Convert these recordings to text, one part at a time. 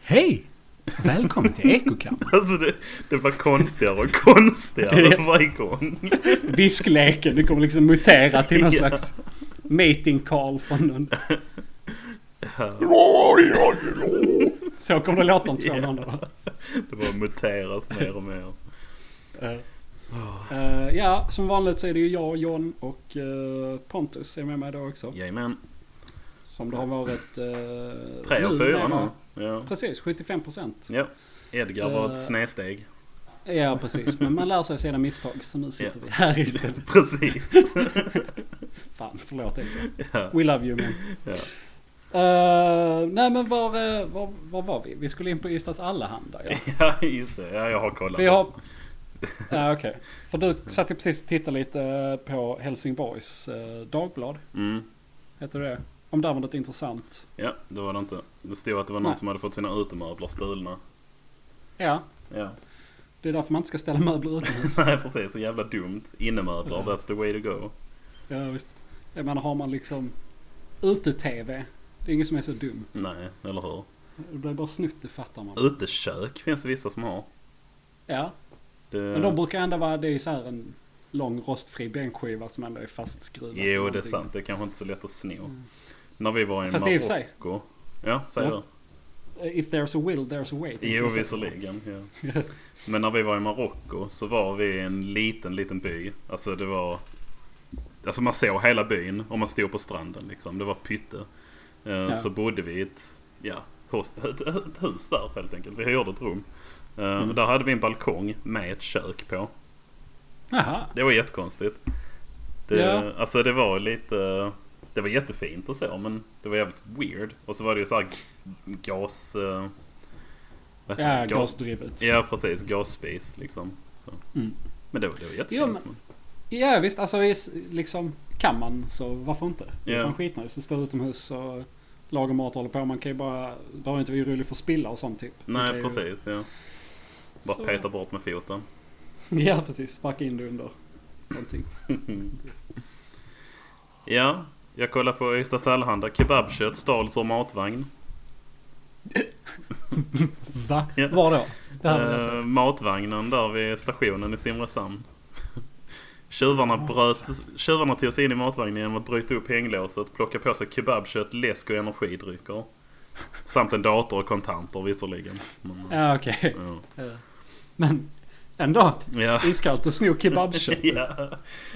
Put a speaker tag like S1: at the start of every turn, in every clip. S1: Hej! Välkommen till Ekokam.
S2: Alltså det, det var konstigare och konstigare varje gång.
S1: Viskleken, det kommer liksom mutera till någon
S2: Ja.
S1: slags meeting call från någon. Så kommer det låta om två
S2: Ja.
S1: månader.
S2: Det bara muteras mer och mer.
S1: Eh, ja, som vanligt så är det ju jag, John och eh, Pontus är med mig idag också.
S2: Jajamän.
S1: Som det har varit... Uh,
S2: Tre och fyra nu. Ja.
S1: Precis, 75 procent.
S2: ja. Edgar var
S1: Eh.
S2: ett snedsteg.
S1: Ja, precis. Men man lär sig av sina misstag. Så nu sitter vi här istället.
S2: Precis.
S1: Fan, förlåt. Edgar.
S2: Ja.
S1: We love you, man.
S2: Ja.
S1: Eh, nej, men var, eh, var, var var vi? Vi skulle in på Ystads Allehanda. Ja.
S2: ja, just det. Ja, jag har kollat.
S1: Vi har... Ja, okej. För du satt ju precis och tittade lite eh, på Helsingborgs eh, Dagblad.
S2: Mm.
S1: Heter det Om där var något intressant.
S2: Ja, det var det inte. Det stod att det var någon
S1: Nej.
S2: som hade fått sina utemöbler stulna.
S1: Ja,
S2: Ja.
S1: det är därför man inte ska ställa möbler utomhus.
S2: Nej, precis. Så jävla dumt. Innemöbler, that's the way to go.
S1: ja, visst. Jag menar, har man liksom ute-tv. Det är ingen som är så dum.
S2: Nej, eller hur?
S1: Det blir bara snutt, det fattar man.
S2: Utekök finns det vissa som har.
S1: Ja,
S2: Det...
S1: men de brukar ändå vara... Det är ju så här en lång rostfri bänkskiva som ändå är fastskruvad. till
S2: Jo, det är
S1: någonting.
S2: sant. Det är kanske inte så lätt att sno.
S1: Mm.
S2: När vi var i
S1: Fast det är i och för sig.
S2: Marocko. Ja, säg
S1: Ja.
S2: du.
S1: If there's a will, there's a way. tänkte
S2: Jo,
S1: jag säga.
S2: visserligen. Ja. Men när vi var i Marocko så var vi i en liten, liten by. Alltså det var... Alltså man såg hela byn om man stod på stranden liksom. Det var pytte. Eh, Så bodde vi i ett, ja, host, ett, ett hus där helt enkelt. Vi hyrde ett rum. Eh,
S1: Mm.
S2: och Där hade vi en balkong med ett kök på.
S1: Jaha.
S2: Det var jättekonstigt. Det,
S1: Ja.
S2: Alltså det var lite... Det var jättefint och så men det var jävligt weird. Och så var det ju såhär gas... eh, Vad heter
S1: Ja,
S2: det? Ga-
S1: gasdrivet.
S2: Ja precis, gasspis liksom. Så.
S1: Mm.
S2: Men det var, det var jättefint.
S1: Jo, men-
S2: men...
S1: Ja visst, alltså is- liksom kan man så varför inte? Det är
S2: Ja.
S1: fan skitnice. Du står utomhus och lagar mat och håller på. Man kan ju bara... Då har ju inte vi rolig för spilla och sånt typ. Man
S2: Nej
S1: kan ju,
S2: precis, ja. Bara
S1: Så.
S2: peta bort med foten.
S1: Ja precis, sparka in det under någonting.
S2: Ja, jag kollar på Ystads Allehanda. Kebabkött stals ur matvagn.
S1: Va?
S2: Ja.
S1: Var då? Det här vill jag säga.
S2: Eh, matvagnen där vid stationen i Simrishamn. Tjuvarna, bröt, tjuvarna tog sig in i matvagnen genom att bryta upp hänglåset, plocka på sig kebabkött, läsk och energidrycker. Samt en dator och kontanter visserligen. Men, eh,
S1: Ja okej. Eh, Men ändå.
S2: ja.
S1: Iskallt och sno kebabkött.
S2: ja.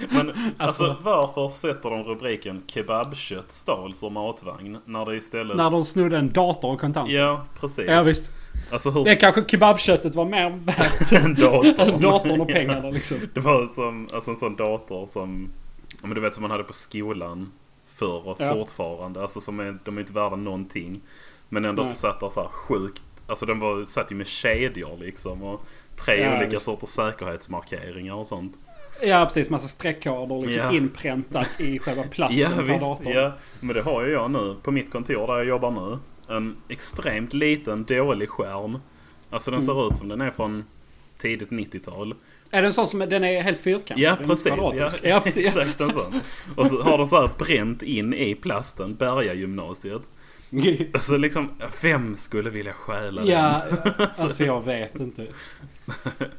S2: Men alltså,
S1: Alltså-
S2: varför sätter de rubriken kebabkött stals ur matvagn? När det istället...
S1: När de snodde en dator och kontanter.
S2: Ja, precis.
S1: Ja visst.
S2: Alltså hur
S1: Det kanske kebabköttet var mer värt
S2: stort en dator?
S1: än datorn och pengarna liksom.
S2: Det var som, alltså en sån dator som, ja, men du vet som man hade på skolan förr och
S1: Ja.
S2: fortfarande. Alltså som är, de är inte värda någonting. Men ändå
S1: Nej.
S2: så satt där så här sjukt, alltså den var, satt ju med kedjor liksom och tre
S1: Ja,
S2: olika
S1: visst.
S2: sorters säkerhetsmarkeringar och sånt.
S1: Ja precis, massa streckkoder liksom
S2: Ja.
S1: inpräntat i själva
S2: Ja
S1: plasten på
S2: visst,
S1: datorn.
S2: ja. Men det har ju jag nu på mitt kontor där jag jobbar nu. En extremt liten dålig skärm. Alltså
S1: Mm.
S2: den ser ut som den är från tidigt 90-tal.
S1: Är den sån som den är helt fyrkantig?
S2: Ja
S1: Den är
S2: precis, ja,
S1: kvadratisk. ja, precis. Ja.
S2: exakt en sån. Och så har de så här bränt in i plasten, Bergagymnasiet. Alltså liksom, vem skulle vilja stjäla
S1: ja, alltså jag vet inte.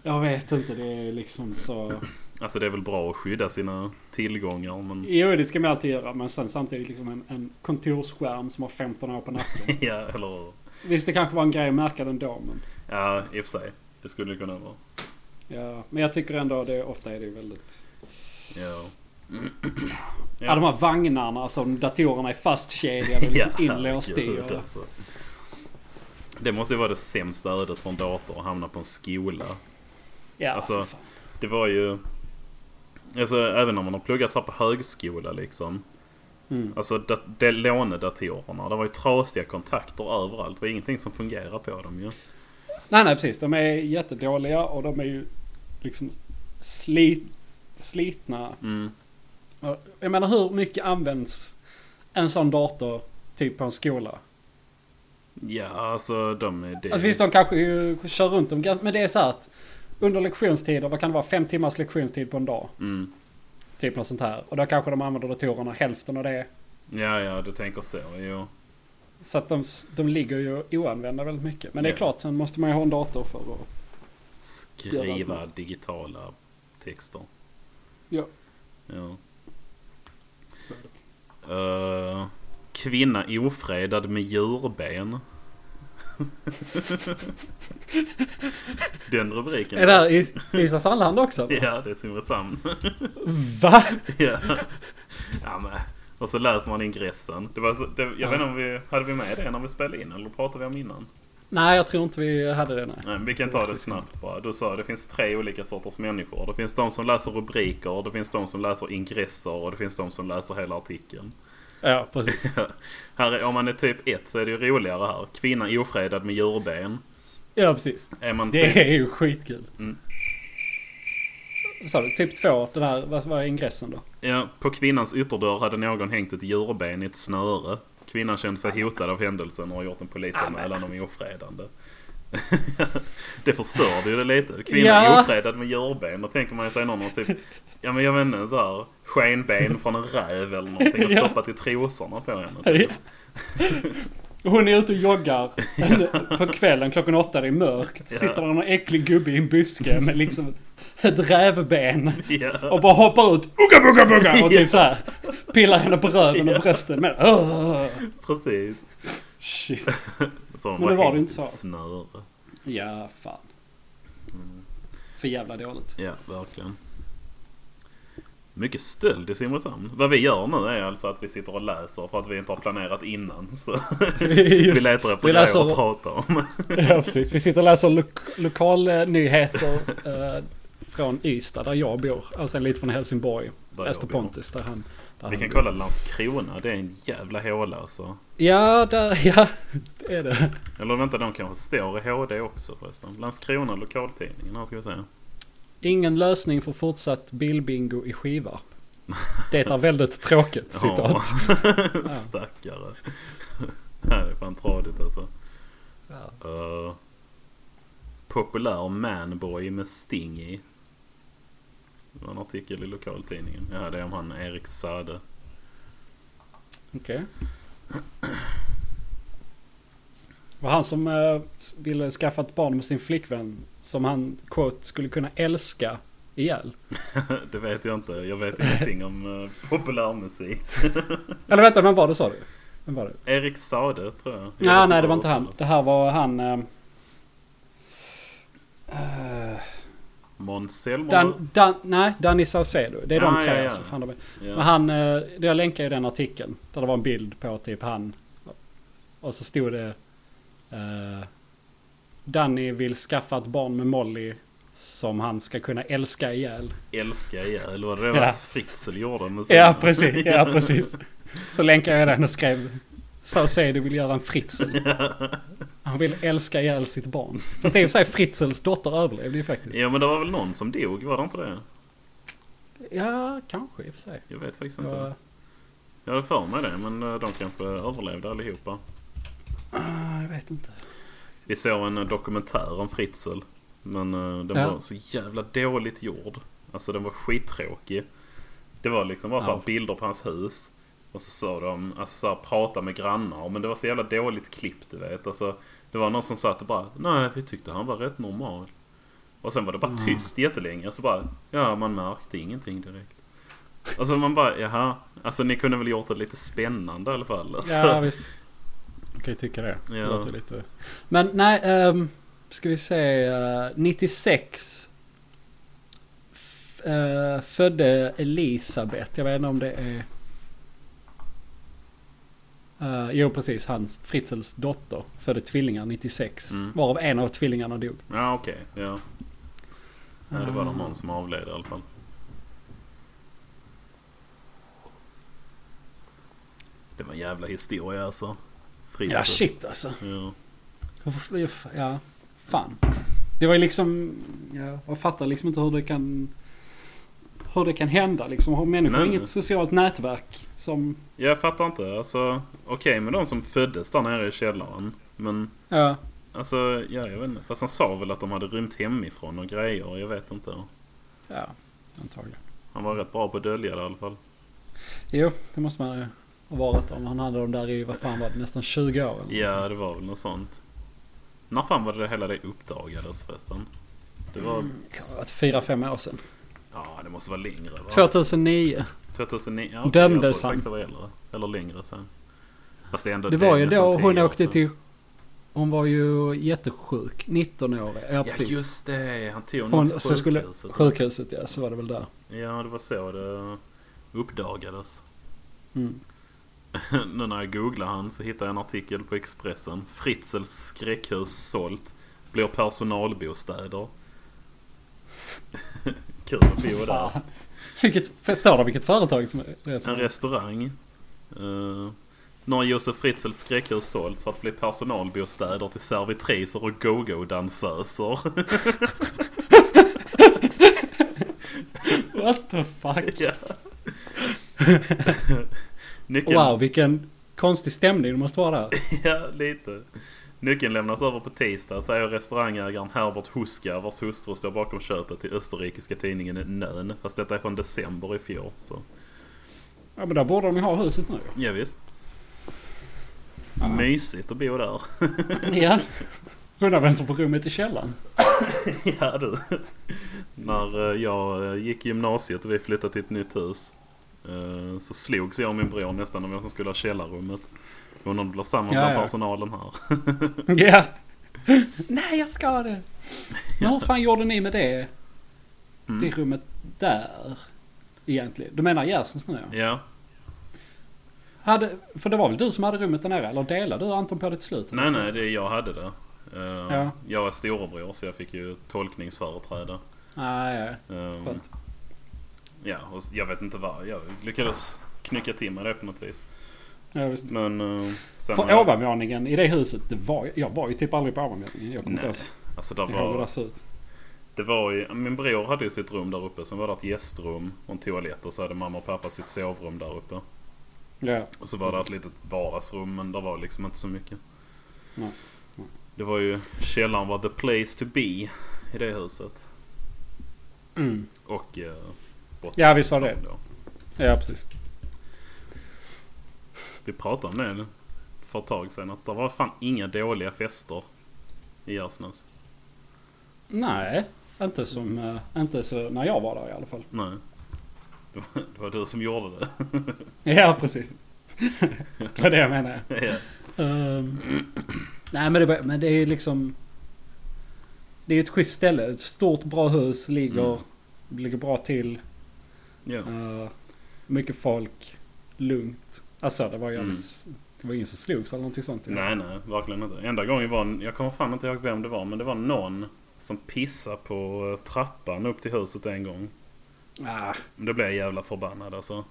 S1: Jag vet inte, det är liksom så...
S2: den? Alltså det är väl bra att skydda sina tillgångar men...
S1: Jo, det ska man alltid göra, men sen samtidigt liksom en, en kontorsskärm som har 15 år på nacken.
S2: Ja, eller
S1: Visst, det kanske var en grej att märka den då, men...
S2: Ja, i och för sig. Det skulle det kunna vara.
S1: Ja, men jag tycker ändå det, ofta är det väldigt...
S2: Ja.
S1: Ja.
S2: Ja.
S1: de här vagnarna som datorerna är fastkedjade och liksom inlåst i.
S2: herregud,
S1: Och,
S2: alltså. Det måste ju vara det sämsta ödet för en dator att hamna på en skola.
S1: ja,
S2: Alltså,
S1: för fan.
S2: Det var ju... Alltså även om man har pluggat så här på högskola liksom.
S1: Mm.
S2: Alltså dat- de lånedatorerna. Det var ju trasiga kontakter överallt. Det var ingenting som fungerade på dem ju.
S1: Nej, nej, precis. De är jättedåliga och de är ju liksom slit, slitna.
S2: Mm.
S1: Och Jag menar, hur mycket används en sån dator typ på en skola?
S2: Ja, alltså de är det.
S1: Alltså visst, de kanske ju kör runt dem, ganska- men det är så här att under lektionstider, vad kan det vara, fem timmars lektionstid på en dag?
S2: Mm.
S1: Typ något sånt här. Och då kanske de använder datorerna hälften av det.
S2: Ja, ja, du tänker så. Jo.
S1: Så att de, de ligger ju oanvända väldigt mycket. Men det är
S2: Ja.
S1: klart, sen måste man ju ha en dator för att... Gör
S2: Skriva
S1: allt.
S2: digitala texter.
S1: Ja.
S2: Ja. Eh, kvinna ofredad med djurben. Den rubriken.
S1: Är det här i Isas Allehand också?
S2: Ja, det är Simrishamn.
S1: Va?
S2: ja. ja, men. Och så läser man ingressen. Det var så, det, jag
S1: Ja.
S2: vet inte om vi hade vi med det när vi spelade in eller pratade vi om innan?
S1: Nej, jag tror inte vi hade det. Nej.
S2: Nej, men vi kan ta det snabbt bara. Du sa det finns tre olika sorters människor. Det finns de som läser rubriker, det finns de som läser ingresser och det finns de som läser hela artikeln.
S1: Ja, precis.
S2: här, är- om man är typ ett så är det ju roligare här. Kvinna ofredad med djurben.
S1: Ja, precis.
S2: Är man typ...
S1: Det är ju skitkul.
S2: Mm.
S1: Sa du typ två? Den här, vad var ingressen då?
S2: Ja, på kvinnans ytterdörr hade någon hängt ett djurben i ett snöre. Kvinnan kände sig hotad av händelsen och har gjort en polisanmälan om ofredande. det förstörde ju det lite. Kvinnan
S1: Ja.
S2: är ofredad med djurben. Då tänker man ju sig någon har typ, ja men jag vet inte, så här, skenben från en räv eller någonting och
S1: Ja.
S2: stoppat i trosorna på henne.
S1: Hon är ute och joggar på kvällen klockan åtta, det är mörkt. Sitter där någon äcklig gubbe i en buske med liksom ett rävben.
S2: Ja.
S1: Och bara hoppar ut, ugga bugga bugga! Och
S2: Ja.
S1: typ så här pillar henne på röven och brösten med... Åh,
S2: Precis.
S1: Shit.
S2: Så hon
S1: Men det var det
S2: hängt
S1: inte
S2: i
S1: så.
S2: ett Snöre.
S1: Ja, fan. Mm. För jävla dåligt.
S2: Ja, verkligen. Mycket stöld i Simrishamn. Vad vi gör nu är alltså att vi sitter och läser för att vi inte har planerat innan. Så vi
S1: Just,
S2: letar efter
S1: Vi
S2: grejer
S1: läser-
S2: att prata om.
S1: ja, precis. Vi sitter och läser lok- lokalnyheter eh, från Ystad, där jag bor. Och sen lite från Helsingborg.
S2: Där jag
S1: Öster
S2: bor.
S1: Pontus, där han... Där
S2: Vi
S1: han
S2: kan
S1: bor.
S2: kolla Landskrona. Det är en jävla håla alltså.
S1: Ja, där, ja, det är det.
S2: Eller vänta, de kanske står i HD också förresten. Landskrona, lokaltidningen. Här ska vi se.
S1: Ingen lösning för fortsatt bilbingo i Skivarp. Det är väldigt tråkigt citat.
S2: Ja. Stackare. det är fan tradigt alltså.
S1: Ja.
S2: Uh, populär manboy med sting i. Det var en artikel i lokaltidningen. Ja, det är om han Erik Sade.
S1: Okej. var han som eh, ville skaffa ett barn med sin flickvän som han quote skulle kunna älska ihjäl.
S2: det vet jag inte. Jag vet ingenting om uh, populärmusik.
S1: Eller vänta, vem var det sa du? Vem var det?
S2: Erik Sade tror jag.
S1: Nej,
S2: Jag vet
S1: nej, det var
S2: vad
S1: inte han.
S2: uttalas.
S1: Det här var han... eh, eh,
S2: Måns Zelmerlöw.
S1: Dan, Dan, nej, Danny Saucedo. Det är
S2: Ja,
S1: de tre.
S2: Ah, ja, ja.
S1: Alltså, fan, de är. Men
S2: Ja.
S1: han, eh, jag länkade ju den artikeln. Där det var en bild på typ han. Och så stod det... Eh, Danny vill skaffa ett barn med Molly. Som han ska kunna älska ihjäl.
S2: Älska ihjäl. Vad det var
S1: Ja.
S2: Fritzl gjorde med sin-
S1: Ja precis, ja precis. Så länkade jag den och skrev. Saucedo vill göra en Fritzl. Han vill älska ihjäl sitt barn. Fast det är ju sig Fritzls dotter överlevde ju faktiskt.
S2: Ja men det var väl någon som dog, var det inte det?
S1: Ja, kanske i och för sig.
S2: Jag vet faktiskt inte.
S1: Jag,
S2: Jag hade för mig det men eh, de kanske överlevde allihopa.
S1: Ah, jag vet inte.
S2: Vi såg en eh, dokumentär om Fritzl. Men eh, den
S1: Ja.
S2: var så jävla dåligt gjord. Alltså den var skittråkig. Det var liksom bara så här
S1: Ja.
S2: bilder på hans hus. Och så sa de, alltså så här, prata med grannar. Men det var så jävla dåligt klippt du vet. Alltså, det var någon som satt och bara, nej vi tyckte han var rätt normal. Och sen var det bara
S1: Mm.
S2: tyst jättelänge. Och så bara, ja man märkte ingenting direkt. Alltså man bara, jaha. Alltså ni kunde väl gjort det lite spännande i alla fall. Alltså.
S1: Ja visst. Jag kan ju tycka det. det
S2: Ja.
S1: låter lite. Men nej, ehm, ska vi se. eh, 96 f- eh, födde Elisabeth. Jag vet inte om det är... Eh, jo precis, hans Fritzels dotter födde tvillingar 96.
S2: Mm.
S1: Varav en av tvillingarna dog.
S2: Ja okej, ja. ja. Det var
S1: Mm.
S2: någon som avled i alla fall. Det var en jävla historia alltså. Fritzl.
S1: Ja shit alltså.
S2: Ja.
S1: Ja, fan. Det var ju liksom... Ja, jag fattar liksom inte hur det kan... Hur det kan hända liksom. Har människor
S2: Nej, nej.
S1: inget socialt nätverk som...
S2: Jag fattar inte. Alltså, okej med de som föddes där nere i källaren. Men
S1: Ja,
S2: alltså, ja, jag vet inte. Fast han sa väl att de hade rymt hemifrån och grejer. Jag vet inte.
S1: ja antagligen.
S2: Han var rätt bra på att dölja det i alla fall.
S1: Jo, det måste man... varit om. Han hade dem där i, vad fan var det, nästan 20 år? eller
S2: Ja, det var väl något sånt. När fan var det hela det uppdagades förresten? Det var...
S1: Mm, Kan ha varit 4-5 år sedan.
S2: Ja, det måste vara längre va?
S1: 2009.
S2: 2009? Ja, okej,
S1: Dömdes han?
S2: jag trodde faktiskt det var äldre. Eller längre sen. Fast det är ändå
S1: Det var ju
S2: nästan
S1: då
S2: tio
S1: hon
S2: år
S1: åkte
S2: sedan.
S1: till... Hon var ju jättesjuk. 19 år, ja
S2: Ja,
S1: precis.
S2: just det. Han tog hon
S1: hon,
S2: till
S1: så skulle,
S2: sjukhuset.
S1: sjukhuset ja, så var det väl där.
S2: Ja, det var så det uppdagades.
S1: Mm.
S2: nu när jag googlar han så hittar jag en artikel på Expressen. Fritzels skräckhus sålt. Blir personalbostäder. Kul att bo där.
S1: Fan. Vilket, förstår du vilket företag som det är som
S2: En restaurang. Uh, nu har Josef Fritzels skräckhus sålts för att bli personalbostäder till servitriser och go-go-dansöser.
S1: What the fuck?
S2: Ja. Nyckeln,
S1: Wow, vilken konstig stämning det måste vara där.
S2: ja, lite. Nyckeln lämnas över på tisdag säger restaurangägaren Herbert Huska vars hustru står bakom köpet till österrikiska tidningen Nön. Fast detta är från december i fjol. Så.
S1: Ja men där borde de ju ha huset nu.
S2: Ja, visst. Mysigt att bo där.
S1: Ja. Undrar vem som får rummet i källaren.
S2: Ja du. När eh, jag eh, gick i gymnasiet och vi flyttade till ett nytt hus. eh, Så slogs jag och min bror nästan om vem som skulle ha källarrummet. Undrar om det blir samma
S1: Ja,
S2: bland
S1: ja.
S2: personalen här.
S1: Ja. Nej jag ska ha det. Men hur fan gjorde ni med det? Det
S2: Mm.
S1: rummet där. Egentligen. Du menar Gärsens nu ja.
S2: Ja.
S1: Hade, för det var väl du som hade rummet där nere? Eller delade du Anton på det till slut?
S2: Nej nej, det, jag hade det. Eh,
S1: Ja.
S2: Jag är storebror så jag fick ju tolkningsföreträde.
S1: Nej, ja.
S2: Ehm,
S1: Skönt.
S2: Ja, och s- jag vet inte vad. Jag lyckades knycka till mig det på något vis.
S1: ja visst.
S2: Men... eh, Sen har
S1: För
S2: jag-
S1: ovanvåningen i det huset, det var, jag var ju typ aldrig på ovanvåningen. Jag kommer inte
S2: Nej,
S1: ens
S2: Alltså där
S1: ihåg hur
S2: var,
S1: det såg ut.
S2: Det var ju, min bror hade ju sitt rum där uppe. Sen var det ett gästrum och en toalett. Och så hade mamma och pappa sitt sovrum där uppe.
S1: Ja.
S2: Och så var det ett litet vardagsrum men där var liksom inte så mycket.
S1: Nej. Nej.
S2: Det var ju, källaren var the place to be i det huset.
S1: Mm.
S2: Och eh, botten.
S1: Ja, visst var det.
S2: Då.
S1: Ja, precis.
S2: Vi pratade om det för ett tag sedan. Att det var fan inga dåliga fester i Gärsnäs.
S1: Nej, inte som... eh, Inte så när jag var där i alla fall.
S2: Nej. Det var, det var du som gjorde det.
S1: Ja, precis. det var det jag menade.
S2: Ja.
S1: Ehm, nej, men det, var- men det är ju liksom... Det är ju ett schysst ställe. Ett stort, bra hus. Ligger, ligger bra till.
S2: Mm. ja.
S1: Eh, mycket folk. Lugnt. Alltså, det var ju
S2: Mm.
S1: alldeles, Det var ingen som slogs eller någonting sånt.
S2: Nej, nej, verkligen inte. Enda gången var, jag kommer fan inte ihåg vem det var, men det var någon som pissade på eh, trappan upp till huset en gång.
S1: Ah,
S2: Men det blev jag jävla förbannad alltså.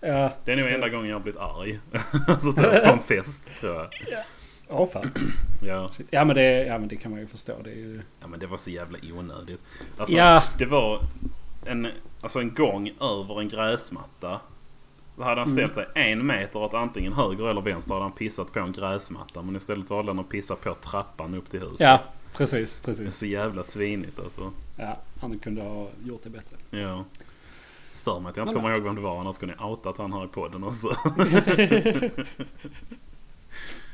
S1: ja.
S2: Det är nog enda gången jag har blivit arg. Alltså, så så, på en fest, tror jag.
S1: Ja, fan.
S2: Ja.
S1: Shit. Ja, men det, ja, men det kan man ju förstå. Det är ju...
S2: ja, men det var så jävla onödigt. Alltså,
S1: Ja.
S2: det var en, alltså en gång över en gräsmatta. Då hade han ställt sig en meter åt antingen höger eller vänster hade han pissat på en gräsmatta. Men istället valde han att pissa på trappan upp till huset.
S1: Ja, precis.
S2: Det är
S1: precis.
S2: så jävla svinigt alltså.
S1: Ja, han kunde ha gjort det bättre.
S2: Ja. Stör mig att jag inte
S1: Men-
S2: kommer ihåg vem det var annars skulle ni outat han här i podden också.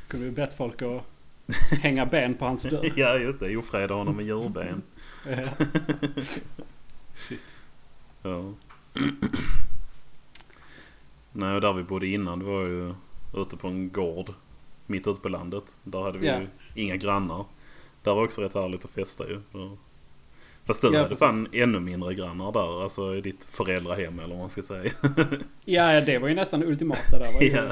S1: Kunde ju bett folk att hänga ben på hans dörr.
S2: ja just det, ofreda honom med djurben.
S1: Eh,
S2: Ja. Nej och där vi bodde innan det var ju ute på en gård. Mitt ute på landet. Där hade vi
S1: Ja.
S2: ju inga grannar. Där var också rätt härligt att festa ju. Ja. Fast du
S1: Ja,
S2: hade
S1: precis.
S2: fan ännu mindre grannar där. Alltså i ditt föräldrahem eller vad man ska säga.
S1: Ja, det var ju nästan det ultimata där. Var ju,
S2: Ja,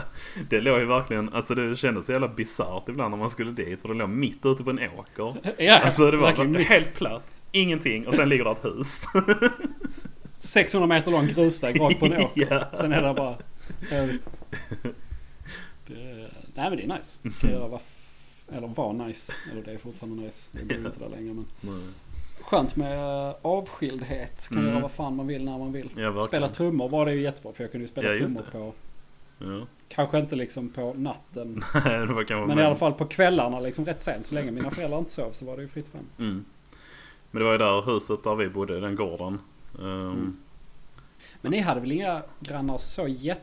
S2: det låg ju verkligen, alltså det kändes så jävla bisarrt ibland när man skulle dit för det låg mitt ute på en åker.
S1: ja
S2: Alltså det var
S1: verkligen mycket.
S2: helt platt, ingenting och sen ligger där ett hus.
S1: 600 meter lång grusväg rakt på en åker.
S2: ja.
S1: Sen är det bara... Ja, visst. Det, nej men det är nice.
S2: Mhm.
S1: Det var, f- eller var nice. Eller det är fortfarande nice. Jag bor ju inte där längre men. Skönt med eh, avskildhet. Kan
S2: Mm.
S1: göra vad fan man vill när man vill.
S2: Ja, verkligen.
S1: spela trummor var det ju jättebra för jag kunde ju spela
S2: Ja, just
S1: trummor
S2: det.
S1: på...
S2: Ja.
S1: Kanske inte liksom på natten
S2: det var kanske
S1: Men i alla fall på kvällarna liksom rätt sent. Så länge mina föräldrar inte sov så var det ju fritt fram.
S2: Mm. Men det var ju där huset där vi bodde, den gården. Ehm,
S1: Mm. Men ni hade väl inga grannar så jätte...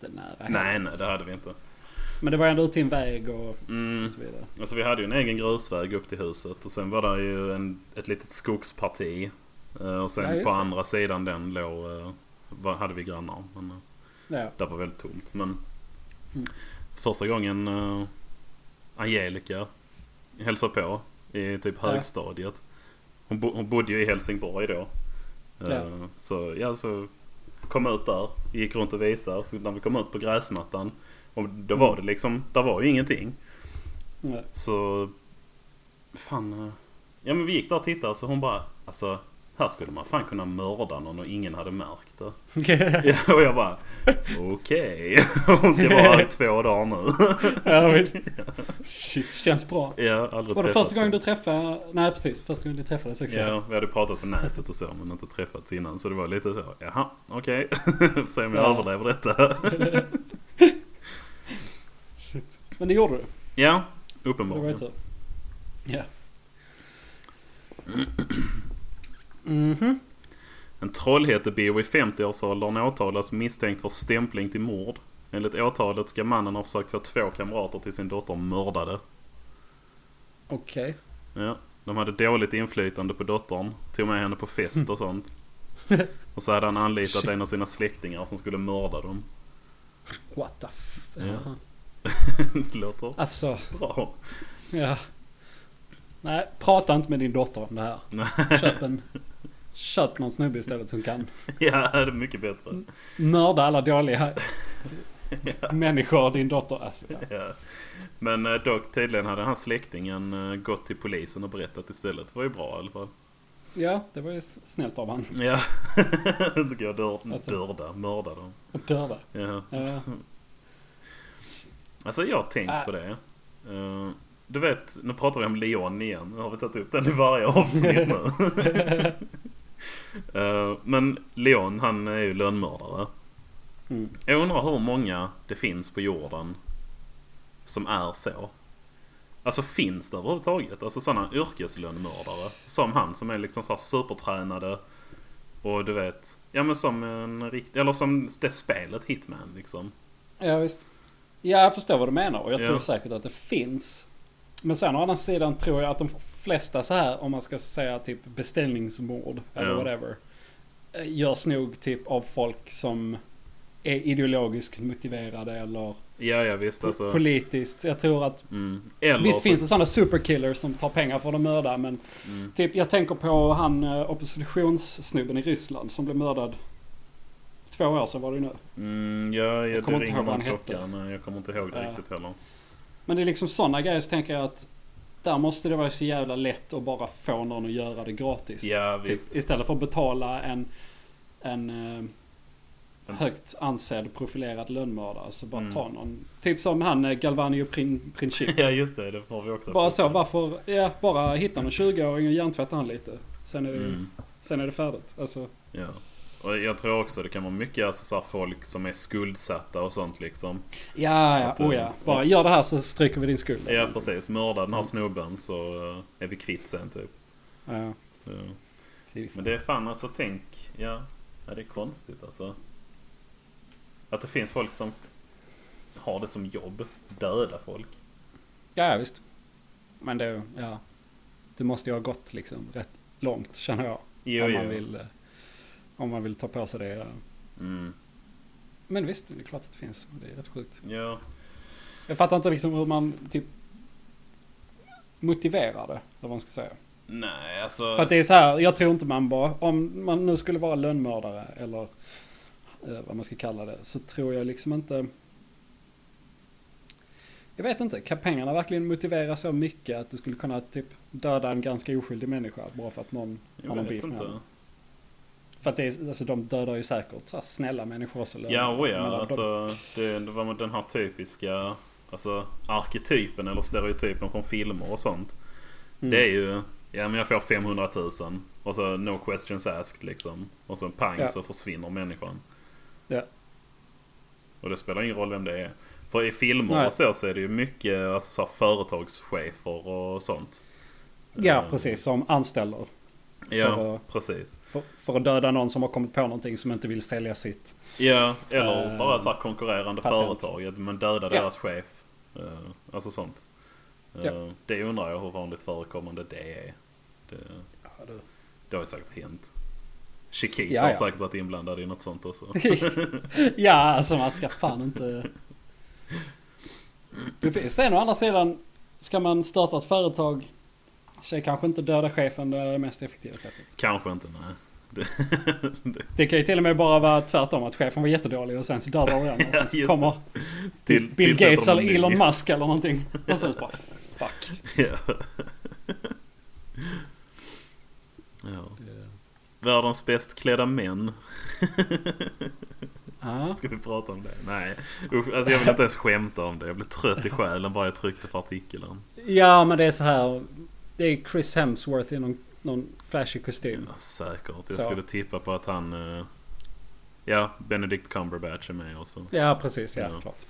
S1: jättenära. heller.
S2: Nej, nej, det hade vi inte.
S1: Men det var ändå ut till en väg och,
S2: Mm.
S1: och så vidare.
S2: Alltså vi hade ju en egen grusväg upp till huset och sen var det ju en, ett litet skogsparti. Eh, Och
S1: Ja,
S2: sen
S1: just
S2: på
S1: det.
S2: andra sidan den låg, eh, var- hade vi grannar. Men eh,
S1: Ja.
S2: där var väldigt tomt. Men
S1: Mm.
S2: första gången eh, Angelica hälsade på i typ
S1: Ja.
S2: högstadiet. Hon, bo, hon bodde ju i Helsingborg då. Eh,
S1: Ja.
S2: Så ja, så kom ut där, gick runt och visade. Så när vi kom ut på gräsmattan, och då
S1: Mm.
S2: var det liksom, där var ju ingenting.
S1: Ja.
S2: Så... Fan... eh, Ja men vi gick där och tittade så hon bara... Alltså, här skulle man fan kunna mörda någon och ingen hade märkt det. Ja, och jag bara... Okej. Hon ska vara här i två dagar nu.
S1: ja visst. Shit, känns bra.
S2: Ja, aldrig
S1: Var det
S2: träffats
S1: första gången du
S2: sen.
S1: träffade... Nej precis, första gången ni träffades också.
S2: Ja, vi hade pratat på nätet och så men inte träffats innan. Så det var lite så, jaha, okej. Får se om jag
S1: Ja.
S2: överlever detta.
S1: Shit. Men det gjorde du. Det
S2: Ja,
S1: var ju
S2: uppenbarligen.
S1: tur. Ja. Mhm.
S2: En Trollhättebo i 50-årsåldern åtalas misstänkt för stämpling till mord. Enligt åtalet ska mannen ha försökt få två kamrater till sin dotter mördade.
S1: Okej.
S2: Ja, de hade dåligt inflytande på dottern. Tog med henne på fest och sånt. Och så hade han anlitat
S1: Shit.
S2: en av sina släktingar som skulle mörda dem.
S1: What the f...
S2: Ja.
S1: Jaha.
S2: Det låter
S1: Alltså,
S2: bra.
S1: ja. Nej, prata inte med din dotter om det här.
S2: Nej.
S1: Köp en... Köp någon snubbe istället som kan
S2: Ja, det är mycket bättre.
S1: mörda alla dåliga människor din dotter... Alltså, ja.
S2: Ja. Men eh, dock, tydligen hade han släktingen eh, gått till polisen och berättat istället. Det var ju bra i alla fall.
S1: ja, det var ju s- snällt av han.
S2: Ja. Då går jag dör, dörda, mörda dem.
S1: att Döda. Eh,
S2: Ja.
S1: Ja.
S2: Alltså jag har tänkt
S1: Ah.
S2: på det. Eh, du vet, nu pratar vi om Leon igen. Nu har vi tagit upp den i varje avsnitt nu. Eh, men Leon, han är ju lönnmördare.
S1: Mm.
S2: Jag undrar hur många det finns på jorden som är så. Alltså finns det överhuvudtaget? Alltså sådana yrkeslönnmördare som han som är liksom så här supertränade och du vet, ja men som en riktig, eller som det spelet Hitman liksom.
S1: Ja, visst. Ja, jag förstår vad du menar och jag
S2: Ja.
S1: tror säkert att det finns. Men sen å andra sidan tror jag att de flesta så här, om man ska säga typ beställningsmord eller
S2: Ja.
S1: whatever. eh, Görs nog typ av folk som är ideologiskt motiverade eller
S2: Ja, ja visst alltså.
S1: politiskt. Jag tror att
S2: Mm. Eller
S1: Visst
S2: så,
S1: finns det sådana superkillers som tar pengar från att mörda men
S2: Mm.
S1: typ jag tänker på han eh, oppositionssnubben i Ryssland som blev mördad två år sedan var det ju nu.
S2: Mm, ja, jag
S1: kommer
S2: det
S1: inte
S2: ringer
S1: ihåg vad
S2: någon
S1: han
S2: klocka.
S1: hette.
S2: Nej, jag kommer inte ihåg det
S1: Ja.
S2: riktigt heller.
S1: Men det är liksom sådana grejer så tänker jag att där måste det vara så jävla lätt att bara få någon att göra det gratis.
S2: Ja,
S1: typ,
S2: visst.
S1: istället för att betala en, en eh,
S2: En-
S1: högt ansedd profilerad lönnmördare. Så bara
S2: Mm.
S1: ta någon. Typ som han eh, Galvanio Prin, Princip.
S2: Ja, just det. Det har vi också.
S1: bara
S2: haft
S1: så,
S2: uppe.
S1: varför? Ja, bara hitta någon 20-åring och hjärntvätta han lite. Sen är, det,
S2: Mm.
S1: sen är det färdigt. Alltså,
S2: Ja. Och jag tror också det kan vara mycket alltså, så här, folk som är skuldsatta och sånt liksom.
S1: ja, ja,
S2: Att, eh,
S1: oh, ja. Bara gör det här så stryker vi din skuld.
S2: Ja, precis. Mörda
S1: Mm.
S2: den här snubben så eh, är vi kvitt sen typ.
S1: Ja.
S2: Ja. Men det är fan alltså, tänk. Ja. ja, det är konstigt alltså. Att det finns folk som har det som jobb. Döda folk.
S1: Ja, ja visst. Men det, ja. Det måste ju ha gått liksom rätt långt känner jag.
S2: Jo,
S1: om,
S2: jo.
S1: man vill, eh, om man vill ta på sig det. eh.
S2: Mm.
S1: Men visst, det är klart att det finns. Det är rätt sjukt.
S2: Ja.
S1: Jag fattar inte liksom hur man typ motiverar det. Eller vad man ska säga.
S2: Nej, alltså.
S1: För att det är så här, jag tror inte man bara, om man nu skulle vara lönnmördare eller eh, vad man ska kalla det, så tror jag liksom inte... Jag vet inte, kan pengarna verkligen motivera så mycket att du skulle kunna typ döda en ganska oskyldig människa bara för att någon har
S2: Jag
S1: någon
S2: vet
S1: beef med henne?
S2: inte.
S1: För att det är, alltså de dödar ju säkert så här, snälla människor också. lönnmördare.
S2: Ja, och ja.
S1: Men de-
S2: Alltså, det, det var den här typiska alltså, arketypen eller stereotypen från filmer och sånt.
S1: Mm.
S2: Det är ju, ja men jag får 500 000 och så no questions asked liksom. Och så pang
S1: Ja.
S2: så försvinner människan.
S1: Ja.
S2: Och det spelar ingen roll vem det är. För i filmer
S1: Nej.
S2: och så, så är det ju mycket alltså, så här, företagschefer och sånt.
S1: ja,
S2: Eh,
S1: precis, som anställer
S2: Ja,
S1: För att-
S2: precis.
S1: För, för att döda någon som har kommit på någonting som inte vill sälja sitt.
S2: Ja, eller
S1: Eh,
S2: bara så här konkurrerande
S1: patent.
S2: företag. Men döda
S1: Ja.
S2: deras chef. Eh, alltså sånt. Eh,
S1: Ja.
S2: Det undrar jag hur vanligt förekommande det är. Det,
S1: Ja, du.
S2: det har ju säkert hänt. Chiquita
S1: Ja,
S2: har
S1: ja.
S2: säkert varit inblandad i något sånt också.
S1: ja, alltså man ska fan inte... Det finns- Sen å andra sidan, ska man starta ett företag så är kanske inte döda chefen det mest effektiva sättet.
S2: Kanske inte, nej. Det, det,
S1: Det kan ju till och med bara vara tvärtom, att chefen var jättedålig och sen så dödar de den. Och sen så
S2: just
S1: kommer
S2: till,
S1: Bill
S2: tillsätter
S1: Gates
S2: de en
S1: eller
S2: ny.
S1: Elon Musk eller någonting. Och sen så bara fuck.
S2: Ja. ja. Världens bäst klädda män.
S1: Ja.
S2: Ska vi prata om det? Nej. Usch, alltså jag vill inte ens skämta om det. Jag blev trött i själen bara jag tryckte på artikeln.
S1: Ja, men det är så här. Det är Chris Hemsworth i någon, någon flashig kostym.
S2: Ja, säkert. Jag
S1: Så.
S2: skulle tippa på att han... eh, Ja, Benedict Cumberbatch är med också.
S1: Ja, precis. Ja,
S2: Ja.
S1: klart.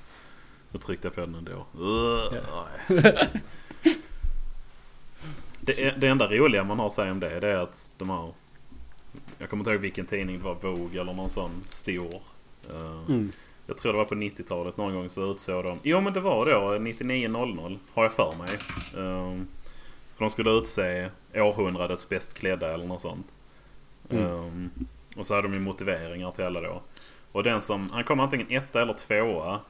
S2: Då tryckte jag på den ändå. Ugh, nej. Det, är- det enda roliga man har att säga om det, det är att de har... Jag kommer inte ihåg vilken tidning det var, Vogue eller någon sån stor. Eh,
S1: Mm.
S2: Jag tror det var på 90-talet någon gång så utsåg de... Jo men det var då 99.00 har jag för mig. Eh, För de skulle utse århundradets bäst klädda eller något sånt.
S1: Mm.
S2: Eh, Och så hade de ju motiveringar till alla då. Och den som... Han kom antingen etta eller tvåa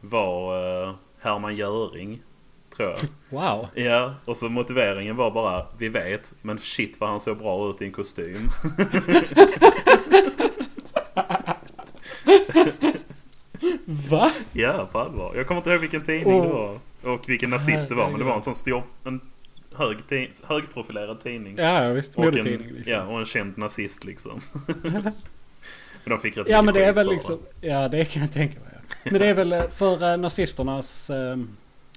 S2: var eh, Herman Göring. Tror jag.
S1: Wow.
S2: Ja, och så motiveringen var bara Vi vet, men shit vad han såg bra ut i en kostym.
S1: Va?
S2: Ja, på allvar. Jag kommer inte ihåg vilken tidning det var. Och vilken nazist det var. Men det var en sån stor, en hög ti- högprofilerad tidning.
S1: Ja, ja, visst.
S2: och,
S1: Modetidning
S2: en,
S1: liksom.
S2: ja,
S1: Ja,
S2: och en känd nazist liksom. men de fick rätt
S1: men
S2: mycket
S1: det är
S2: skit
S1: väl
S2: för
S1: liksom. Ja, det kan jag tänka mig. Ja. Men det är väl eh, för eh, nazisternas eh,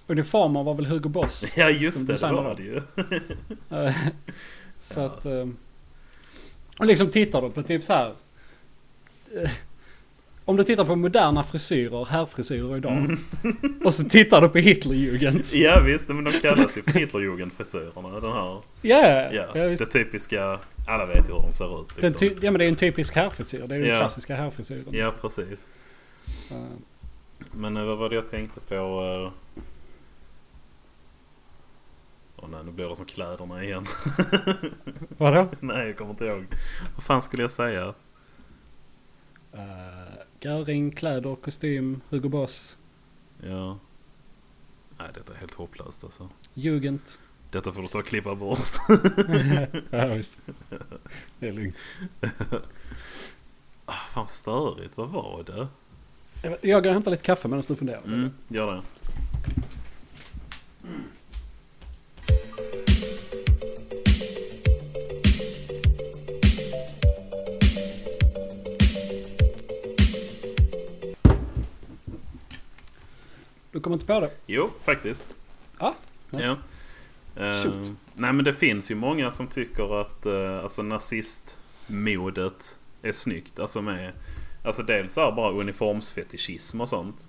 S1: uniformer var väl Hugo Boss.
S2: det. Ja, just
S1: Som
S2: det. Det
S1: designade
S2: var
S1: dem.
S2: det ju.
S1: Eh, så att... eh, Och liksom tittar du på typ så här... eh, Om du tittar på moderna frisyrer, herrfrisyrer idag. Och så tittar du på Hitlerjugend.
S2: Mm. Ja, visst. Men de kallas ju för Hitlerjugendfrisörerna. Den här,
S1: Ja, ja,
S2: ja,
S1: ja, visst.
S2: det typiska. Alla vet ju hur de ser ut.
S1: Den
S2: Liksom.
S1: ty- ja men det är en typisk herrfrisyr. Det är den
S2: Ja.
S1: klassiska herrfrisyren.
S2: Ja, precis.
S1: Eh,
S2: Men eh, vad var det jag tänkte på? eh? Åh nej, nu blir det som kläderna igen.
S1: Vadå?
S2: Nej, jag kommer inte ihåg. Vad fan skulle jag säga?
S1: Eh, Göring, kläder, kostym, Hugo Boss,
S2: Ja. Nej, detta är helt hopplöst alltså.
S1: Jugend.
S2: Detta får du ta och klippa bort.
S1: ja visst. Det är lugnt.
S2: Ah, fan störigt. Vad var det?
S1: Jag går och hämtar lite kaffe medan du funderar.
S2: Mm, gör det.
S1: Du kommer inte på det?
S2: Jo, faktiskt.
S1: Ja. nice.
S2: Ja. Eh,
S1: Shoot.
S2: nej men det finns ju många som tycker att uh, alltså nazistmodet är snyggt. Alltså, med, alltså dels är bara uniformsfetischism och sånt.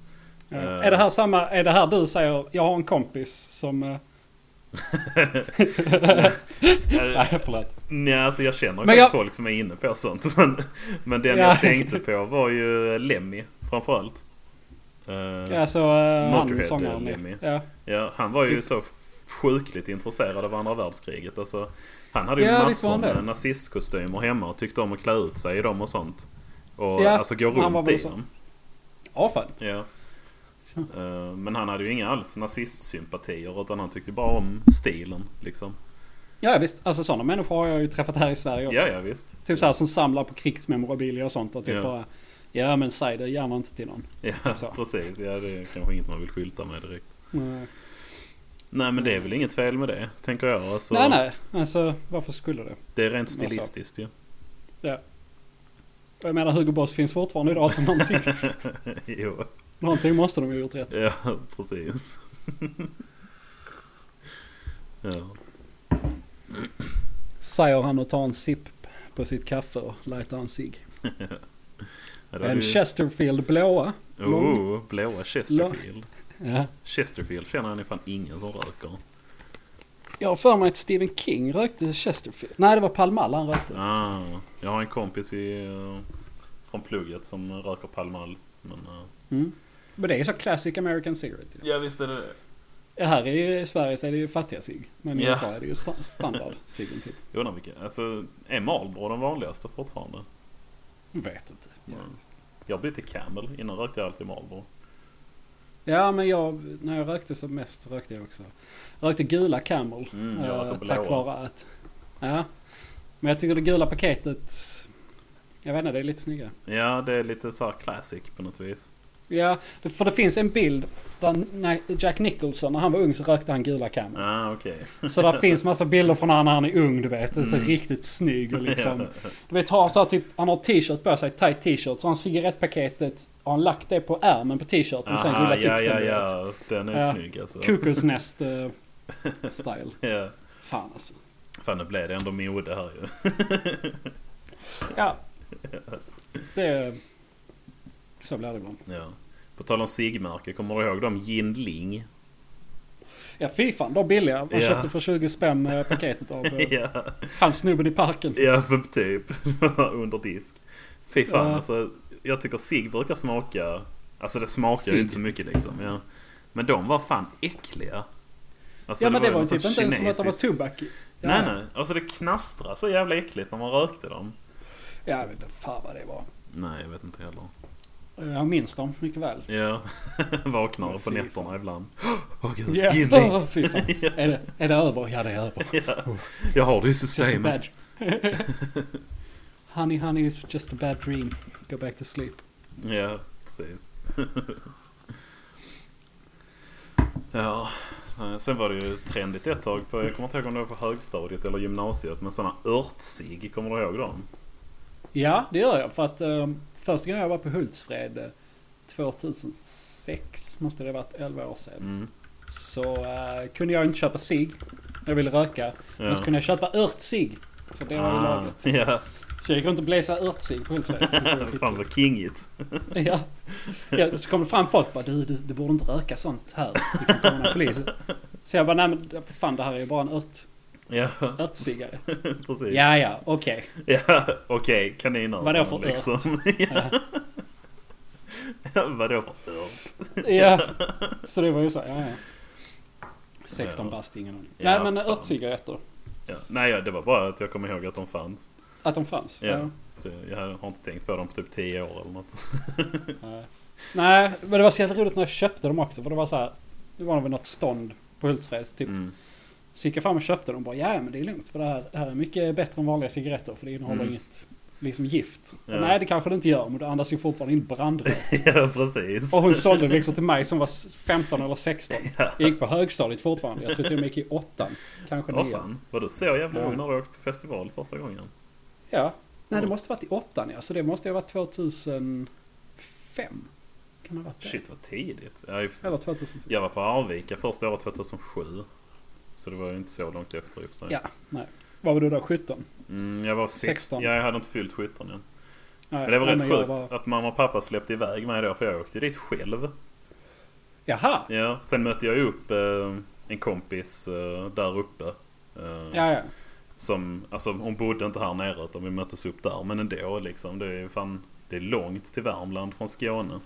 S1: Ja.
S2: Eh.
S1: Är det här samma, är det här du säger, jag har en kompis som... eh,
S2: Eh,
S1: Nej förlåt.
S2: nej alltså jag känner
S1: Men
S2: faktiskt
S1: jag-
S2: folk som är inne på sånt. Men, men den
S1: Ja.
S2: jag tänkte på var ju Lemmy framförallt. Eh, ja.
S1: Alltså eh, han
S2: Motorhead,
S1: sångaren.
S2: Lemmy.
S1: i- Ja.
S2: han var
S1: Mm.
S2: ju så sjukligt intresserad av andra världskriget. Alltså, han hade ju
S1: Ja, visst var
S2: massor
S1: han det.
S2: med nazistkostymer hemma och tyckte om att klä ut sig i dem och sånt. Och
S1: Ja,
S2: alltså gå
S1: han var
S2: runt
S1: väl
S2: i
S1: så.
S2: dem.
S1: Ja fan.
S2: Ja. Eh, Men han hade ju inga alls nazistsympatier utan han tyckte bara om stilen liksom.
S1: Ja visst. Alltså sådana människor har jag ju träffat här i Sverige också.
S2: Ja, ja visst.
S1: Typ såhär som samlar på krigsmemorabilia och sånt och typ
S2: Ja.
S1: bara... Ja men säg det gärna inte till någon.
S2: Ja,
S1: Så.
S2: precis. Ja, det är kanske inget man vill skylta med direkt.
S1: Mm.
S2: Nej, men det är väl inget fel med det, tänker jag. Alltså,
S1: Nej nej. Alltså varför skulle det?
S2: Det är rent stilistiskt ju.
S1: Jag menar Hugo Boss finns fortfarande idag så någonting,
S2: jo,
S1: någonting måste de ju ha gjort rätt.
S2: ja, precis. ja.
S1: Säger han och tar en sipp på sitt kaffe och lightar en cigg.
S2: Ja, det
S1: En
S2: hade ju-
S1: Chesterfield blåa.
S2: oh, blåa Chesterfield.
S1: Ja.
S2: Chesterfield känner han ju fan ingen som röker.
S1: Jag har för mig att Stephen King rökte Chesterfield. Nej, det var Pall Mall han rökte.
S2: Ah, jag har en kompis i, eh, från plugget som röker Pall Mall. Men, eh,
S1: Mm. Men det är ju så classic American cigarette. ju.
S2: ja visst är det det.
S1: Ja, här i Sverige så är det ju fattiga cigg. Men i
S2: Ja.
S1: USA är det ju sta- standard ciggen typ.
S2: Jag undrar vilken. Alltså, är Marlboro den vanligaste fortfarande?
S1: Jag Vet inte. Ja.
S2: Mm. Jag bytte Camel. Innan rökte jag alltid Marlboro.
S1: Ja men jag, när jag rökte som mest rökte jag också. Jag rökte gula Camel.
S2: Mm, jag
S1: eh,
S2: röker blåa.
S1: tack vare att... Ja. Men jag tycker det gula paketet... Jag vet inte, det är lite snyggare.
S2: Ja, det är lite så här classic på något vis.
S1: Ja, det- för det finns en bild där när Jack Nicholson, när han var ung så rökte han gula Camel.
S2: Ah, okej.
S1: Så där finns massa bilder från när han är ung, du vet. Det är så
S2: Mm.
S1: riktigt snygg och liksom... Du vet, har så här, typ, han har t-shirt på sig, tight t-shirt. Så har han cigarettpaketet, har han lagt det på ärmen på t-shirten och sen
S2: Aha,
S1: rullat
S2: ja,
S1: upp
S2: ja,
S1: den, du vet.
S2: ja. Den är
S1: Ja.
S2: snygg alltså.
S1: Kukusnäst eh, style.
S2: Ja.
S1: Fan alltså.
S2: Fan, nu blev det ändå mode här ju.
S1: Ja. Det... Så blir det ibland.
S2: Ja. På tal om sigmärke, kommer du ihåg dem? Yindling?
S1: Ja fy fan, de billiga. Man
S2: Ja.
S1: köpte för 20 spänn eh, paketet av eh,
S2: Ja,
S1: han snubben i parken.
S2: ja men typ. Under disk. Fy fan
S1: Ja.
S2: alltså. Jag tycker sig brukar smaka... Alltså det smakar ju
S1: Cig.
S2: inte så mycket liksom. Ja. Men de var fan äckliga. Alltså,
S1: ja men det var ju
S2: någon
S1: typ
S2: sån
S1: inte ens som att det var
S2: kinesisk-
S1: tobak. i. Ja,
S2: Nej nej. Alltså det knastrade så jävla äckligt när man rökte dem.
S1: Ja, jag vet inte fan vad det var.
S2: Nej jag vet inte heller.
S1: Eh, Jag minns dem mycket väl.
S2: Ja. Vaknar
S1: Men
S2: på
S1: fy
S2: nätterna
S1: fan.
S2: ibland. Åh gud.
S1: Ja.
S2: Yindling.
S1: Åh, fy fan. Är, det, är det över? Ja det är över.
S2: Jag har det i
S1: Just a
S2: systemet.
S1: bad... honey honey it's just a bad dream. Go back to sleep.
S2: Ja, precis. ja, eh, sen var det ju trendigt ett tag. På, jag kommer inte ihåg om det var på högstadiet eller gymnasiet. Men sådana örtsig, kommer du ihåg dem?
S1: Ja, det gör jag. För att eh, första gången jag var på Hultsfred eh, 2006, måste det ha varit 11 år sedan.
S2: Mm.
S1: Så eh, kunde jag inte köpa cigg. Jag ville röka. Men så kunde jag köpa örtsig. För det
S2: Ah.
S1: var ju lagligt.
S2: Ja,
S1: Så jag gick runt och bläsa örtsig på Hultsfred.
S2: fan vad kingigt.
S1: ja. ja, så kom det fram folk bara du, du, du borde inte röka sånt här. Det kan komma någon polis. Så jag bara nej men fan det här är ju bara en ört,
S2: Ja,
S1: örtcigarett.
S2: precis. Ja,
S1: Ja ja, okej.
S2: okej, kaniner.
S1: Vadå för
S2: ört? ja. Vadå för ört?
S1: Ja, så det var ju så. Ja, ja. 16
S2: Ja.
S1: bast, ingen aning.
S2: Ja,
S1: Nej men
S2: fan.
S1: örtcigaretter.
S2: Ja. Nej, ja, det var bara att jag kom ihåg att de fanns.
S1: Att de fanns?
S2: Ja. Det- Jag har inte tänkt på dem på typ 10 år eller något.
S1: Nej. Nej, men det var så jävla roligt när jag köpte dem också. För det var så här. Det var väl något stånd på Hultsfred. Typ.
S2: Mm.
S1: Så gick jag fram och köpte dem och bara ja men det är lugnt. För det här, det här är mycket bättre än vanliga cigaretter. För det innehåller
S2: Mm.
S1: inget liksom gift. Och
S2: Ja.
S1: Nej det kanske det inte gör. Men det andas ju fortfarande in brandrök.
S2: Ja, precis.
S1: Och hon sålde det liksom till mig som var 15 eller 16. Jag gick på högstadiet fortfarande. Jag tror till och med gick i åttan. Kanske
S2: Åh
S1: nian.
S2: fan, var du så jävla
S1: Ja.
S2: ung när du åkte på festival första gången?
S1: Ja. Nej, det
S2: Mm.
S1: måste ha varit i åttan ja. Så det måste ha varit 2005. Kan det ha varit det?
S2: Shit vad tidigt. Ja, i och för sig.
S1: Eller 2006.
S2: Jag var på Arvika första året 2007. Så det var ju inte så långt efter i och för sig.
S1: Ja, nej. Vad var du då? 17?
S2: Mm, jag var 16.
S1: 16.
S2: Ja, jag hade inte fyllt 17 än.
S1: Nej,
S2: Men det var
S1: nej,
S2: rätt
S1: jag
S2: sjukt
S1: var-
S2: att mamma och pappa släppte iväg mig då för jag åkte dit själv.
S1: Jaha!
S2: Ja, sen mötte jag upp eh, en kompis eh, där uppe. Eh,
S1: Ja, ja.
S2: Som, alltså hon bodde inte här nere utan vi möttes upp där. Men ändå liksom. Det är fan, det är långt till Värmland från Skåne.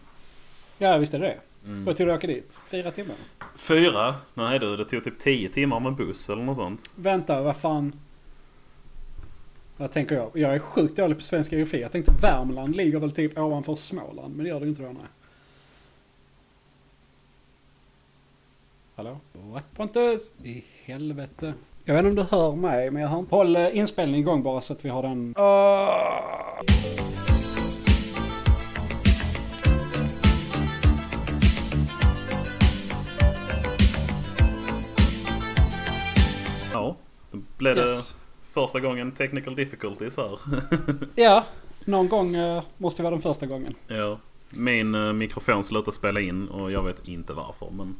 S1: Ja, visst är det det.
S2: Mm.
S1: Vad tog du att åka dit? Fyra timmar?
S2: Fyra? Nej du, det tog typ tio timmar med buss eller något sånt.
S1: Vänta, vad fan? Vad tänker jag? Jag är sjukt dålig på svensk geografi. Jag tänkte Värmland ligger väl typ ovanför Småland, men det gör det ju inte då, nej. Hallå? What? Pontus! I helvete. Jag vet inte om du hör mig, men jag hör inte. Håll eh, inspelningen igång bara så att vi har den...
S2: Ja, då blev
S1: Yes.
S2: det första gången technical difficulties här.
S1: Ja, någon gång eh, måste det vara den första gången.
S2: ja. Min eh, mikrofon slutade spela in och jag vet inte varför men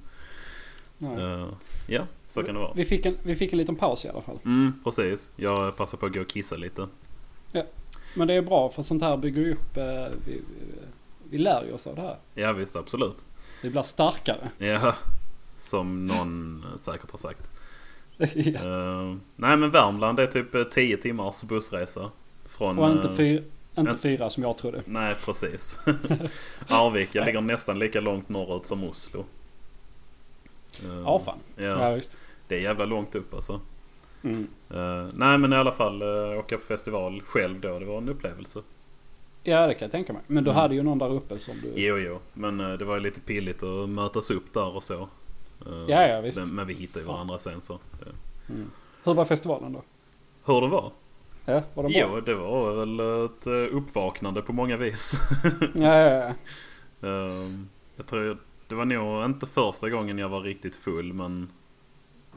S1: Nej.
S2: eh, ja, så kan det vara.
S1: Vi fick, en, vi fick en liten paus i alla fall.
S2: Mm, precis. Jag passar på att gå och kissa lite.
S1: Men det är bra för sånt här bygger ju upp... eh, Vi, vi, vi lär ju oss av det här.
S2: Ja visst, absolut.
S1: Vi blir starkare.
S2: Ja, som någon säkert har sagt.
S1: Ja.
S2: Eh, nej men Värmland är typ 10 timmars bussresa. Från,
S1: Och inte,
S2: eh,
S1: fyr, inte
S2: en-
S1: fyra som jag trodde.
S2: Nej precis. Arvika ligger nästan lika långt norrut som Oslo. Eh,
S1: Ja, fan. Ja,
S2: Ja,
S1: visst.
S2: det är jävla långt upp alltså.
S1: Mm.
S2: Eh, nej men i alla fall eh, åka på festival själv då. Det var en upplevelse.
S1: Ja, det kan jag tänka mig. Men du
S2: Mm.
S1: hade ju någon där uppe som du...
S2: Jo jo. Men eh, det var ju lite pilligt att mötas upp där och så. Eh,
S1: Ja, ja, visst.
S2: Men, men vi hittade ju
S1: Fan.
S2: varandra sen så. det-
S1: Mm. Hur var festivalen då?
S2: Hur det var?
S1: Ja, var den bra?
S2: Jo, det var väl ett eh, uppvaknande på många vis.
S1: Ja, ja, ja.
S2: Ehm, jag tror jag, det var nog inte första gången jag var riktigt full men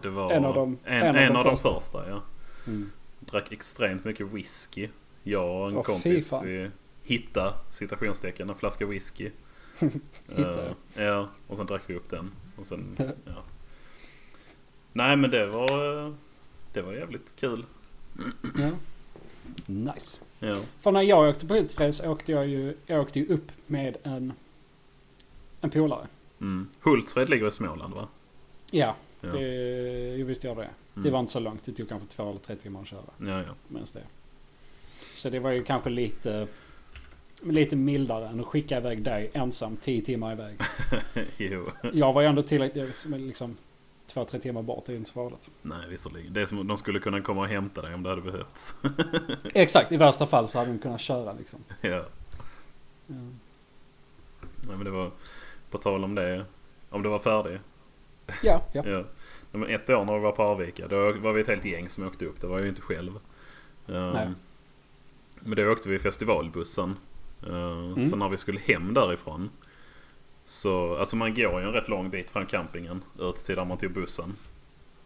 S2: det var
S1: En av de-
S2: en, en, av de första. ja.
S1: Mm.
S2: Drack extremt mycket whisky. Jag och en
S1: Åh, fy
S2: kompis
S1: fan.
S2: vi hittade citationstecken en flaska whisky.
S1: Hittade.
S2: Ehm, ja, och sen drack vi upp den. Och sen, ja. Nej men det var, eh, det var jävligt kul.
S1: ja. Nice.
S2: Ja.
S1: För när jag åkte på Hultsfred så åkte jag ju, jag åkte ju upp med en, en polare.
S2: Mm. Hultsfred ligger i Småland va?
S1: Ja,
S2: Ja.
S1: det, jo, visst gör det. Det
S2: Mm.
S1: var inte så långt. Det tog kanske två eller tre timmar att köra.
S2: Ja, ja.
S1: Minns det. Så det var ju kanske lite, lite mildare än att skicka iväg dig ensam tio timmar iväg.
S2: jo.
S1: Jag var ju ändå tillräckligt, som är liksom två, tre timmar bort. Det är inte så farligt.
S2: Nej, visserligen. Det är som de skulle kunna komma och hämta dig om det hade behövts.
S1: Exakt, i värsta fall så hade de kunnat köra liksom.
S2: ja. Nej, men det var på tal om det. Om du var färdig.
S1: Ja, ja.
S2: Ja. Nej, men ett år när vi var på Arvika, då var vi ett helt gäng som åkte upp. Det var jag ju inte själv. Ehm,
S1: Nej.
S2: Men då åkte vi i festivalbussen. Ehm,
S1: Mm.
S2: Så när vi skulle hem därifrån. Så, alltså man går ju en rätt lång bit från campingen ut till där man tog bussen.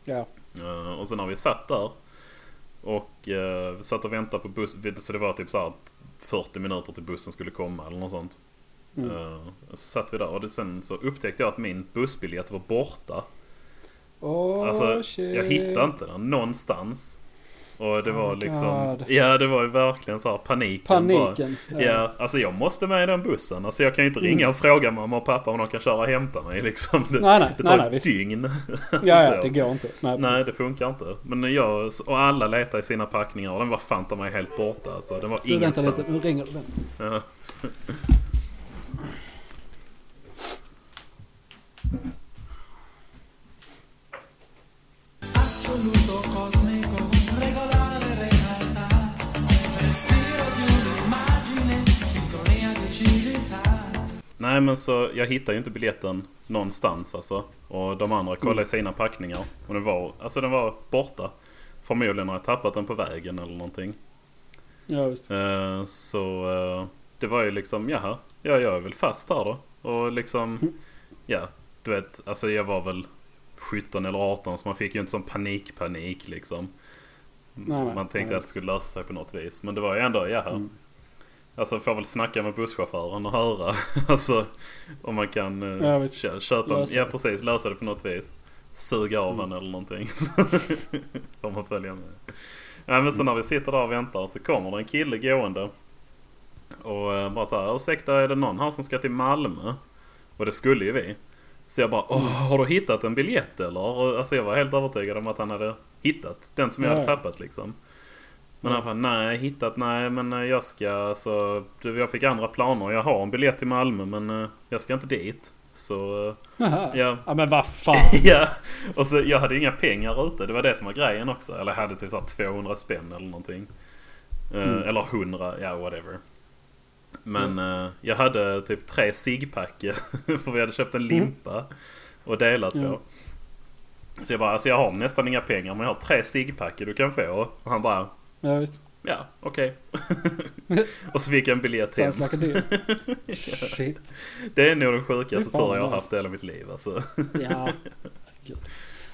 S1: ja.
S2: Eh, och sen när vi satt där och eh, satt och väntade på buss vi- Så det var typ så här att 40 minuter till bussen skulle komma eller något sånt.
S1: Mm.
S2: Eh, och så satt vi där och det, sen så upptäckte jag att min bussbiljett var borta.
S1: Oh,
S2: alltså
S1: shit.
S2: jag hittade inte den någonstans. Och det
S1: Oh
S2: var
S1: my
S2: liksom...
S1: God.
S2: Ja det var ju verkligen så här paniken.
S1: Paniken.
S2: Bara. Ja, alltså jag måste med i den bussen. Alltså jag kan ju inte ringa och fråga mamma och pappa om de kan köra och hämta mig liksom. Det,
S1: Mm. Nej, nej,
S2: det
S1: nej,
S2: tar
S1: nej,
S2: ett
S1: visst.
S2: dygn.
S1: Ja,
S2: Så.
S1: ja, det går inte. Nej,
S2: Nej,
S1: precis.
S2: det funkar inte. Men jag och alla letar i sina packningar och den var fan ta mig helt borta. Alltså, den var
S1: Du, vänta lite,
S2: ingenstans.
S1: nu ringer du. Vänta.
S2: Ja.
S3: assoluto cosmico, regolare le realtà, respiro di un'immagine, sincronia di civiltà.
S2: Nej, men så jag hittade ju inte biljetten någonstans alltså. Och de andra kollade i
S1: Mm.
S2: sina packningar. Och den var, alltså, den var borta. Förmodligen har jag tappat den på vägen eller någonting.
S1: Ja, visst.
S2: Eh, Så eh, det var ju liksom, jaha, ja, jag är väl fast här då. Och
S1: Mm.
S2: liksom, ja, du vet, alltså jag var väl 17 eller 18 så man fick ju inte sån panik-panik liksom.
S1: Nej, nej,
S2: man tänkte
S1: nej. Mm.
S2: att det skulle lösa sig på något vis. Men det var ju ändå, jaha. Alltså får väl snacka med busschauffören och höra. alltså om man kan eh,
S1: Ja, visst.
S2: kö- köpa,
S1: Lösa det.
S2: ja
S1: Mm.
S2: precis, lösa det på något vis. Suga av en eller någonting. Så får man följa med. Nej
S1: Mm.
S2: men så när vi sitter där och väntar så kommer det en kille gående. Och eh, bara så här, ursäkta är det någon här som ska till Malmö? Och det skulle ju vi. Så jag bara, Åh, har du hittat en biljett eller? Och, Alltså jag var helt övertygad om att han hade hittat den som jag
S1: Ja,
S2: hade
S1: ja.
S2: tappat liksom. Men han bara, nej hittat, nej men eh, jag ska, alltså, du, jag fick andra planer. Jag har en biljett till Malmö men eh, jag ska inte dit. Så eh,
S1: Haha.
S2: Ja.
S1: ja, men vad fan.
S2: Ja, och så jag hade inga pengar ute. Det var det som var grejen också. Eller jag hade typ så här 200 spänn eller någonting. Eh,
S1: Mm.
S2: Eller 100, ja whatever. Men
S1: Mm.
S2: eh, jag hade typ tre ciggpacker för vi hade köpt en
S1: Mm.
S2: limpa och delat på.
S1: Ja.
S2: Så jag bara, alltså jag har nästan inga pengar men jag har tre ciggpacker du kan få. Och han bara,
S1: Ja, visst.
S2: ja okej.
S1: Mm.
S2: och så fick jag en biljett hem.
S1: Sounds like a deal. Shit.
S2: Det är nog den sjukaste
S1: Det är fan
S2: tur jag har
S1: nice.
S2: haft i hela mitt liv alltså.
S1: Ja. Gud.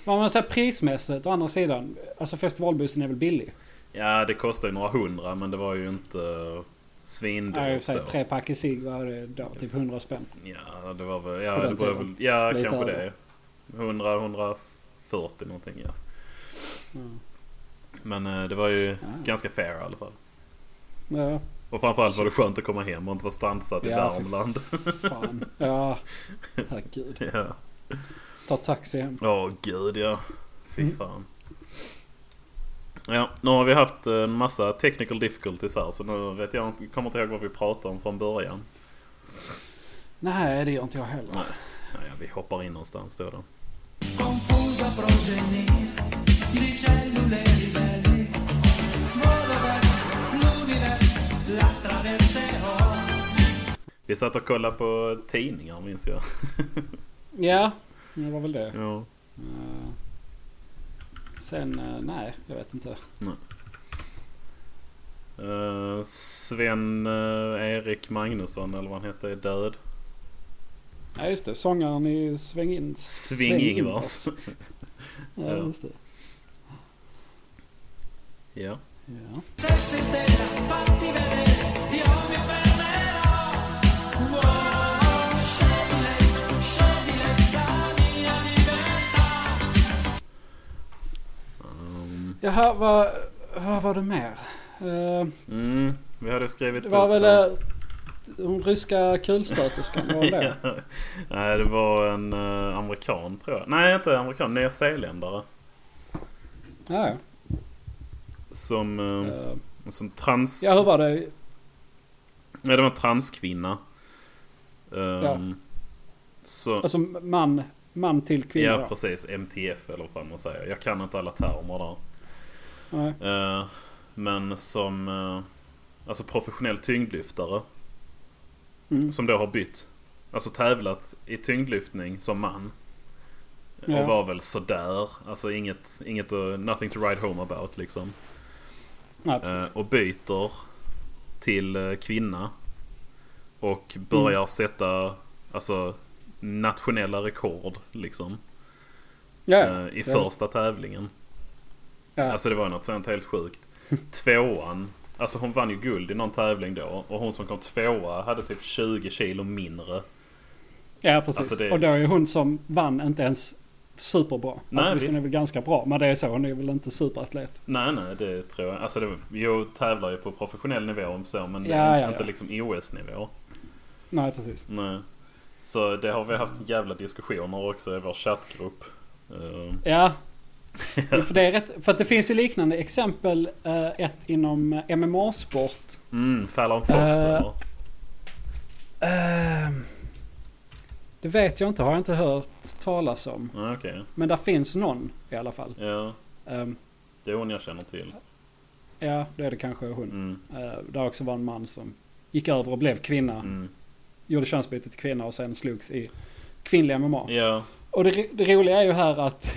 S1: Men om man säger prismässigt å andra sidan. Alltså festivalbussen är väl billig?
S2: Ja, det kostade ju några hundra men det var ju inte
S1: Ja, i och
S2: svindyrt
S1: för sig.
S2: Mm, så.
S1: Tre pack i cigg, vad är det då? Typ 100 spänn.
S2: Ja, det var väl... Ja,
S1: På den
S2: det var väl,
S1: tiden.
S2: ja
S1: Lite
S2: kanske
S1: över.
S2: det. 100, 140 någonting ja.
S1: Mm.
S2: Men eh, det var ju
S1: Ja.
S2: ganska fair i alla fall.
S1: Ja,
S2: Och framförallt var det skönt att komma hem och inte vara strandsatt i
S1: Ja, fy
S2: Värmland.
S1: fan. Ja. Herregud.
S2: ja.
S1: Ta taxi hem. Mm.
S2: Åh gud ja. Fy fan. Ja, nu har vi haft en massa technical difficulties här så nu vet jag inte, kommer inte ihåg vad vi pratade om från början.
S1: Nej, det gör inte jag heller.
S2: Nej, nej vi hoppar in någonstans då. då.
S3: Confusa progenie di cellule ribelli. Volo verso l'universo, la traverserò.
S2: Vi satt och kollade på tidningar minns jag.
S1: Ja, det var väl det.
S2: Ja.
S1: Eh, Sen, eh, nej, jag vet inte.
S2: Eh, Sven eh, Erik Magnusson eller vad han hette är död.
S1: Ja, just det. Sångaren i Sväng in.
S2: Sving-Ingvars.
S1: Ja, just det.
S2: ja.
S1: Ja.
S3: Stessa stella, fatti vedere, io mi fermerò. Wow, scegli lei, scegli lei la mia libertà.
S2: Um,
S1: Jaha, vad, vad var det mer? Eh,
S2: mm, vi hade skrivit
S1: Det var
S2: upp
S1: väl
S2: en-
S1: eh, hon ryska kulstöterskan, var det?
S2: Ja. Nej, det var en eh, amerikan tror jag. Nej, inte amerikan. Nyzeeländare.
S1: Ja, ja.
S2: Som, eh,
S1: Eh,
S2: som trans...
S1: ja, hur var det?
S2: Nej, det var en transkvinna. Um,
S1: Ja.
S2: Så,
S1: Alltså man, man till kvinna.
S2: ja,
S1: då?
S2: precis. MTF eller vad man säger. Jag kan inte alla termer där.
S1: Nej.
S2: Eh, men som eh, alltså professionell tyngdlyftare.
S1: Mm.
S2: Som då har bytt. Alltså tävlat i tyngdlyftning som man.
S1: Ja.
S2: Och var väl sådär. Alltså inget, inget uh, nothing to write home about liksom.
S1: Nej, precis.
S2: Eh, och byter till eh, kvinna. Och börjar
S1: Mm.
S2: sätta alltså nationella rekord liksom.
S1: ja, ja.
S2: eh, I
S1: Ja,
S2: första tävlingen.
S1: ja.
S2: Alltså det var något sånt helt sjukt. Tvåan. Alltså hon vann ju guld i någon tävling då. Och hon som kom tvåa hade typ 20 kilo mindre.
S1: ja, precis.
S2: alltså det-
S1: Och då är hon som vann inte ens superbra.
S2: Nej,
S1: alltså, visst, hon är
S2: visst.
S1: väl ganska bra, men det är så. Hon är väl inte superatlet.
S2: Nej, nej, det tror jag. Alltså det, var- jag tävlar ju på professionell nivå om så. Men
S1: Ja,
S2: inte,
S1: ja, ja.
S2: inte liksom OS-nivå.
S1: Nej, precis.
S2: Nej. Så det har vi haft jävla diskussioner också i vår chattgrupp. Eh,
S1: Ja. Jo, för, det är rätt, för att det finns ju liknande exempel. eh, ett inom eh, MMA-sport.
S2: Mm, Fallon Fox
S1: Eh,
S2: eller?
S1: Eh, det vet jag inte. Har jag inte hört talas om.
S2: Ja, okej.
S1: Men där finns någon i alla fall.
S2: Ja,
S1: Ehm,
S2: det är hon jag känner till.
S1: ja, det är det kanske hon.
S2: Mm,
S1: Eh, där också var en man som gick över och blev kvinna.
S2: mm.
S1: Gjorde könsbyte till kvinna och sen slogs i kvinnliga MMA.
S2: Ja,
S1: Och det, ro- det roliga är ju här att,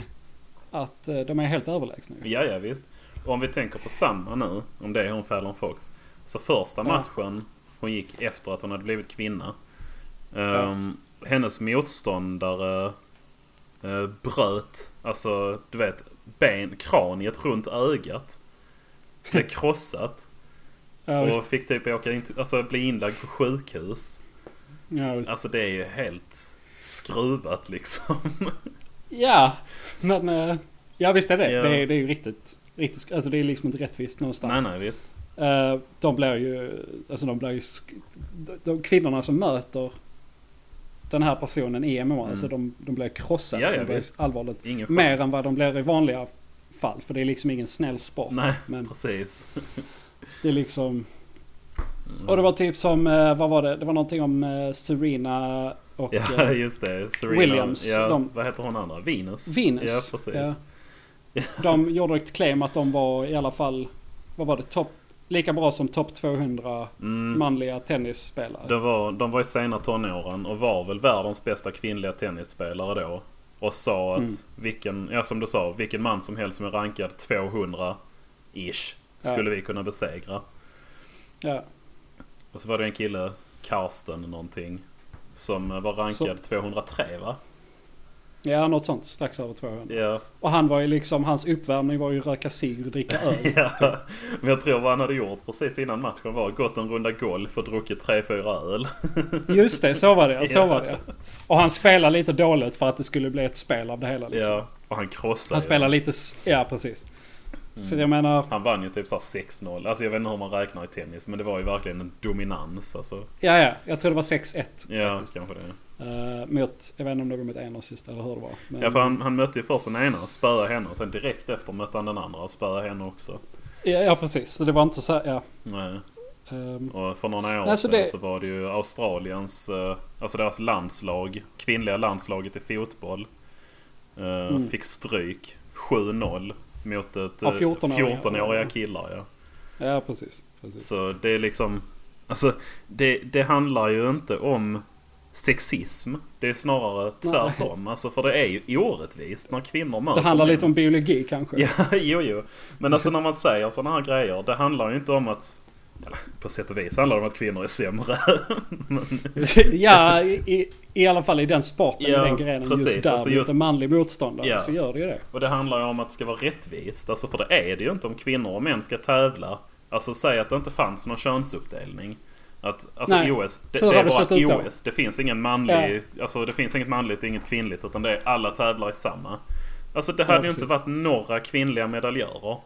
S1: att eh, de är helt överlägsna. ju.
S2: ja, ja visst. Och om vi tänker på samma nu, om det är hon Fallon Fox. Så första
S1: Ja.
S2: matchen hon gick efter att hon hade blivit kvinna. ehm, Hennes motståndare eh, bröt, alltså du vet, ben, kraniet runt ögat. Blev krossat.
S1: Ja, visst.
S2: och fick typ åka in, alltså bli inlagd på sjukhus.
S1: Ja, visst.
S2: Alltså det är ju helt skruvat liksom.
S1: ja, men eh, ja, visst är det.
S2: Ja.
S1: Det, är, det är ju riktigt. riktigt sk- alltså det är liksom inte rättvist någonstans.
S2: nej, nej, visst.
S1: Eh, de blir ju, alltså de blir ju, sk- de, de kvinnorna som möter den här personen i MMA,
S2: Mm.
S1: alltså de, de blir krossade.
S2: Ja, ja,
S1: de blir
S2: visst.
S1: allvarligt
S2: Ingen chans.
S1: Mer än vad de blir i vanliga fall. För det är liksom ingen snäll sport.
S2: Nej,
S1: Men
S2: precis.
S1: det är liksom... Och det var typ som, eh, vad var det? Det var någonting om eh, Serena och
S2: Ja,
S1: eh,
S2: just det. Serena.
S1: Williams,
S2: Ja,
S1: de-
S2: Vad heter hon andra? Venus?
S1: Venus.
S2: Ja, precis.
S1: Ja. De gjorde ett claim att de var i alla fall, vad var det? Topp, lika bra som topp 200
S2: Mm.
S1: manliga tennisspelare.
S2: De, var, de var i sena tonåren och var väl världens bästa kvinnliga tennisspelare då. Och sa att
S1: Mm.
S2: vilken, ja som du sa, vilken man som helst som är rankad 200-ish
S1: Ja.
S2: skulle vi kunna besegra.
S1: Ja.
S2: Och så var det en kille, Karsten någonting, som var rankad 203 va?
S1: ja, något sånt. Strax över 200.
S2: Ja.
S1: Och han var ju liksom, hans uppvärmning var ju röka cigg och dricka öl.
S2: Ja, men jag tror vad han hade gjort precis innan matchen var gått en runda golf och druckit tre fyra öl.
S1: Just det, så var det. Så
S2: Ja.
S1: var det. Och han spelar lite dåligt för att det skulle bli ett spel av det hela. Liksom.
S2: Ja, och han krossade
S1: Han
S2: ju.
S1: spelar lite... s- Ja, precis.
S2: Mm.
S1: Så jag menar,
S2: Han vann ju typ så här 6-0. Alltså jag vet inte hur man räknar i tennis. Men det var ju verkligen en dominans alltså.
S1: ja ja, jag tror det var 6-1.
S2: Ja, kanske det.
S1: Eh, mot, jag vet inte om det var mot Enersys eller hur det var. Men,
S2: Ja, för han, han mötte ju först den ena och spöade henne. Och sen direkt efter mötte han den andra och spöade henne också.
S1: ja, ja precis, så det var inte så här, ja.
S2: Nej.
S1: Ehm,
S2: Och för några år
S1: Nej, så
S2: sedan
S1: det-
S2: så var det ju Australiens, eh, alltså deras landslag, kvinnliga landslaget i fotboll. eh,
S1: Mm.
S2: Fick stryk 7-0 mot ett
S1: Av
S2: eh,
S1: 14-åringar.
S2: 14-åriga killar.
S1: Mm.
S2: Ja.
S1: ja precis. precis.
S2: Så det är liksom... Alltså det, det handlar ju inte om sexism. Det är snarare tvärtom. Alltså för det är ju orättvist när kvinnor möter
S1: Det handlar
S2: män.
S1: lite om biologi kanske.
S2: Ja, jo, jo. Men alltså när man säger sådana här grejer. Det handlar ju inte om att... Eller, på sätt och vis handlar det om att kvinnor är sämre.
S1: ja, i, i, i alla fall i den sporten,
S2: Ja,
S1: i den grenen
S2: precis.
S1: just där.
S2: Alltså
S1: mot
S2: just-
S1: en manlig motståndare
S2: Ja.
S1: så gör det ju det.
S2: Och det handlar ju om att det ska vara rättvist. Alltså för det är det ju inte om kvinnor och män ska tävla. Alltså säg att det inte fanns någon könsuppdelning. Att, alltså
S1: Nej.
S2: OS, det,
S1: Hur
S2: det är
S1: har det sett ut då?
S2: bara OS. Det finns ingen manlig, alltså det finns inget manligt och inget kvinnligt. Utan det är alla tävlar i samma. Alltså det hade ju inte
S1: precis.
S2: varit några kvinnliga medaljörer.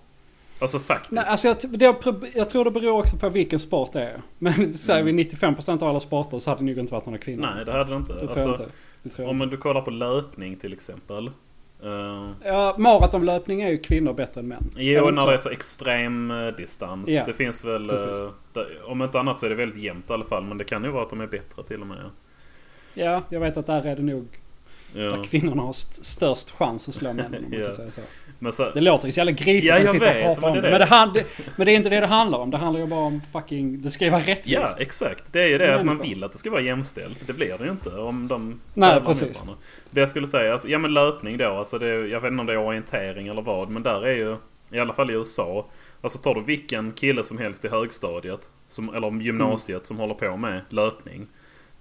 S2: Alltså faktiskt.
S1: Nej, alltså jag, det, jag tror det beror också på vilken sport det är. Men säger vi 95% av alla sporter så hade det nog inte varit några kvinnor.
S2: Mm. Nej, det hade det inte.
S1: det tror jag
S2: alltså,
S1: inte. Det tror jag
S2: Om
S1: inte.
S2: du kollar på löpning till exempel. Eh,
S1: Ja, maratonlöpning är ju kvinnor bättre än män. Är det
S2: Jo,
S1: inte
S2: när
S1: så?
S2: det är så extrem eh, distans.
S1: Ja,
S2: Det finns väl...
S1: precis.
S2: eh, där- Om inte annat så är det väldigt jämnt i alla fall. Men det kan ju vara att de är bättre till och med. ja.
S1: Ja, jag vet att där är det nog
S2: Ja.
S1: där kvinnorna har st- störst chans att slå männen om man
S2: Ja.
S1: kan säga så.
S2: Men så,
S1: Det låter ju så jävla grisigt
S2: Ja,
S1: att
S2: jag
S1: sitta
S2: vet,
S1: och prata
S2: men
S1: om det.
S2: det är det.
S1: Men det, hand, men det är inte det det handlar om. Det handlar ju bara om fucking... Det ska ju vara rättvist.
S2: ja, exakt. Det är ju det att man
S1: Människor.
S2: vill att det ska vara jämställt. Det blir det ju inte om de
S1: Nej,
S2: tävlar mot
S1: precis.
S2: varandra. Det jag skulle säga, alltså, ja men löpning då. Alltså det, är- jag vet inte om det är orientering eller vad. Men där är ju, i alla fall i USA. Alltså tar du vilken kille som helst i högstadiet. Som, eller om gymnasiet som håller på med löpning.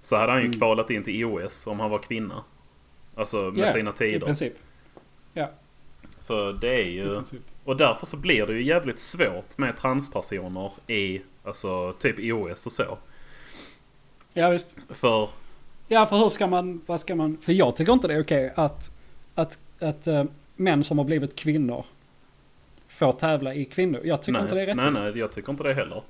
S2: Så hade
S1: Mm.
S2: han ju kvalat in till OS om han var kvinna. Alltså med
S1: Ja,
S2: sina
S1: I
S2: tider.
S1: princip. Ja,
S2: Så det är
S1: i
S2: ju...
S1: princip.
S2: Och därför så blir det ju jävligt svårt med transpersoner i alltså typ OS och så.
S1: Ja, visst.
S2: För...
S1: Ja, för hur ska man... Vad ska man... För jag tycker inte det är okej att... Att, att eh, män som har blivit kvinnor får tävla i kvinnor. Jag tycker
S2: nej,
S1: inte det är
S2: nej,
S1: rättvist.
S2: nej, jag tycker inte det heller.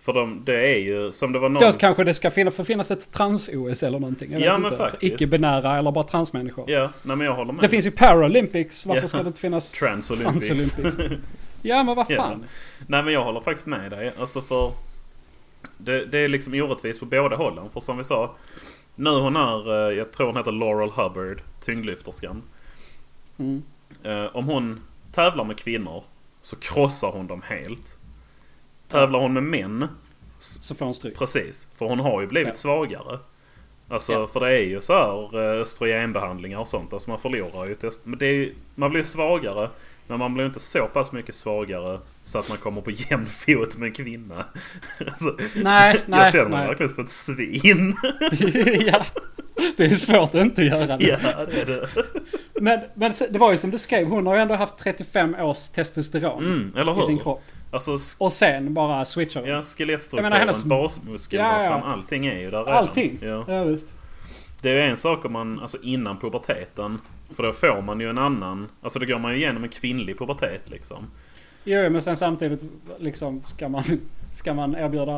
S2: För de, det är ju som det var någon...
S1: Då kanske det ska finnas, får finnas ett trans-OS eller någonting. Jag
S2: Ja,
S1: vet
S2: men
S1: inte. För
S2: faktiskt.
S1: Icke-binära eller bara transmänniskor.
S2: Ja, nej men jag håller med.
S1: Det finns ju Paralympics. Varför
S2: Ja.
S1: ska det inte finnas
S2: Transolympics.
S1: ja, men vad
S2: Ja.
S1: fan.
S2: Nej men jag håller faktiskt med dig. Alltså för... Det, det är liksom orättvist på båda hållen. För som vi sa. Nu hon är, eh, jag tror hon heter Laurel Hubbard, tyngdlyfterskan.
S1: Mm.
S2: Eh, om hon tävlar med kvinnor så krossar hon dem helt. Tävlar hon med män,
S1: Så får hon stryk.
S2: precis. För hon har ju blivit
S1: Ja.
S2: svagare. Alltså
S1: Ja.
S2: för det är ju så här eh, östrogenbehandlingar och sånt. Alltså man förlorar ju test. Men det är ju, man blir ju svagare. Men man blir ju inte så pass mycket svagare så att man kommer på jämn fot med en kvinna. Alltså,
S1: Nej, nej,
S2: jag känner mig
S1: nej.
S2: verkligen som ett svin.
S1: ja. Det är svårt att inte göra det.
S2: ja, det är det.
S1: Men, men se- det var ju som du skrev, hon har ju ändå haft 35 års testosteron
S2: Mm, eller
S1: i sin
S2: hur?
S1: kropp.
S2: Alltså sk-
S1: Och sen bara switchar hon.
S2: ja, skelettstrukturen,
S1: Jag menar, hennes-
S2: basmuskeln,
S1: Ja, ja.
S2: massan, allting är ju där redan.
S1: Allting.
S2: Ja.
S1: Ja, visst.
S2: Det är ju en sak om man, alltså innan puberteten. För då får man ju en annan, alltså då går man ju igenom en kvinnlig pubertet liksom.
S1: Jo, men sen samtidigt liksom ska man, ska man erbjuda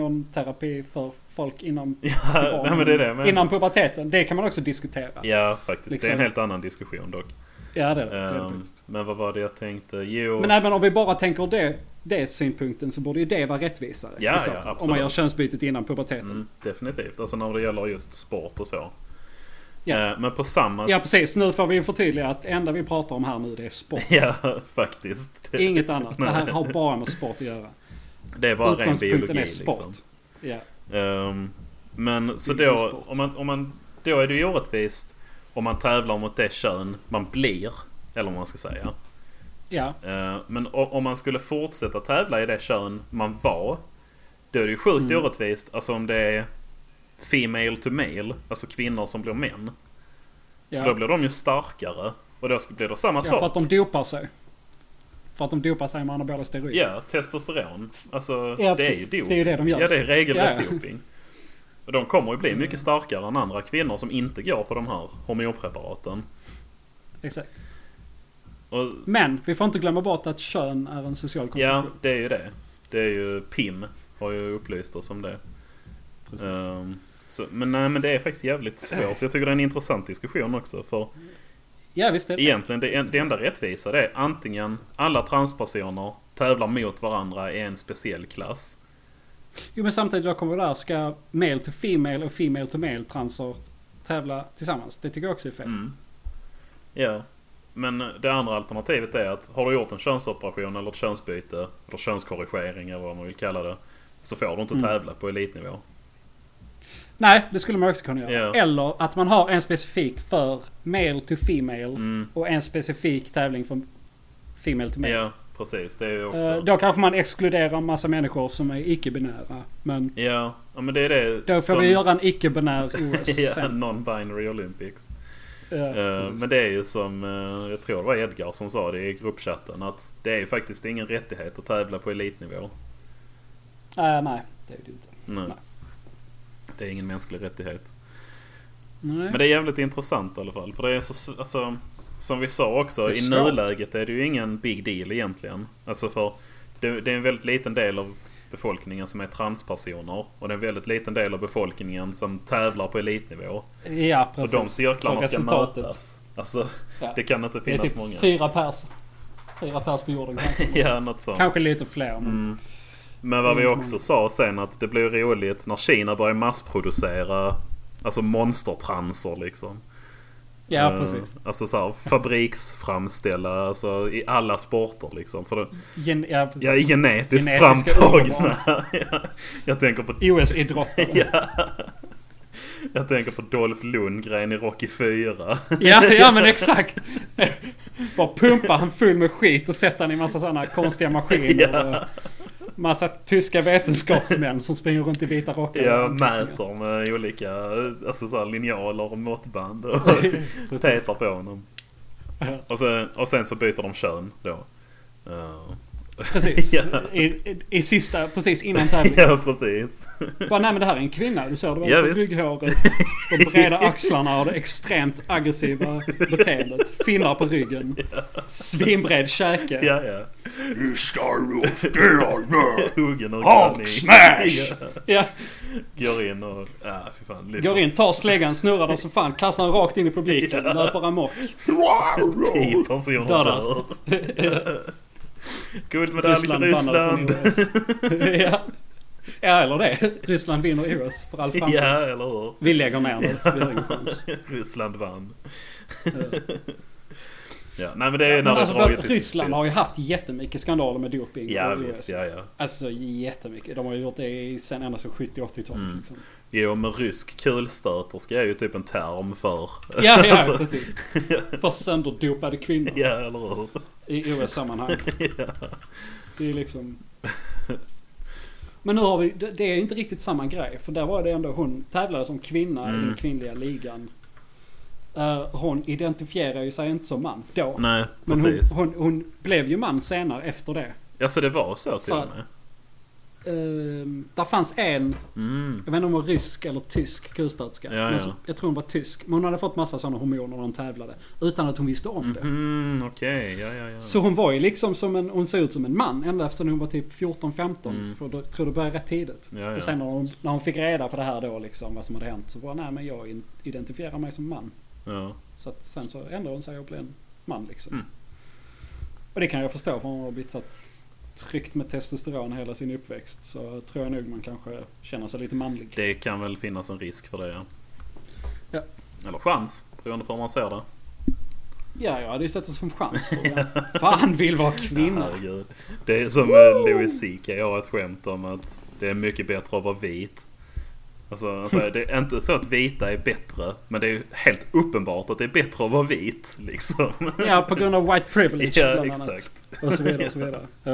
S1: hormonterapi för folk innan, till
S2: Ja,
S1: barnen
S2: nej, men det är det jag menar.
S1: innan puberteten. Det kan man också diskutera. Ja,
S2: Ja, faktiskt. Det är en
S1: Liksom.
S2: helt annan diskussion dock.
S1: det är det. det, är det
S2: Ehm,
S1: faktiskt.
S2: men vad var det jag tänkte? Jo,
S1: men även om vi bara tänker det, det synpunkten så borde ju det vara rättvisare.
S2: Ja,
S1: i så
S2: ja,
S1: fall. om
S2: absolut.
S1: man gör könsbytet innan puberteten.
S2: mm, definitivt. Alltså när det gäller just sport och så.
S1: Ja.
S2: Eh, men på samma...
S1: Ja precis, nu får vi ju förtydliga att det enda vi pratar om här nu det är sport.
S2: ja, faktiskt. Det,
S1: Inget annat. Det här har bara med sport att göra.
S2: det är bara ren
S1: Utgångspunkten
S2: biologi
S1: är sport.
S2: liksom.
S1: Ja.
S2: Ehm, men så
S1: Det är
S2: då,
S1: sport.
S2: om man, om man, då är det ju orättvist om man tävlar mot det kön man blir. Eller vad man ska säga.
S1: ja.
S2: Eh, Men o- om man skulle fortsätta tävla i det kön man var. Då är det ju sjukt
S1: Mm.
S2: orättvist. Alltså om det är Female to male. Alltså kvinnor som blir män.
S1: ja.
S2: För då blir de ju starkare. Och då blir det samma
S1: ja,
S2: sak.
S1: för att de dopar sig. För att de dopar sig med anabola steroider.
S2: Ja, testosteron. Alltså
S1: Ja,
S2: det är ju
S1: precis.
S2: doping.
S1: Det är ju det de gör.
S2: Ja, det är regelrätt
S1: Ja, ja.
S2: doping. Och de kommer ju bli mycket starkare än andra kvinnor som inte går på de här hormonpreparaten.
S1: Exakt.
S2: Och s-
S1: Men vi får inte glömma bort att kön är en social
S2: Ja,
S1: konstruktion.
S2: det är ju det. Det är ju PIM har ju upplyst oss om det.
S1: Precis.
S2: Ehm, så, men nej, men det är faktiskt jävligt svårt. Jag tycker det är en intressant diskussion också. För
S1: Ja, visst är det
S2: egentligen det, en- det enda rättvisa det är antingen alla transpersoner tävlar mot varandra i en speciell klass.
S1: Jo, men samtidigt då kommer det där, ska male to female och female to male transer tävla tillsammans? Det tycker jag också är fel.
S2: Mm. Ja. Men det andra alternativet är att har du gjort en könsoperation eller ett könsbyte eller könskorrigering eller vad man vill kalla det. Så får du inte
S1: Mm.
S2: tävla på elitnivå.
S1: Nej, det skulle man också kunna göra.
S2: Ja.
S1: Eller att man har en specifik för male to female
S2: Mm.
S1: och en specifik tävling för female to male.
S2: Ja, precis. Det är ju också...
S1: Eh, Då kanske man exkluderar massa människor som är icke-binära. Men
S2: Ja, ja men det är det
S1: då får
S2: som-
S1: vi göra en icke-binär OS
S2: ja,
S1: sen.
S2: Non-binary Olympics.
S1: Eh,
S2: Eh, men det är ju som, eh, jag tror det var Edgar som sa det i gruppchatten, att det är ju faktiskt ingen rättighet att tävla på elitnivå.
S1: eh, nej, det är det inte.
S2: Nej.
S1: Nej.
S2: Det är ingen mänsklig rättighet.
S1: Nej.
S2: Men det är jävligt intressant i alla fall. För det är så, alltså, som vi sa också,
S1: Det är
S2: i
S1: svårt.
S2: nuläget är det ju ingen big deal egentligen. Alltså för det, det är en väldigt liten del av befolkningen som är transpersoner. Och det är en väldigt liten del av befolkningen som tävlar på elitnivå.
S1: Ja, precis.
S2: Och de cirklarna
S1: Så
S2: ska
S1: resultatet.
S2: mötas. Alltså,
S1: Ja.
S2: det kan inte
S1: Det är
S2: finnas
S1: typ
S2: många.
S1: fyra pers. Fyra pers på jorden kanske.
S2: Ja, något sånt.
S1: kanske lite fler. Men...
S2: Mm. Men vad vi
S1: Mm.
S2: också sa sen att det blir roligt när Kina börjar massproducera Alltså monstertranser liksom.
S1: Ja,
S2: Eh,
S1: precis.
S2: Alltså så här, fabriksframställa alltså, i alla sporter liksom. För det,
S1: Gen- ja, precis.
S2: ja, genetiskt
S1: Mm. Genetiska
S2: framtagna. ja, jag, tänker på,
S1: OS-idrottare. ja.
S2: jag tänker på Dolph Lundgren i Rocky 4.
S1: Ja, men exakt. Bara pumpa han full med skit och sätta han i massa sådana konstiga maskiner.
S2: Ja.
S1: Och massa tyska vetenskapsmän som springer runt i vita rockar.
S2: Jag mäter med olika alltså så här, linjaler och måttband och petar på honom. Och sen, och sen så byter de kön då. Eh,
S1: Precis.
S2: Ja.
S1: I, i, I sista, precis innan tävlingen.
S2: ja, precis.
S1: Bara, nej men det här är en kvinna. Du ser det
S2: Ja,
S1: bara på
S2: visst.
S1: rygghåret, de breda axlarna och det extremt aggressiva beteendet. Finnar på ryggen. Svinbred käke.
S2: Ja, ja.
S4: Nu ska du åt det här
S2: Huggen ur
S4: Hulk smash!
S2: Ja.
S1: Ja,
S2: Går in och... Ja, fy fan. lyfter
S1: går in, tar släggan, snurrar den som fan, kastar den rakt in i publiken, löper amok.
S2: Tio personer
S1: Döda.
S2: dör. Guldmedalj till
S1: Ryssland alltså bannar
S2: Ryssland.
S1: från OS. ja. ja, eller det. Ryssland vinner OS för all framtid.
S2: Ja, eller hur?
S1: Vi lägger ner nu. Vi har ingen chans.
S2: Ryssland vann.
S1: Ja.
S2: Ja, nej men det är
S1: Men
S2: när det
S1: alltså,
S2: dragit till sin
S1: Ryssland
S2: spets.
S1: har ju haft jättemycket skandaler med doping.
S2: Ja,
S1: och OS.
S2: visst. Ja, ja.
S1: Alltså jättemycket. De har ju gjort det i- sen ända sedan 70-80-talet.
S2: Mm.
S1: Liksom.
S2: Jo, men rysk kulstöterska är ju typ en term för...
S1: Ja, ja,
S2: Alltså,
S1: precis. För sönderdopade kvinnor
S2: ja, eller hur?
S1: i OS-sammanhang. Det är liksom... Men nu har vi... det- Det är inte riktigt samma grej. För där var det ändå hon tävlade som kvinna i den
S2: Mm.
S1: kvinnliga ligan. Eh, hon identifierar ju sig inte som man då.
S2: Nej,
S1: Men hon,
S2: precis.
S1: hon, hon blev ju man senare efter det.
S2: Alltså det var så till och
S1: Fan.
S2: med?
S1: Uh, där fanns en,
S2: Mm.
S1: jag vet inte om hon var rysk eller tysk kustartska.
S2: Ja,
S1: Men
S2: ja.
S1: så, jag tror hon var tysk. Men hon hade fått massa sådana hormoner när hon tävlade. Utan att hon visste om det.
S2: Mhm, okej. Ja, ja, ja.
S1: Så hon var ju liksom som en, hon såg ut som en man ända efter hon var typ 14-15.
S2: Mm.
S1: För då tror det började rätt tidigt.
S2: Ja, ja.
S1: Och sen när hon, när hon fick reda på det här då liksom, vad som hade hänt. Så bara, nej men jag in- identifierar mig som man.
S2: ja.
S1: Så att sen så ändrade hon sig och blev en man liksom.
S2: Mm.
S1: Och det kan jag förstå för hon har blivit så tryckt med testosteron hela sin uppväxt. Så tror jag nog man kanske känner sig lite manlig.
S2: Det kan väl finnas en risk för det, ja.
S1: Ja.
S2: Eller chans, beroende på hur man ser det.
S1: Ja, jag hade ju sett det som chans. För vem fan vill vara kvinna?
S2: Herregud. Det är som eh, Louis CK har ett skämt om att det är mycket bättre att vara vit. Alltså, han säger, det är inte så att vita är bättre, men det är ju helt uppenbart att det är bättre att vara vit. Liksom.
S1: Ja, på grund av white privilege
S2: Ja,
S1: bland annat.
S2: exakt.
S1: Och så vidare, och så vidare. Ja,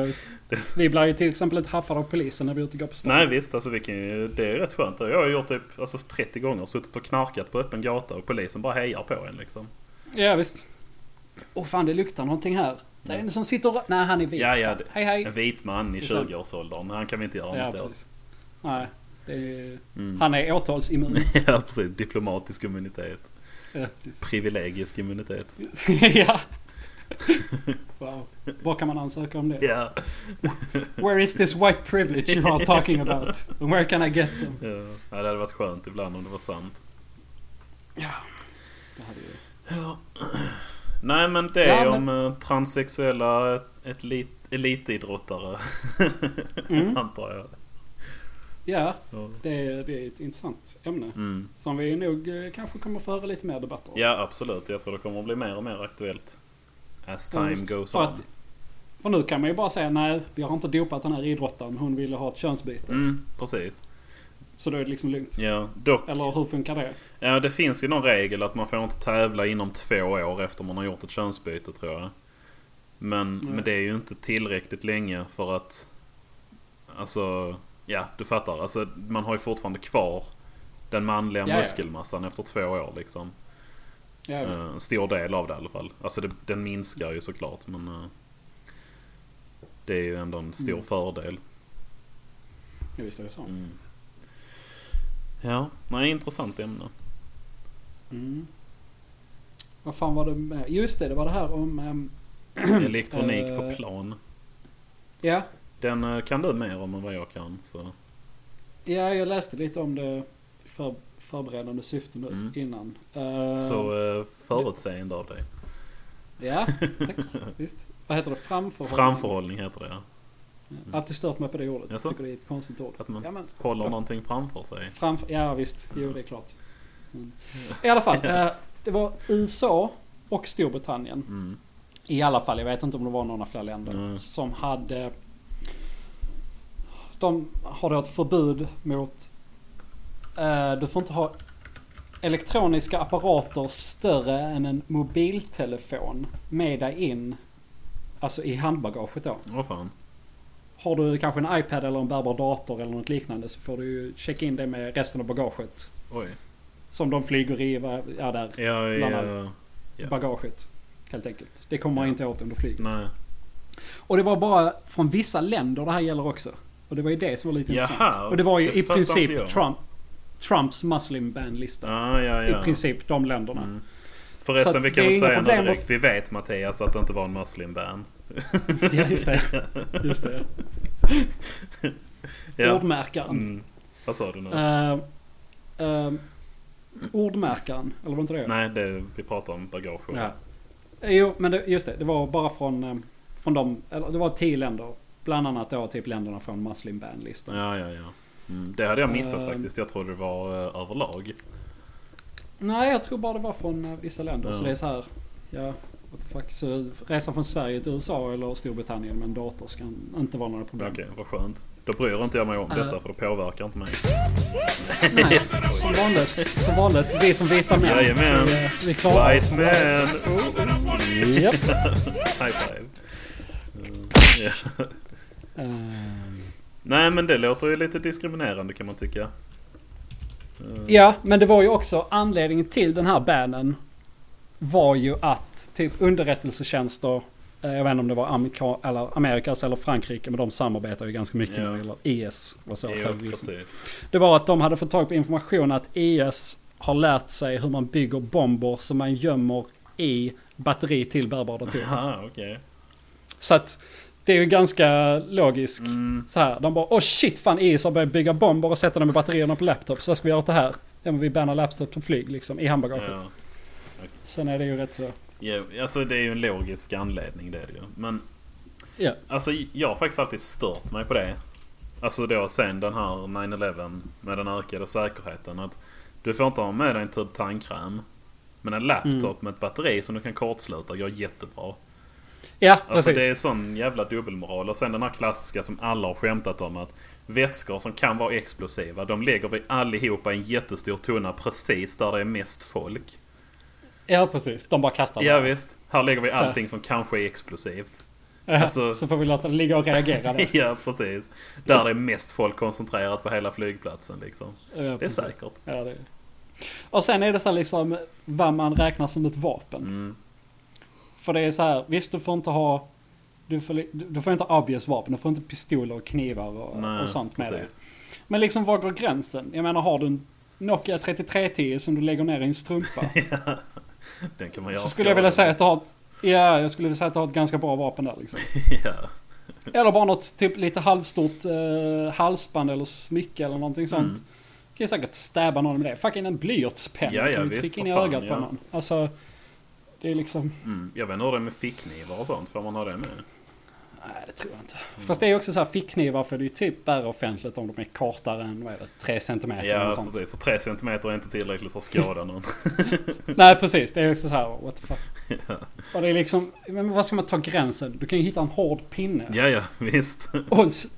S1: visst. Vi blir ju till exempel inte haffade av polisen när vi är ute och går på stan.
S2: Nej visst, alltså, vi kan ju, det är rätt skönt. Jag har gjort typ alltså, 30 gånger, suttit och knarkat på öppen gata och polisen bara hejar på en liksom.
S1: Ja, visst. Åh fan, det luktar någonting här. Det är en som sitter och... Nej, han är vit.
S2: Ja, ja,
S1: Fan.
S2: det-
S1: Hej, hej.
S2: En vit man i
S1: Det är sant.
S2: 20-årsåldern, han kan vi inte göra
S1: Ja,
S2: något åt.
S1: precis. Nej, det är ju...
S2: Mm.
S1: Han är åtalsimmun.
S2: Ja precis, diplomatisk immunitet.
S1: ja, precis.
S2: Privilegisk immunitet.
S1: ja. Wow. Var kan man ansöka om det?
S2: Ja.
S1: Where is this white privilege you are talking about? And where can I get some?
S2: Ja, Ja, det hade varit skönt ibland om det var sant.
S1: Det hade ju-
S2: Nej men det
S1: Ja,
S2: om eh, transsexuella ett lit, elitidrottare.
S1: Mm.
S2: Antar jag.
S1: Ja,
S2: Ja.
S1: det är, det är ett intressant ämne.
S2: Mm.
S1: Som vi nog eh, kanske kommer föra lite mer debatter om.
S2: ja absolut. Jag tror det kommer att bli mer och mer aktuellt. As
S1: Ja,
S2: time
S1: visst.
S2: goes
S1: För
S2: on.
S1: att- För nu kan man ju bara säga nej, vi har inte dopat den här idrottaren. Hon ville ha ett könsbyte.
S2: Mm, precis.
S1: Så då är det liksom lugnt.
S2: Ja, dock.
S1: Eller hur funkar det?
S2: Ja, det finns ju någon regel att man får inte tävla inom två år efter man har gjort ett könsbyte tror jag. Men,
S1: Nej.
S2: men det är ju inte tillräckligt länge för att... Alltså, ja du fattar. Alltså, man har ju fortfarande kvar den manliga
S1: Ja, ja.
S2: muskelmassan efter två år liksom.
S1: Ja, visst.
S2: Eh, En stor del av det i alla fall. Alltså det, den minskar ju såklart men... eh, Det är ju ändå en stor fördel.
S1: Mm. Ja, visst är det så.
S2: Mm. Ja, nej intressant ämne.
S1: Mm. Vad fan var det med? Just det, det var det här om... ehm,
S2: Elektronik på
S1: Eh.
S2: plan.
S1: ja,
S2: Den eh, kan du mer om än vad jag kan. Så.
S1: ja, jag läste lite om det i för, förberedande syfte nu
S2: Mm.
S1: innan. Eh,
S2: Så eh, förutseende av dig.
S1: Ja, tack. visst. Vad heter det? Framförhållning?
S2: Framförhållning heter det ja.
S1: Ja, Alltid stört mig på det ordet.
S2: Jaså?
S1: Jag tycker det är ett konstigt ord.
S2: Att man
S1: Ja, men,
S2: håller någonting framför sig.
S1: framför, ja visst, jo det är klart. Mm. I alla fall, eh, det var USA och Storbritannien.
S2: Mm.
S1: I alla fall, jag vet inte om det var några fler länder.
S2: Nej.
S1: Som hade... De har då ett förbud mot... Eh, du får inte ha elektroniska apparater större än en mobiltelefon med dig in. Alltså i handbagaget då.
S2: Vad fan.
S1: Har du kanske en iPad eller en bärbar dator eller något liknande så får du ju checka in det med resten av bagaget.
S2: Oj.
S1: Som de flyger i, va- ja där,
S2: Jag är...
S1: Bland
S2: eh, Ja.
S1: bagaget. Helt enkelt. Det kommer man
S2: Ja.
S1: inte åt om du flyger.
S2: nej.
S1: Och det var bara från vissa länder det här gäller också. Och det var ju det som var lite
S2: Jaha,
S1: intressant. Och det var ju
S2: det
S1: i
S2: fattar inte
S1: princip
S2: jag.
S1: Trump, Trumps Muslim Ban-lista.
S2: Ah, ja, ja.
S1: I princip de länderna.
S2: Mm.
S1: Så
S2: Förresten
S1: att
S2: vi kan
S1: det är
S2: väl
S1: inga
S2: säga nu
S1: problem
S2: direkt. Vi vet Mattias att det inte var en muslim ban.
S1: Ja, just det. Just det.
S2: Ja.
S1: Ordmärkaren.
S2: Mm. Vad sa du nu?
S1: Eh, eh, ordmärkaren, eller var det inte det?
S2: Nej, det, vi pratar om bagage.
S1: Ja. Jo, men det, just det. Det var bara från, eh, från de, eller det var tio länder. Bland annat då typ länderna från Muslim Ban-listan.
S2: ja, ja. ja. Mm. Det hade jag missat
S1: Ehm.
S2: faktiskt. Jag trodde det var eh, överlag.
S1: Nej, jag tror bara det var från eh, vissa länder. Så
S2: Ja.
S1: det är så här. Ja, what the fuck. Så resan från Sverige till USA eller Storbritannien med en dator ska inte vara några
S2: Okej,
S1: problem.
S2: vad skönt. Då bryr inte jag mig om
S1: Ja.
S2: detta för det påverkar inte mig.
S1: Nej, som vanligt. Som vanligt. Vi som vita män.
S2: Jajamän.
S1: Vi, eh, vi klarar
S2: White man!
S1: Japp.
S2: oh, High five.
S1: Ehm,
S2: Nej men det låter ju lite diskriminerande kan man tycka.
S1: Ja, men det var ju också anledningen till den här bannen var ju att typ underrättelsetjänster, eh, jag vet inte om det var Amerika, eller Amerikas eller Frankrike, men de samarbetar ju ganska mycket
S2: Ja.
S1: när det gäller IS och så.
S2: Jo,
S1: terrorism.
S2: precis.
S1: Det var att de hade fått tag på information att IS har lärt sig hur man bygger bomber som man gömmer i batteri till bärbara datorer.
S2: Aha, okej.
S1: Så att det är ju ganska logiskt.
S2: Mm,
S1: Så här, de bara åh shit fan IS har börjat bygga bomber och sätta dem i batterierna på laptops. Så ska vi göra det här. Ja men vi bannar laptops på flyg liksom i handbagaget.
S2: ja.
S1: Sen är det ju rätt så.
S2: Jo, alltså det är ju en logisk anledning det är det ju. Men
S1: Ja.
S2: alltså jag har faktiskt alltid stört mig på det. Alltså då sen den här 9-11 med den ökade säkerheten. Att du får inte ha med dig en tub tandkräm. Men en laptop
S1: Mm.
S2: med ett batteri som du kan kortsluta går jättebra.
S1: Ja
S2: Alltså
S1: precis.
S2: det är sån jävla dubbelmoral. Och sen den här klassiska som alla har skämtat om att vätskor som kan vara explosiva, de lägger vi allihopa i en jättestor tunna precis där det är mest folk.
S1: Ja precis. De bara kastar
S2: Ja,
S1: det.
S2: visst, här lägger vi allting som kanske är explosivt.
S1: Ja,
S2: alltså-
S1: Så får vi låta den ligga och reagera där.
S2: ja, precis. Där det är mest folk koncentrerat på hela flygplatsen liksom.
S1: Ja,
S2: Det är
S1: precis.
S2: säkert.
S1: Ja, det är. Och sen är det så här liksom vad man räknar som ett vapen.
S2: Mm.
S1: För det är så här, visst du får inte ha... Du får, li- du du får inte ha obvious vapen, du får inte pistoler och knivar och,
S2: Nej,
S1: och sånt med dig.
S2: precis.
S1: Men liksom var går gränsen? Jag menar har du en Nokia 3310 som du lägger ner i en strumpa.
S2: Den kan man göra
S1: så skulle jag vilja
S2: skada.
S1: säga att du har ett, Ja, jag skulle vilja säga att jag har ett ganska bra vapen där liksom.
S2: ja.
S1: Eller bara något typ lite halvstort eh, halsband eller smycke eller någonting sånt.
S2: Mm.
S1: Kan ju säkert stäba någon med det. Fucking en blyertspenna.
S2: Ja, ja,
S1: kan ju
S2: visst,
S1: trycka
S2: vad
S1: in i
S2: fan,
S1: ögat
S2: ja.
S1: på någon. Alltså, det är liksom...
S2: Mm. Jag vet inte hur det är med ficknivar och sånt. Får man ha det med?
S1: Nej, det tror jag inte. Mm. Fast det är också så här fickknivar för det är ju typ värre offentligt om de är kortare än vad är det, 3 cm eller
S2: Ja,
S1: sånt.
S2: precis. För 3 cm är inte tillräckligt för att skada någon.
S1: Nej, precis. Det är också så här, what the fuck. Och det är liksom, men vad ska man ta gränsen? Du kan ju hitta en hård pinne.
S2: ja, ja, visst.
S1: Och s-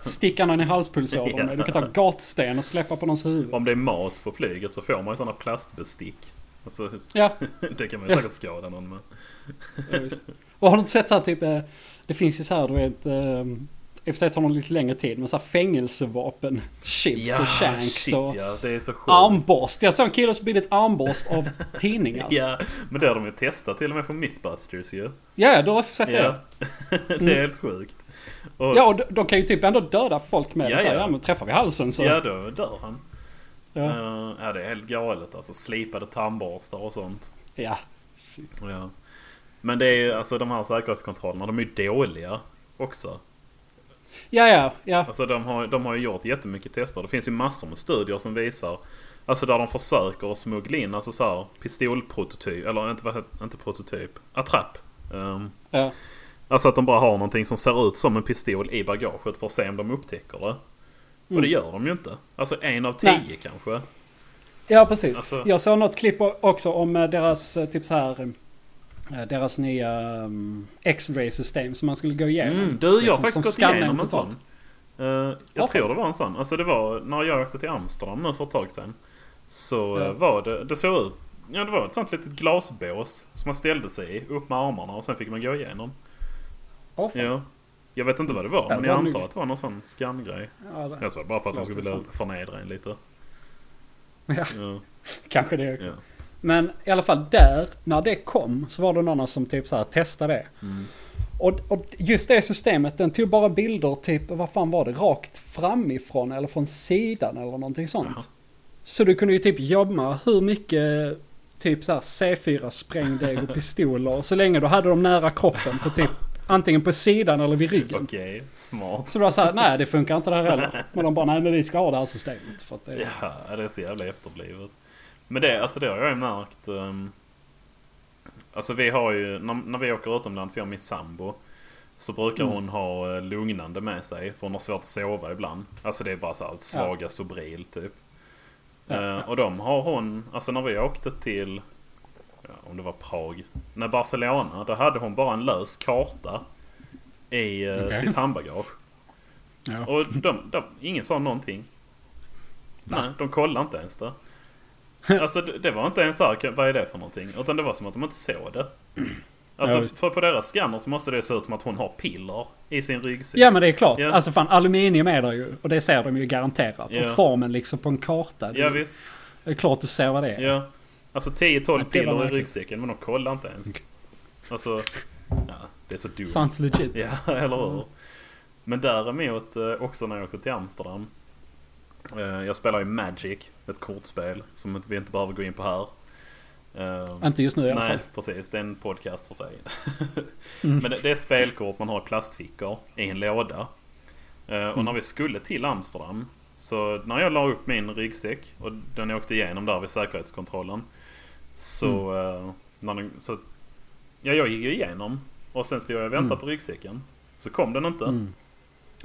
S1: sticka någon i halspulsådern.
S2: Ja.
S1: Du kan ta gatsten och släppa på någons huvud.
S2: Om det är mat på flyget så får man ju sådana plastbestick. Alltså,
S1: Ja,
S2: det kan man ju säkert skada någon med.
S1: Ja, visst. Och har du inte sett så här typ, eh, det finns ju så här du vet, ehm, i och för sig tar det lite längre tid, men så här fängelsevapen, chips och shanks
S2: shit
S1: och
S2: ja. Det är så sjukt.
S1: armborst. Jag såg en kille som bildade ett armborst av tidningar. Ja,
S2: Ja, men det har de ju testat till och med på Mythbusters ju.
S1: ja, du har också sett
S2: Ja.
S1: det.
S2: det är helt sjukt. Och,
S1: Mm. Ja, och de, de kan ju typ ändå döda folk med
S2: Ja,
S1: det. Så här,
S2: ja.
S1: ja, men träffar vi halsen så.
S2: ja, då dör han.
S1: Ja.
S2: Eh, ja, det är helt galet alltså. Slipade tandborstar och sånt.
S1: ja.
S2: Ja. Men det är ju, alltså de här säkerhetskontrollerna, de är ju dåliga också.
S1: Ja, ja, ja.
S2: Alltså de har, de har ju gjort jättemycket tester. Det finns ju massor med studier som visar Alltså där de försöker att smuggla in alltså så här, pistolprototyp, eller inte, vad heter- inte prototyp, attrapp. Ehm,
S1: ja.
S2: alltså att de bara har någonting som ser ut som en pistol i bagaget för att se om de upptäcker det. Och det gör de ju inte. Alltså en av tio
S1: Mm. Nej.
S2: kanske.
S1: Ja, precis.
S2: Alltså-
S1: Jag såg något klipp o- också om eh, deras, eh, typ så här, eh, deras nya ehm, X-ray system som man skulle gå igenom.
S2: Mm, du, jag har
S1: Liksom,
S2: faktiskt
S1: som
S2: gått
S1: scannar
S2: igenom
S1: och
S2: en sån.
S1: sånt.
S2: Eh, jag
S1: Ja.
S2: tror det var en sån. Alltså det var när jag åkte till Amsterdam nu för ett tag sedan. Så
S1: Ja.
S2: eh, var det, det såg ut, ja det var ett sånt litet glasbås som man ställde sig i, upp med armarna och sen fick man gå igenom.
S1: Åh, fan.
S2: Ja. Jag vet inte vad det var,
S1: Ja,
S2: men
S1: det
S2: jag
S1: var nog-
S2: antar att det var någon sån skamgrej.
S1: Ja, det-
S2: Jag tror det bara för att de
S1: Låter
S2: skulle vilja
S1: som.
S2: förnedra en lite.
S1: Ja.
S2: Ja.
S1: Kanske det också.
S2: Ja.
S1: Men i alla fall där, när det kom, så var det någon som typ så här testade det.
S2: Mm.
S1: Och, och just det systemet, den tog bara bilder typ, vad fan var det, rakt framifrån eller från sidan eller någonting sånt.
S2: Jaha.
S1: Så du kunde ju typ gömma hur mycket typ så här C4 sprängdeg och pistoler, så länge du hade dem nära kroppen på typ antingen på sidan eller vid ryggen.
S2: Okej, smart.
S1: Så det var så här, nej det funkar inte det här heller. Men de bara, nej men vi ska ha det här systemet. För att det,
S2: Ja, det är så jävla efterblivet. Men det, alltså det har jag ju märkt. ehm, alltså vi har ju, när, när vi åker utomlands, jag och min sambo. Så brukar
S1: Mm.
S2: hon ha eh, lugnande med sig. För hon har svårt att sova ibland. Alltså det är bara så här svaga Sobril typ.
S1: Ja,
S2: Eh, Och de har hon, alltså när vi åkte till, ja, om det var Prag. När Barcelona, då hade hon bara en lös karta. I eh,
S1: Okej.
S2: sitt handbagage.
S1: Ja.
S2: Och de, de, ingen sa någonting. Nej, de kollade inte ens det. Alltså det, det var inte ens så här, vad är det för någonting? Utan det var som att de inte såg det. Alltså
S1: Ja, visst.
S2: för på deras scanner så måste det se ut som att hon har piller i sin ryggsäck.
S1: Ja men det är klart.
S2: Typ. Ja.
S1: Alltså fan aluminium är det ju. Och det ser de ju garanterat.
S2: Ja.
S1: Och formen liksom på en karta. Det,
S2: ja visst.
S1: det är klart du ser vad det är.
S2: Ja. Alltså 10-12
S1: Ja, det var
S2: piller i
S1: märkligt.
S2: ryggsäcken men de kollar inte ens. Alltså, ja, det är så dumt.
S1: Sounds legit.
S2: Ja, eller
S1: Mm.
S2: hur? Men däremot eh, också när jag åkte till Amsterdam. eh, Jag spelar ju Magic, ett kortspel som vi inte behöver gå in på här. Eh,
S1: Inte just nu i alla
S2: Nej,
S1: fall. Mm.
S2: precis. Det är en podcast för sig. Men det, det är spelkort man har i plastfickor i en låda. Eh,
S1: Mm.
S2: Och när vi skulle till Amsterdam. Så när jag la upp min ryggsäck och den åkte igenom där vid säkerhetskontrollen. Så,
S1: Mm.
S2: eh, när den, så ja, jag gick ju igenom. Och sen stod jag och
S1: Mm.
S2: väntade på ryggsäcken. Så kom den inte.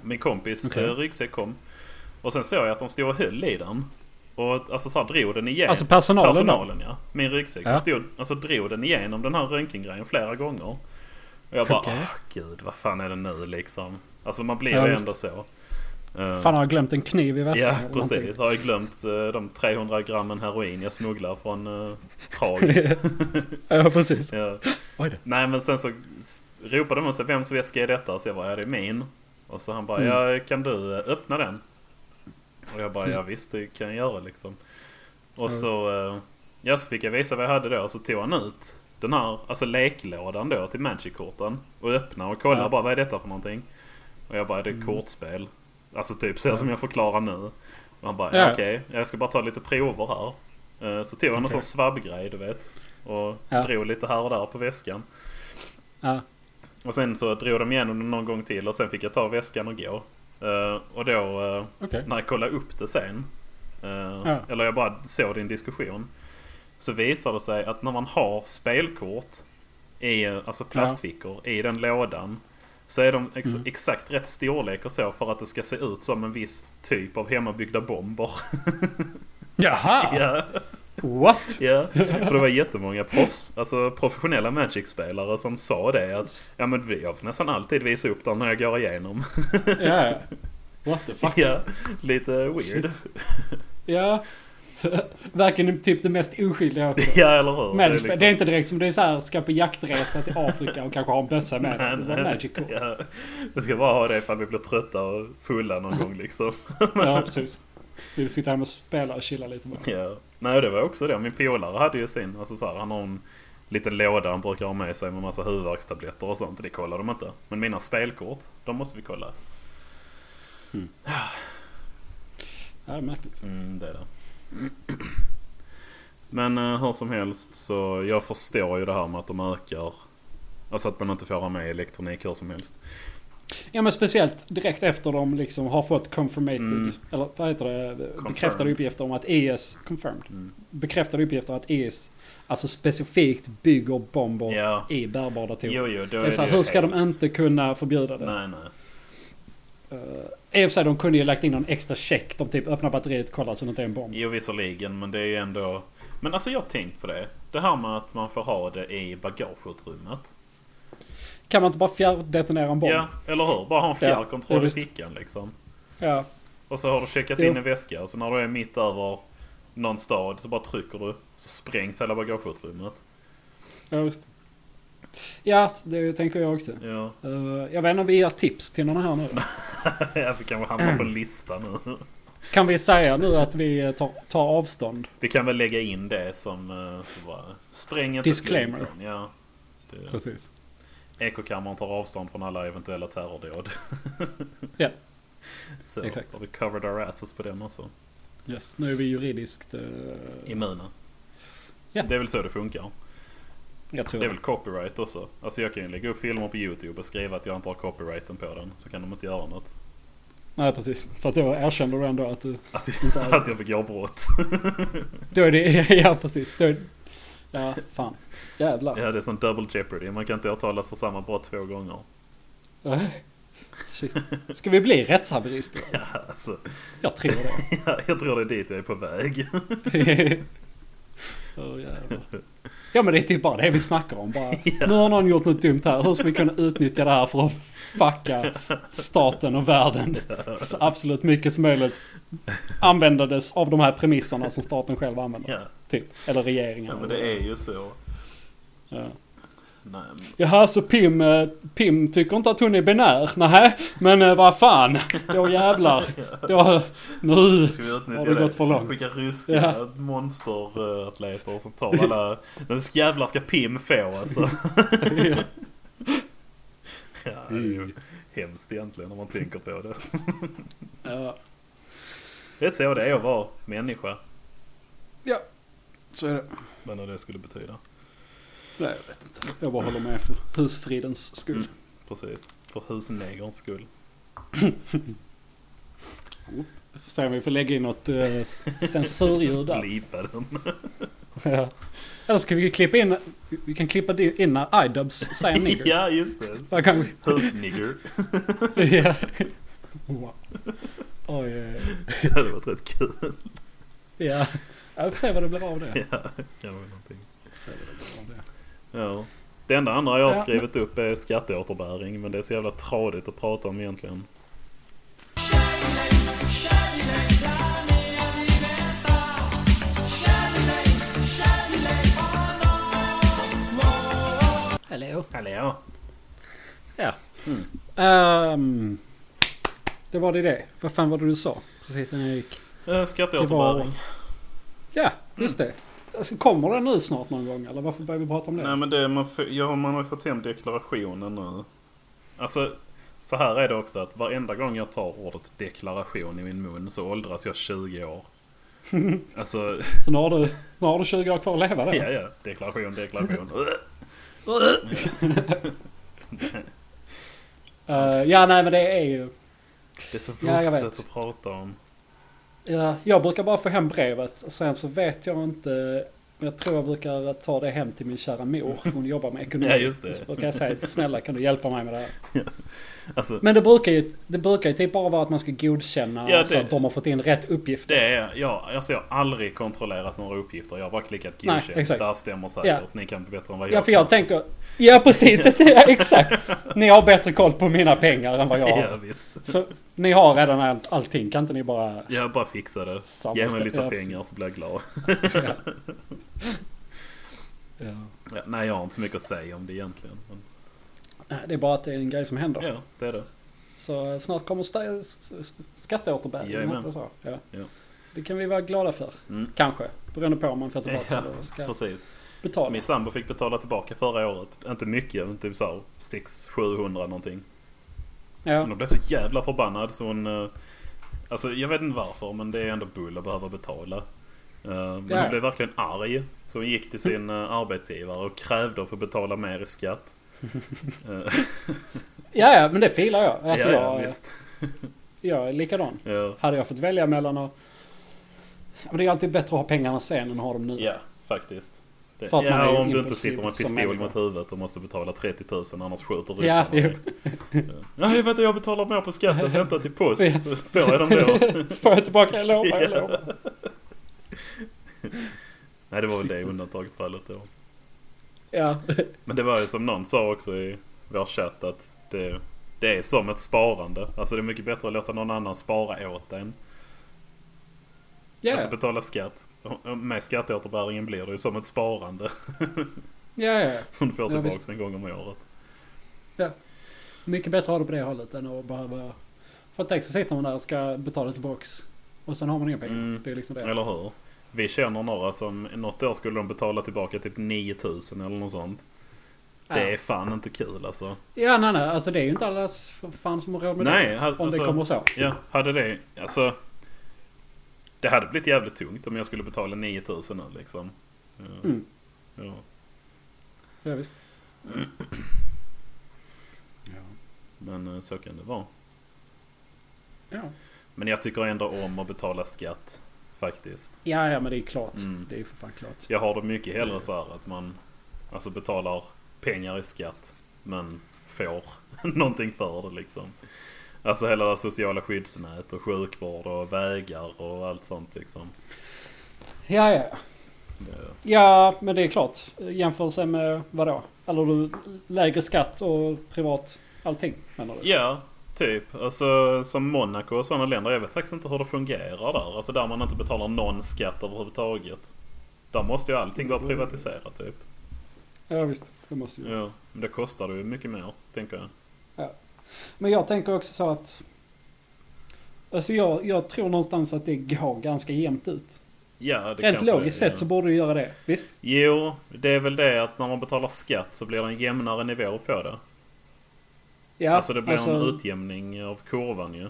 S2: Min kompis
S1: Okej.
S2: okay. ryggsäck kom. Och sen såg jag att de stod och höll i den. Och alltså så här, drog den igenom.
S1: Alltså personalen då?
S2: Personalen ja. Min ryggsäck.
S1: Ja.
S2: Den stod, alltså drog den igenom den här röntgengrejen flera gånger. Och jag bara,
S1: Okej.
S2: ah gud vad fan är det nu liksom. Alltså man blir
S1: Ja,
S2: ju
S1: visst.
S2: ändå så. Eh,
S1: Fan har jag glömt en kniv i väskan?
S2: ja
S1: eller någonting?
S2: precis. Har jag glömt eh, de 300 grammen heroin jag smugglar från eh, Prag.
S1: Ja precis.
S2: ja.
S1: Oj då.
S2: Nej men sen så s- ropade man sig vems väska är detta? Så jag bara, ja det är min. Och så han bara,
S1: Mm.
S2: ja kan du eh, öppna den? Och jag bara, ja visst det kan jag göra liksom. Och så, eh, ja så fick jag visa vad jag hade då. Så tog han ut den här, alltså leklådan då till Magic-korten. Och öppnade och kollade
S1: Ja. Mm.
S2: bara, vad är detta för någonting? Och jag bara, det är kortspel. Alltså typ så som jag förklarar nu. Och han bara, ja.
S1: Ja.
S2: okej, jag ska bara ta lite prover här. Eh, Så tog han en
S1: Okej.
S2: sån svabbgrej du vet. Och
S1: Ja.
S2: drog lite här och där på väskan.
S1: Ja.
S2: Och sen så drog de igenom den någon gång till och sen fick jag ta väskan och gå. Eh, och då eh,
S1: Okej.
S2: när jag kollade upp det sen. eh,
S1: Ja.
S2: Eller jag bara såg din diskussion. Så visar det sig att när man har spelkort i, eh, alltså plastfickor i den lådan. Så är de ex-
S1: Mm.
S2: exakt rätt storlek och så för att det ska se ut som en viss typ av hemmabyggda bomber.
S1: Jaha!
S2: Ja,
S1: What?
S2: ja. För det var jättemånga proffs, alltså professionella Magic-spelare som sa det. Att, ja men vi- jag får nästan alltid visa upp dem när jag går igenom.
S1: Ja, ja. What the fuck?
S2: ja, lite weird.
S1: Ja. Verkligen typ det mest oskyldiga också.
S2: ja, eller hur?
S1: Magic,
S2: är
S1: det, är
S2: liksom-
S1: det är inte direkt som du är så här, ska på jaktresa till Afrika och kanske ha en bössa med dig. Det var magic kort.
S2: Ja, vi ska bara ha det ifall vi blir trötta och fulla någon gång liksom.
S1: Ja, precis. Vill sitta hemma och spela och chilla lite bara.
S2: Ja. Nej, det var också det. Min polare hade ju sin, alltså så här, han har en liten låda han brukar ha med sig med massa huvudvärkstabletter och sånt. Det kollar de inte. Men mina spelkort, de måste vi kolla.
S1: Ja, det är märkligt.
S2: Mm, det är det. Men eh, hur som helst så jag förstår ju det här med att de ökar. Alltså att man inte får ha med elektronik hur som helst.
S1: Ja, men speciellt direkt efter de liksom har fått confirmated,
S2: Mm.
S1: eller vad heter det, bekräftade
S2: Confirmed.
S1: uppgifter om att ES, confirmed,
S2: Mm.
S1: bekräftade uppgifter att ES alltså specifikt bygger bomber
S2: Ja.
S1: i bärbara datorer.
S2: Jo, jo, då
S1: det är så här,
S2: ju
S1: hur ska de
S2: helt-
S1: inte kunna förbjuda det?
S2: Nej, nej.
S1: I och för sig, de kunde ju lagt in någon extra check. De typ öppnar batteriet, kollar så det inte är en bomb.
S2: Jo visserligen men det är ju ändå... Men alltså jag har tänkt på det. Det här med att man får ha det i bagageutrymmet.
S1: Kan man inte bara fjärrdetonera en bomb?
S2: Ja, eller hur? Bara ha en
S1: ja,
S2: fjärrkontroll i
S1: visst.
S2: fickan liksom.
S1: Ja.
S2: Och så har du checkat
S1: Jo.
S2: in en väska och så när du är mitt över någon stad så bara trycker du. Så sprängs hela bagageutrymmet.
S1: Ja, visst. Ja, det tänker jag också.
S2: Ja,
S1: Eh, jag vet inte om vi ger tips till någon här nu.
S2: ja vi kanske hamnar
S1: Mm.
S2: på en lista nu.
S1: Kan vi säga nu att vi tar, tar avstånd?
S2: Vi kan väl lägga in det som... eh, så bara, spräng inte
S1: Disclaimer.
S2: flygplan. Ja. Det-
S1: Precis.
S2: Ekokammaren tar avstånd från alla eventuella terrordåd.
S1: Ja.
S2: Så
S1: Exakt.
S2: har vi covered our asses på den också.
S1: Yes, nu är vi juridiskt... eh,
S2: Immuna.
S1: Ja.
S2: Det är väl så det funkar.
S1: jag tror
S2: Det är väl copyright också. Alltså jag kan ju lägga upp filmer på YouTube och skriva att jag inte har copyrighten på den. Så kan de inte göra något.
S1: Nej, precis. För att då erkänner du ändå att du...
S2: Att
S1: Inte
S2: jag,
S1: alls.
S2: att jag begår brott.
S1: Då är det... Ja, precis. Då är, ja, fan. Jävlar.
S2: Ja, det är som double jeopardy. Man kan inte åtalas för samma brott två gånger.
S1: Shit. Ska vi bli rättshaverister?
S2: Ja, alltså,
S1: Jag tror det.
S2: ja, jag tror det är dit jag är på väg.
S1: Åh, jävlar. ja men det är typ bara det vi snackar om. Bara, Nu har någon gjort något dumt här. Hur ska vi kunna utnyttja det här för att fucka staten och världen? Så absolut mycket som möjligt användades av de här premisserna som staten själv använder.
S2: Ja,
S1: Typ. Eller regeringen.
S2: ja men det är ju så.
S1: Ja.
S2: Nej, men-
S1: Jaha, så Pim, eh, Pim tycker inte att hon är binär? Nej, men eh, vad fan. Då jävlar. Då, nu.
S2: Ska vi utnyttja
S1: Har det gått för långt?
S2: Skicka ryska
S1: Ja.
S2: monsteratleter som tar alla... Nu ska- jävlar ska Pim få alltså. ja, det är ju hemskt egentligen om man tänker på det.
S1: Ja.
S2: Det är så det är att vara människa.
S1: Ja, så är det.
S2: Vad nu det skulle betyda.
S1: Nej, jag vet inte. Jag bara håller med för husfridens skull.
S2: Mm. Precis. För husnegerns skull.
S1: Får se om vi får lägga in något uh, censurljud där.
S2: Blipa den.
S1: ja. Eller ska vi klippa in... Vi kan klippa in när iDubs säger nigger.
S2: ja, just det.
S1: Där kan vi...
S2: Husnigger.
S1: ja. Wow. Oj, oj, oj.
S2: det hade varit rätt kul.
S1: Ja. Ja, vi får se vad det blir av det.
S2: ja, kan vara någonting.
S1: Vi får se vad det blir av det.
S2: Ja. Det enda andra jag har
S1: Ja, men-
S2: skrivit upp är skatteåterbäring. Men det är så jävla tradigt att prata om egentligen.
S1: Hallå.
S2: Hallå!
S1: Ja. Ehm, det var det det. Vad fan var det du sa? Precis innan jag gick.
S2: Eh, Skatteåterbäring.
S1: Ja, just det. Alltså, Kommer den nu snart någon gång? Eller varför börjar vi prata om det?
S2: Nej men det, man, f- ja, man har ju fått hem deklarationen nu. Alltså, så här är det också att varenda gång jag tar ordet deklaration i min mun så åldras jag 20 år. Alltså,
S1: Så nu har du, nu har du 20 år kvar att leva där.
S2: ja ja. Deklaration, deklaration.
S1: Eh, ja, nej men det är ju...
S2: Det är så
S1: Ja, jag
S2: vuxet
S1: vet.
S2: att prata om.
S1: Ja, jag brukar bara få hem brevet. och Sen så vet jag inte. Jag tror jag brukar ta det hem till min kära mor. Hon jobbar med ekonomi.
S2: Ja, just det.
S1: Så brukar jag säga snälla kan du hjälpa mig med det här?
S2: Alltså,
S1: Men det brukar ju, det brukar ju typ bara vara att man ska godkänna
S2: Ja,
S1: så
S2: det-
S1: att de har fått in rätt uppgifter.
S2: det är, ja, alltså jag har aldrig kontrollerat några uppgifter. Jag har bara klickat
S1: Nej,
S2: godkänt.
S1: exakt.
S2: Det här stämmer säkert.
S1: Ja.
S2: Ni kan bättre än vad jag
S1: Ja, för jag tänker... Ja, precis. Det är, exakt. Ni har bättre koll på mina pengar än vad jag
S2: Ja,
S1: har.
S2: visst.
S1: Så ni har redan allt, allting. Kan inte ni bara...
S2: Jag bara fixar det.
S1: Samma
S2: Ge mig
S1: ställe,
S2: lite
S1: ja,
S2: pengar
S1: precis.
S2: så blir jag glad.
S1: Ja. Ja.
S2: Ja, nej, jag har inte så mycket att säga om det egentligen. Men,
S1: Nej, det är bara att det är en grej som händer.
S2: ja, det är det.
S1: Så eh, snart kommer sta- s- s- skatteåterbäringen.
S2: Jajamän.
S1: heter det så? Ja.
S2: Ja.
S1: Det kan vi vara glada för.
S2: Mm.
S1: Kanske. Beroende på om man får tillbaka
S2: Ja,
S1: eller ska
S2: Precis.
S1: betala.
S2: Min sambo fick betala tillbaka förra året. Inte mycket, men typ såhär 600-700 någonting.
S1: Ja.
S2: Men hon blev så jävla förbannad så hon... eh, Alltså jag vet inte varför men det är ändå bull att behöva betala. Eh, Men
S1: Ja.
S2: hon blev verkligen arg. Så hon gick till sin eh, arbetsgivare och krävde att få betala mer i skatt. Eh,
S1: ja, ja, men det filar jag. Alltså,
S2: ja, ja,
S1: jag,
S2: visst.
S1: jag är likadan.
S2: Ja,
S1: Hade jag fått välja mellan att... Men det är alltid bättre att ha pengarna sen än att ha dem nu.
S2: ja, faktiskt. Det,
S1: För att man är
S2: ja,
S1: ju
S2: om du inte
S1: impulsiv
S2: sitter med en
S1: som
S2: pistol
S1: människa.
S2: mot huvudet och måste betala 30 000 annars skjuter
S1: Ja,
S2: ryssarna
S1: jo.
S2: dig. Ja, jag vet inte, jag betalar mer på skatten. Vänta till post
S1: Ja.
S2: så får jag dem då.
S1: Får jag tillbaka? Jag lovar, jag
S2: Ja.
S1: lovar.
S2: Nej, det var väl det undantagsfallet då.
S1: Ja.
S2: Men det var ju som någon sa också i vår chatt att det, det är som ett sparande. Alltså det är mycket bättre att låta någon annan spara åt en.
S1: Ja,
S2: Alltså betala skatt. Och Med skatteåterbäringen blir det ju som ett sparande.
S1: ja, ja.
S2: Som du får
S1: Ja,
S2: tillbaks en gång om året.
S1: Mycket bättre att ha det på det hållet än att behöva... För att tänk så sitter man där och ska betala tillbaks. Och sen har man inga pengar.
S2: Mm.
S1: Det är liksom det.
S2: Eller hur? Vi känner några som något år skulle de betala tillbaka typ 9000 eller något sånt. Det är fan inte kul alltså.
S1: Ja, nej, nej. Alltså det är ju inte allas för fan som har råd med
S2: Nej,
S1: det.
S2: ha-
S1: Om
S2: alltså-
S1: det kommer så.
S2: Ja, hade det... Alltså... Det hade blivit jävligt tungt om jag skulle betala 9000 nu liksom. Ja.
S1: Mm.
S2: Ja.
S1: Ja, visst.
S2: Men eh, så kan det vara.
S1: Ja.
S2: Men jag tycker ändå om att betala skatt. Faktiskt.
S1: ja, ja, men det är klart.
S2: Mm.
S1: Det är ju för fan klart.
S2: Jag har det mycket hellre så här att man alltså betalar pengar i skatt. Men får någonting för det liksom. Alltså hela det här sociala skyddsnät och sjukvård och vägar och allt sånt liksom.
S1: Ja, ja.
S2: Det-
S1: Ja, men det är klart. Jämförelse med vadå? Eller du, lägre skatt och privat allting menar du?
S2: Ja, typ. Alltså som Monaco och sådana länder. Jag vet faktiskt inte hur det fungerar där. Alltså där man inte betalar någon skatt överhuvudtaget. Där måste ju allting vara privatiserat typ.
S1: Ja, visst. Det måste ju.
S2: Ja, men det kostar ju mycket mer, tänker jag.
S1: Men jag tänker också så att... Alltså jag, jag tror någonstans att det går ganska jämnt ut.
S2: Ja, det
S1: Rent
S2: kanske
S1: logiskt
S2: är-
S1: sett så borde du göra det. Visst?
S2: Jo, det är väl det att när man betalar skatt så blir det en jämnare nivå på det.
S1: Ja,
S2: alltså det blir en utjämning av kurvan ju.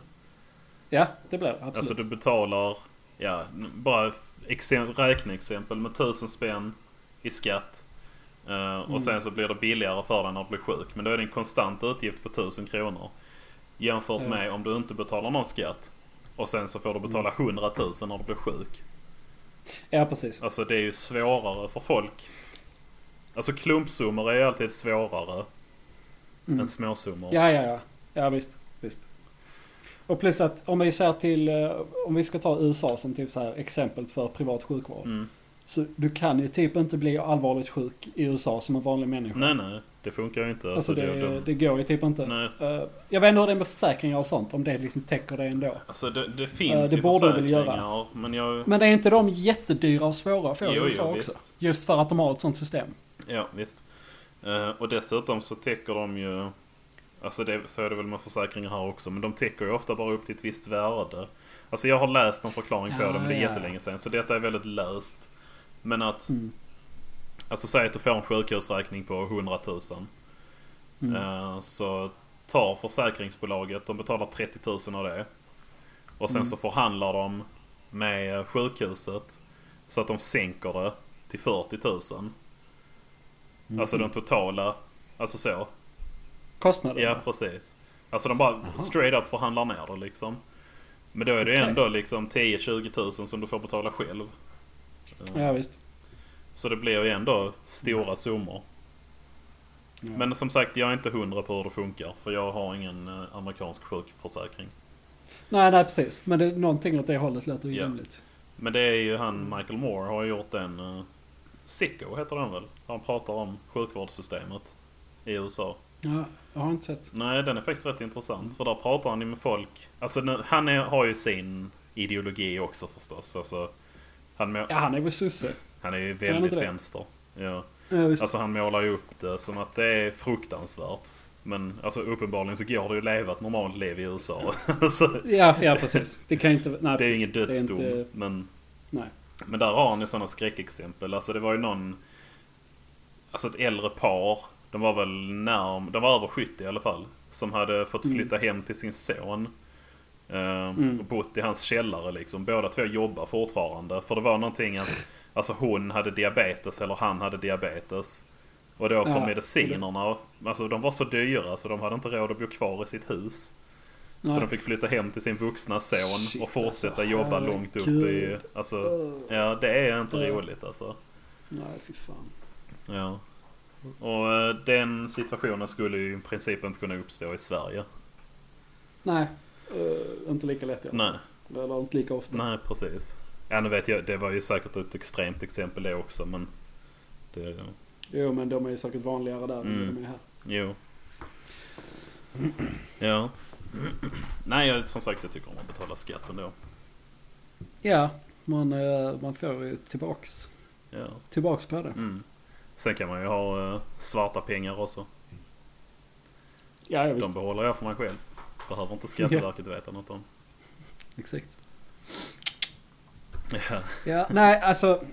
S1: Ja, det blir det. Absolut.
S2: Alltså du betalar, ja, n- bara f- exem- räkneexempel med 1000 spänn i skatt. Eh, och
S1: Mm.
S2: sen så blir det billigare för dig när du blir sjuk. Men då är det en konstant utgift på 1000 kronor. Jämfört
S1: Ja.
S2: med om du inte betalar någon skatt. Och sen så får du betala
S1: Mm.
S2: 100 000 när du blir sjuk.
S1: Ja, precis.
S2: Alltså det är ju svårare för folk. Alltså klumpsummor är ju alltid svårare
S1: Mm.
S2: än småsummor.
S1: Ja, ja, ja. Ja, visst. visst. Och plus att om vi ser till, eh, om vi ska ta USA som typ så här exempel för privat sjukvård.
S2: Mm.
S1: Så du kan ju typ inte bli allvarligt sjuk i USA som en vanlig människa.
S2: Nej, nej. Det funkar ju inte.
S1: alltså
S2: Alltså,
S1: det,
S2: det,
S1: det,
S2: det,
S1: går ju typ inte.
S2: nej.
S1: Eh, jag vet inte hur det är med försäkringar och sånt, om det liksom täcker det ändå.
S2: Alltså, det, det
S1: Eh,
S2: finns
S1: det
S2: ju
S1: borde du väl
S2: försäkringar.
S1: göra.
S2: Men jag...
S1: Men är inte de jättedyra och svåra att få i
S2: Jo,
S1: USA
S2: jo,
S1: också?
S2: visst.
S1: Just för att de har ett sånt system.
S2: Ja, visst. Eh, och dessutom så täcker de ju... Alltså det, så är det väl med försäkringar här också. Men de täcker ju ofta bara upp till ett visst värde. Alltså jag har läst någon förklaring på
S1: Ja,
S2: det men det är
S1: ja.
S2: jättelänge sedan. Så detta är väldigt löst. Men att...
S1: Mm.
S2: Alltså säg att du får en sjukhusräkning på 100 000.
S1: Mm.
S2: Eh, Så tar försäkringsbolaget, de betalar 30 000 av det.
S1: Mm.
S2: Och sen så förhandlar de med sjukhuset. Så att de sänker det till 40 000. Alltså den totala, alltså så.
S1: kostnaderna?
S2: Ja, precis. Alltså de bara straight up förhandlar ner det liksom. Men då är det
S1: Okej.
S2: ändå liksom 10-20 tusen som du får betala själv.
S1: ja visst.
S2: Så det blir ju ändå stora summor. Men som sagt, jag är inte hundra på hur det funkar. För jag har ingen eh, amerikansk sjukförsäkring.
S1: Nej, nej precis. Men det, någonting åt det hållet lät ju
S2: Ja.
S1: rimligt.
S2: Men det är ju han Michael Moore har gjort en uh, Sicko heter den väl? Han pratar om sjukvårdssystemet i USA.
S1: Ja, jag har inte sett.
S2: Nej, den är faktiskt rätt intressant. För där pratar han ju med folk. Alltså nu, han är, har ju sin ideologi också förstås. Alltså, han, må-
S1: Ja, han är väl sosse.
S2: han är ju
S1: han
S2: väldigt
S1: inte det?
S2: vänster. Ja.
S1: Ja, visst.
S2: Alltså han målar ju upp det som att det är fruktansvärt. Men alltså uppenbarligen så går det ju att leva ett normalt liv i USA. Alltså,
S1: ja, ja, precis. Det kan ju inte... Nej,
S2: det är
S1: precis.
S2: ingen dödsdom.
S1: Det är inte,
S2: Men
S1: nej.
S2: Men där har han ju sådana skräckexempel. Alltså det var ju någon... Alltså ett äldre par. De var väl närm... De var över 70 i alla fall. Som hade fått flytta hem till sin son. Eh, Och bott i hans källare liksom. Båda två jobbar fortfarande. För det var någonting att... Alltså hon hade diabetes eller han hade diabetes. Och då för
S1: Ja,
S2: medicinerna. Alltså de var så dyra så de hade inte råd att bo kvar i sitt hus. Så
S1: Nej.
S2: de fick flytta hem till sin vuxna son
S1: Shit,
S2: och fortsätta
S1: alltså,
S2: jobba långt upp i...
S1: herregud.
S2: Alltså, ja det är inte
S1: Ja.
S2: roligt alltså.
S1: Nej, fy fan.
S2: Ja. Och eh, den situationen skulle ju i princip inte kunna uppstå i Sverige.
S1: Nej, eh, inte lika lätt. i alla
S2: Nej,
S1: fall. Eller inte lika ofta.
S2: nej precis. Ja nu vet jag, det var ju säkert ett extremt exempel det också men... Det,
S1: Jo, men de är ju säkert vanligare där än
S2: Mm.
S1: de är här.
S2: jo. Ja. Nej, jag, som sagt jag tycker om att betala skatt ändå.
S1: Ja, man, eh, man får ju tillbaks,
S2: Ja.
S1: tillbaks på det.
S2: Mm. Sen kan man ju ha eh, svarta pengar också.
S1: Ja, ja visst.
S2: De behåller jag för mig själv. Behöver inte Skatteverket veta något om.
S1: Exakt.
S2: Ja.
S1: Ja, nej, alltså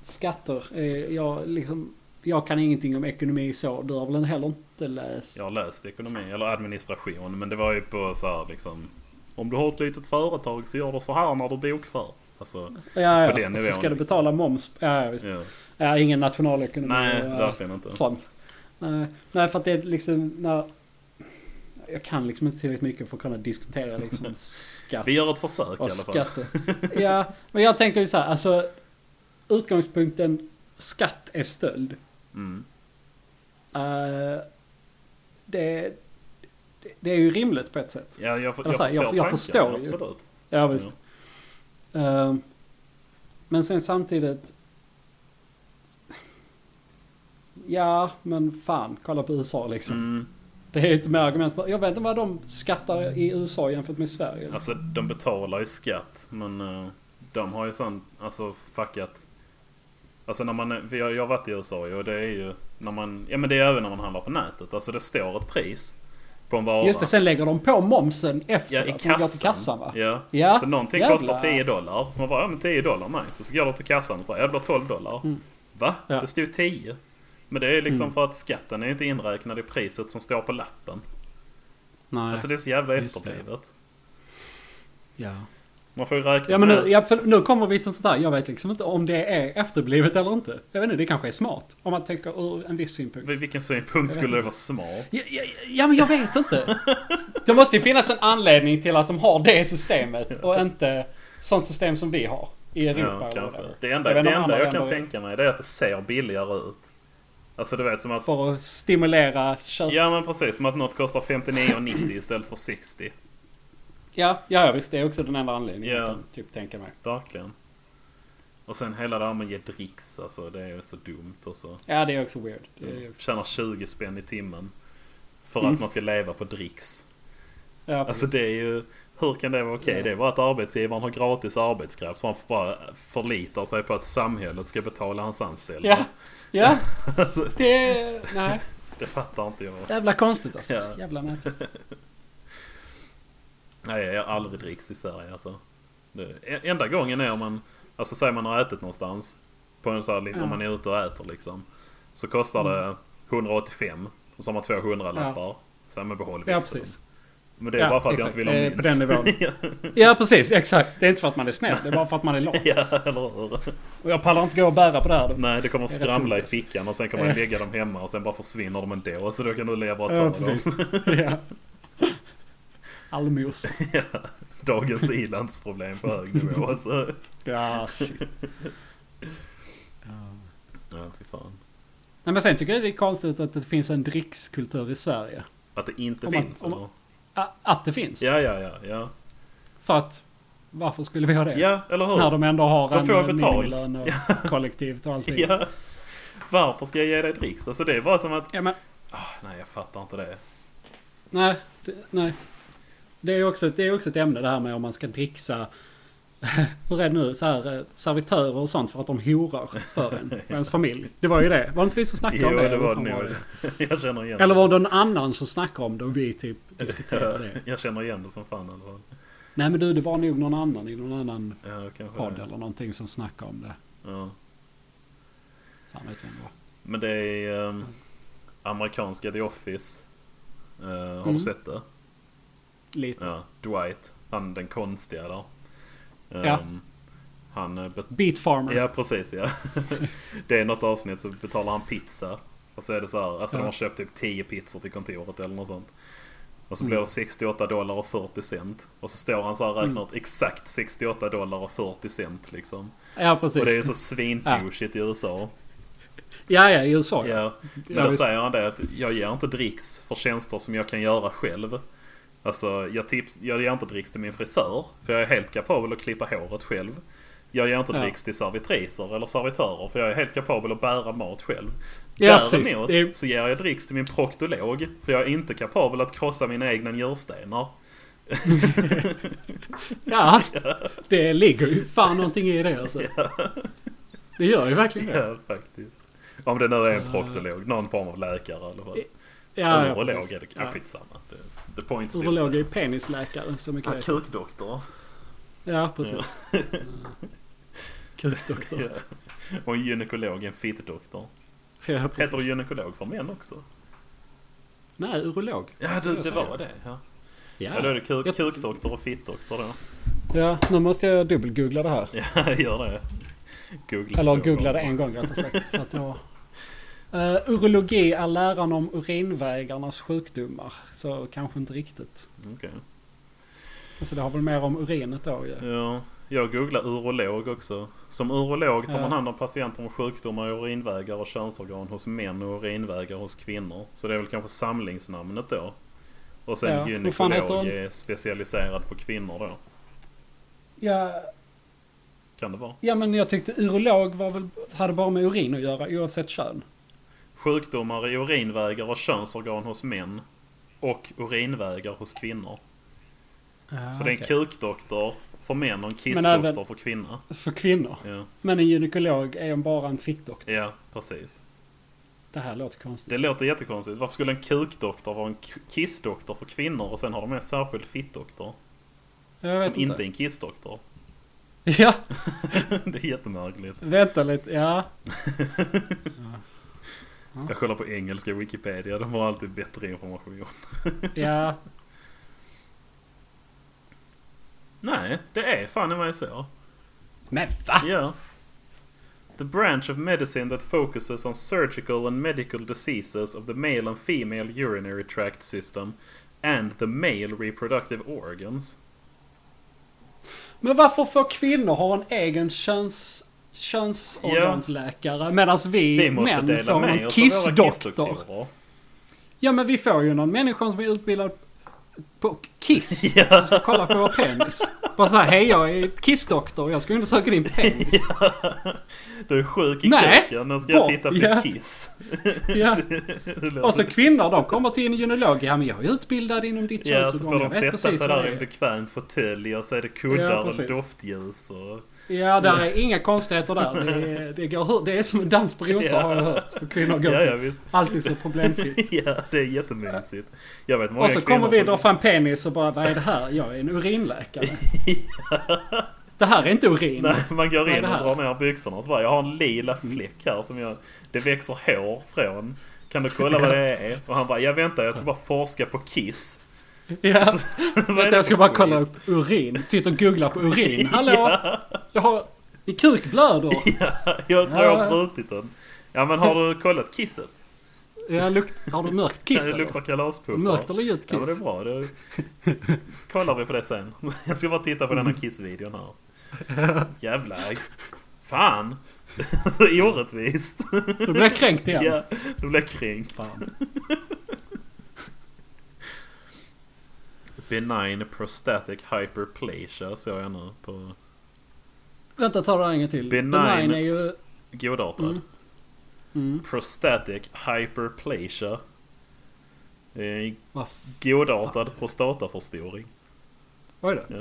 S1: skatter. Eh, jag, liksom, jag kan ingenting om ekonomi så. Du har väl heller inte läst?
S2: Jag har läst ekonomi eller administration men det var ju på så här liksom Om du har ett litet företag så gör du så här när du bokför. Alltså,
S1: ja,
S2: på den
S1: och
S2: nivån,
S1: Så ska du
S2: liksom.
S1: betala moms. Ja, ja, visst.
S2: ja.
S1: Ja, ingen nationalekonomi.
S2: Nej,
S1: och, eh,
S2: verkligen inte.
S1: Sånt. Nej, nej, för att det är liksom när... Jag kan liksom inte tillräckligt mycket för att kunna diskutera liksom skatt.
S2: Vi gör ett försök i
S1: och
S2: alla fall.
S1: skatte. Ja, men jag tänker ju så här, alltså utgångspunkten skatt är stöld.
S2: Mm.
S1: Eh, det, det, det är ju rimligt på ett sätt.
S2: Ja, jag, för-
S1: Eller så här, jag- jag förstår
S2: tanken,
S1: ju.
S2: Absolut.
S1: Ja, visst. Eh, men sen samtidigt... Ja, men fan, kolla på USA liksom.
S2: Mm.
S1: Det är ett mer argument. Jag vet inte vad de skattar i USA jämfört med Sverige. liksom.
S2: Alltså de betalar ju skatt men eh, de har ju sån, alltså fuckat. Alltså när man, är- för jag, jag har varit i USA ju, och det är ju när man, ja men det är även när man handlar på nätet. Alltså det står ett pris på en vara.
S1: Just det, sen lägger de på momsen efter
S2: Ja, i
S1: att man går till kassan va?
S2: Ja.
S1: Ja,
S2: Så någonting
S1: jävlar.
S2: kostar 10 dollar. Så man bara, ja men 10 dollar, nice. Och så går du till kassan och bara, ja det blir 12 dollar. Va?
S1: Mm. Ja. Mm.
S2: Det stod 10. Men det är liksom för att skatten är inte inräknad i priset som står på lappen.
S1: Nej.
S2: Alltså det är så jävla
S1: Just
S2: efterblivet.
S1: ja.
S2: Man får ju räkna
S1: Ja men
S2: med-
S1: nu, ja, för nu kommer vi till sånt där. Jag vet liksom inte om det är efterblivet eller inte. Jag vet inte, det kanske är smart. Om man tänker ur en viss synpunkt.
S2: Vid vilken synpunkt skulle det vara smart?
S1: Ja, ja, ja men jag vet inte. Det måste ju finnas en anledning till att de har det systemet och inte sånt system som vi har i Europa.
S2: Ja,
S1: eller
S2: kanske.
S1: whatever.
S2: Det enda
S1: Jag vet inte
S2: jag, det
S1: om
S2: enda
S1: andra
S2: jag kan
S1: länder-
S2: tänka mig det är att det ser billigare ut. Alltså du vet som att...
S1: För att stimulera köp. Ja,
S2: Ja men precis, som att något kostar 59,90 istället för 60.
S1: ja, ja visst. Det är också den enda anledningen
S2: Ja.
S1: jag kan typ tänka mig.
S2: Verkligen. Och sen hela det här med att ge dricks, alltså det är så dumt och så.
S1: Ja, det är också weird. Det är också...
S2: Tjänar 20 spänn i timmen. För att man ska leva på dricks.
S1: Ja,
S2: Alltså
S1: precis.
S2: det är ju... Hur kan det vara okej?
S1: Ja.
S2: Det är bara att arbetsgivaren har gratis arbetskraft. Så han får bara förlitar sig på att samhället ska betala hans anställda.
S1: Ja, ja. Det är... Nej.
S2: Det fattar inte jag.
S1: Jävla konstigt alltså.
S2: Ja.
S1: Jävla märkligt.
S2: Nej, jag gör aldrig dricks i Sverige alltså. Det, e- enda gången är om man... Alltså säg man har ätit någonstans. På en sån här, liten- om man är ute och äter liksom. Så
S1: Mm.
S2: kostar det 185. Och så har man två hundralappar. Sen med behåll
S1: Ja,
S2: växeln.
S1: precis.
S2: Men det är bara för att
S1: exakt.
S2: jag inte vill ha
S1: Eh, På den
S2: mynt.
S1: nivån. ja, precis. Exakt. Det är inte för att man är snäll. Det är bara för att man är lång.
S2: ja, eller hur?
S1: Och jag pallar inte gå och bära på det här.
S2: Nej, det kommer
S1: Det är rätt
S2: skramla i
S1: tungt,
S2: fickan och sen kan man
S1: Eh.
S2: lägga dem hemma och sen bara försvinner de ändå. Så då kan du leva
S1: Ja,
S2: och ta dem.
S1: precis. ja. Allmosor.
S2: Dagens ilandsproblem på hög nivå. Alltså.
S1: Ja, shit.
S2: Ja, fy fan.
S1: Nej, men sen tycker jag det är konstigt att det finns en drickskultur i Sverige.
S2: Att det inte
S1: Om man-
S2: finns
S1: om man-
S2: eller?
S1: A- Att det finns.
S2: Ja, ja, ja, ja.
S1: För att varför skulle vi ha det?
S2: Ja, eller hur?
S1: När de ändå har
S2: Då får jag
S1: en
S2: betalt.
S1: minimilön och kollektivt och allting.
S2: ja. Varför ska jag ge dig dricks? Alltså det är bara som att...
S1: Ja, men,
S2: Nej, jag fattar inte det.
S1: nej, det, nej. Det är ju också, det är också ett ämne det här med om man ska dricksa. Hur är det nu? Så här, eh, servitörer och sånt för att de horar för en och ens familj. Det var ju det. Var det inte vi som snackade
S2: Jo,
S1: om det?
S2: det
S1: Vad
S2: var
S1: fan
S2: det nog. Jag känner igen
S1: Eller
S2: det.
S1: var det någon annan som snackade om det och vi typ diskuterade det?
S2: Jag känner igen det som fan. Eller?
S1: Nej men du, det var nog någon annan i någon annan
S2: Ja, kanske
S1: podd
S2: det.
S1: eller någonting som snackade om det.
S2: Ja.
S1: Fan vet vem det var.
S2: Men det är ehm, amerikanska The Office. Eh, har
S1: Mm.
S2: du sett det?
S1: Lite.
S2: Ja, Dwight. Han den konstiga där. Ehm,
S1: Ja.
S2: Han... eh, bet-
S1: Beat Farmer.
S2: Ja, precis ja. det är något avsnitt så betalar han pizza. Och så är det så här, alltså
S1: Ja.
S2: de har köpt typ 10 pizzor till kontoret eller något sånt. Och så blir det 68 dollar och 40 cent. Och så står han så här och räknar ut exakt 68 dollar och 40 cent liksom.
S1: Ja, precis.
S2: Och det är ju så svindouchigt i USA.
S1: Ja, ja, i USA. Ja.
S2: Ja. Men
S1: Jag
S2: då
S1: vet-
S2: säger han det att jag ger inte dricks för tjänster som jag kan göra själv. Alltså jag, tips, jag ger inte dricks till min frisör. För jag är helt kapabel att klippa håret själv. Jag ger inte
S1: Ja.
S2: dricks till servitriser eller servitörer. För jag är helt kapabel att bära mat själv.
S1: Ja, precis.
S2: Däremot
S1: Det är-
S2: så ger jag dricks till min proktolog. För jag är inte kapabel att krossa mina egna njurstenar.
S1: ja, det ligger ju fan någonting i det alltså. Det gör ju verkligen det.
S2: Ja, faktiskt. Om det nu är en proktolog. Någon form av läkare eller vad.
S1: Ah. Ja, ja,
S2: Urolog
S1: precis.
S2: är det
S1: Ja.
S2: kanske skitsamma. The- The point still
S1: Urolog är ju
S2: stands.
S1: penisläkare som är
S2: Ja,
S1: kul.
S2: kukdoktor.
S1: Ja, precis. Kukdoktor.
S2: Ja. Och en gynekolog är en fittdoktor.
S1: Ja,
S2: Heter det
S1: precis.
S2: gynekolog för män också?
S1: Nej, urolog.
S2: Ja, du,
S1: Jag
S2: det
S1: säger.
S2: var det. Ja. Ja. då är
S1: Ja.
S2: det kuk,
S1: Jag-
S2: kukdoktor och fittdoktor då.
S1: ja, nu måste jag dubbelgoogla det här.
S2: Ja, gör det. Googla
S1: Eller
S2: två
S1: googlade
S2: gånger.
S1: en gång rättare sagt. För att jag... Eh, urologi är läran om urinvägarnas sjukdomar. Så kanske inte riktigt.
S2: Okej.
S1: Alltså det har väl mer om urinet då ju.
S2: Ja, jag googlar urolog också. Som urolog tar
S1: Ja.
S2: man hand om patienter med sjukdomar i urinvägar och könsorgan hos män och urinvägar hos kvinnor. Så det är väl kanske samlingsnamnet då. Och sen
S1: Ja, vad fan heter
S2: gynekolog
S1: hon?
S2: är specialiserad på kvinnor då.
S1: Ja,
S2: Kan det vara.
S1: ja men jag tyckte urolog var väl, hade bara med urin att göra oavsett kön.
S2: Sjukdomar i urinvägar och könsorgan hos män. Och urinvägar hos kvinnor. Så det är en kukdoktor för män och en kissdoktor
S1: Ah, Men även-
S2: för kvinna.
S1: För kvinnor.
S2: Ja.
S1: Men en gynekolog är en bara en fittdoktor.
S2: ja, precis.
S1: Det här låter konstigt.
S2: Det låter jättekonstigt. Varför skulle en kukdoktor vara en k- kissdoktor för kvinnor och sen har de en särskild fittdoktor?
S1: jag vet
S2: Som inte
S1: inte.
S2: är en kissdoktor.
S1: Ja,
S2: det är jättemärkligt.
S1: vänta lite. Ja,
S2: Jag kollar på engelska Wikipedia. De har alltid bättre information.
S1: ja.
S2: Nej, det är fan i mig så.
S1: Men va?
S2: Yeah. The branch of medicine that focuses on surgical and medical diseases of the male and female urinary tract system and the male reproductive organs.
S1: Men varför får kvinnor ha en egen köns, könsorgansläkare medan vi,
S2: Vi måste
S1: män
S2: dela
S1: får
S2: med
S1: en
S2: oss av våra
S1: kissdoktor?
S2: kissdoktorer.
S1: Ja men vi får ju någon människa som är utbildad på kiss.
S2: Ja.
S1: Som ska kolla på vår penis. Bara såhär, hej jag är kissdoktor, jag ska undersöka din penis.
S2: Du är sjuk i
S1: Nej,
S2: kuken, nu ska jag
S1: bort.
S2: titta på
S1: Ja. Alltså,
S2: ditt kiss.
S1: Ja.
S2: Det låter-
S1: Och så kvinnor, de kommer till en gynekolog. Ja men jag är utbildad inom ditt
S2: Ja, så får
S1: könsorgan,
S2: de
S1: jag vet
S2: sätta sig
S1: precis vad
S2: där i
S1: det
S2: en
S1: är.
S2: bekväm fåtölj och så är det kuddar
S1: Ja,
S2: och
S1: precis.
S2: doftljus och...
S1: Ja, där är inga konstigheter där. Det är, det går, hur- det är som en dans på rosor
S2: Ja.
S1: har jag hört. För kvinnor går
S2: Ja, ja,
S1: till.
S2: visst.
S1: Alltid så problemfritt.
S2: ja, det är jättemysigt. Jag vet många
S1: Och så kommer
S2: kvinnor
S1: vi
S2: som-
S1: dra fram penis och bara vad är det här? Jag är en urinläkare. Det här är inte urin.
S2: Nej, man går
S1: Vad är
S2: in
S1: det
S2: och
S1: här?
S2: drar ner byxorna och så bara, jag har en lila fläck här som jag... Det växer hår från. Kan du kolla vad det är? Och han bara, jag väntar jag ska bara forska på kiss.
S1: Ja,
S2: är
S1: vänta
S2: det
S1: jag ska
S2: för
S1: bara
S2: skit?
S1: kolla upp urin. Sitter och googlar på urin. Hallå! Jag har... Min kuk blöder.
S2: Jag tror jag har
S1: Ja.
S2: brutit den. Ja men har du kollat kisset?
S1: Jag lukt... Har du mörkt kiss
S2: det luktar
S1: eller?
S2: kalaspuffar.
S1: Mörkt eller ljust
S2: Ja men
S1: kiss?
S2: det är bra. Det... Kollar vi på det sen. Jag ska bara titta på den här kissvideon här. Jävlar. Fan. Orättvist.
S1: Då blir jag kränkt igen.
S2: Ja, du blev kränkt.
S1: Fan.
S2: Benign prostatic hyperplasia såg jag nu på
S1: Vänta, ta det här en gång till.
S2: Benign.
S1: Benign är ju...
S2: godartad.
S1: Mm. Mm.
S2: Prostatic hyperplasia. Eh,
S1: Vad f-
S2: Godartad prostataförstoring.
S1: Vad är det?
S2: Ja.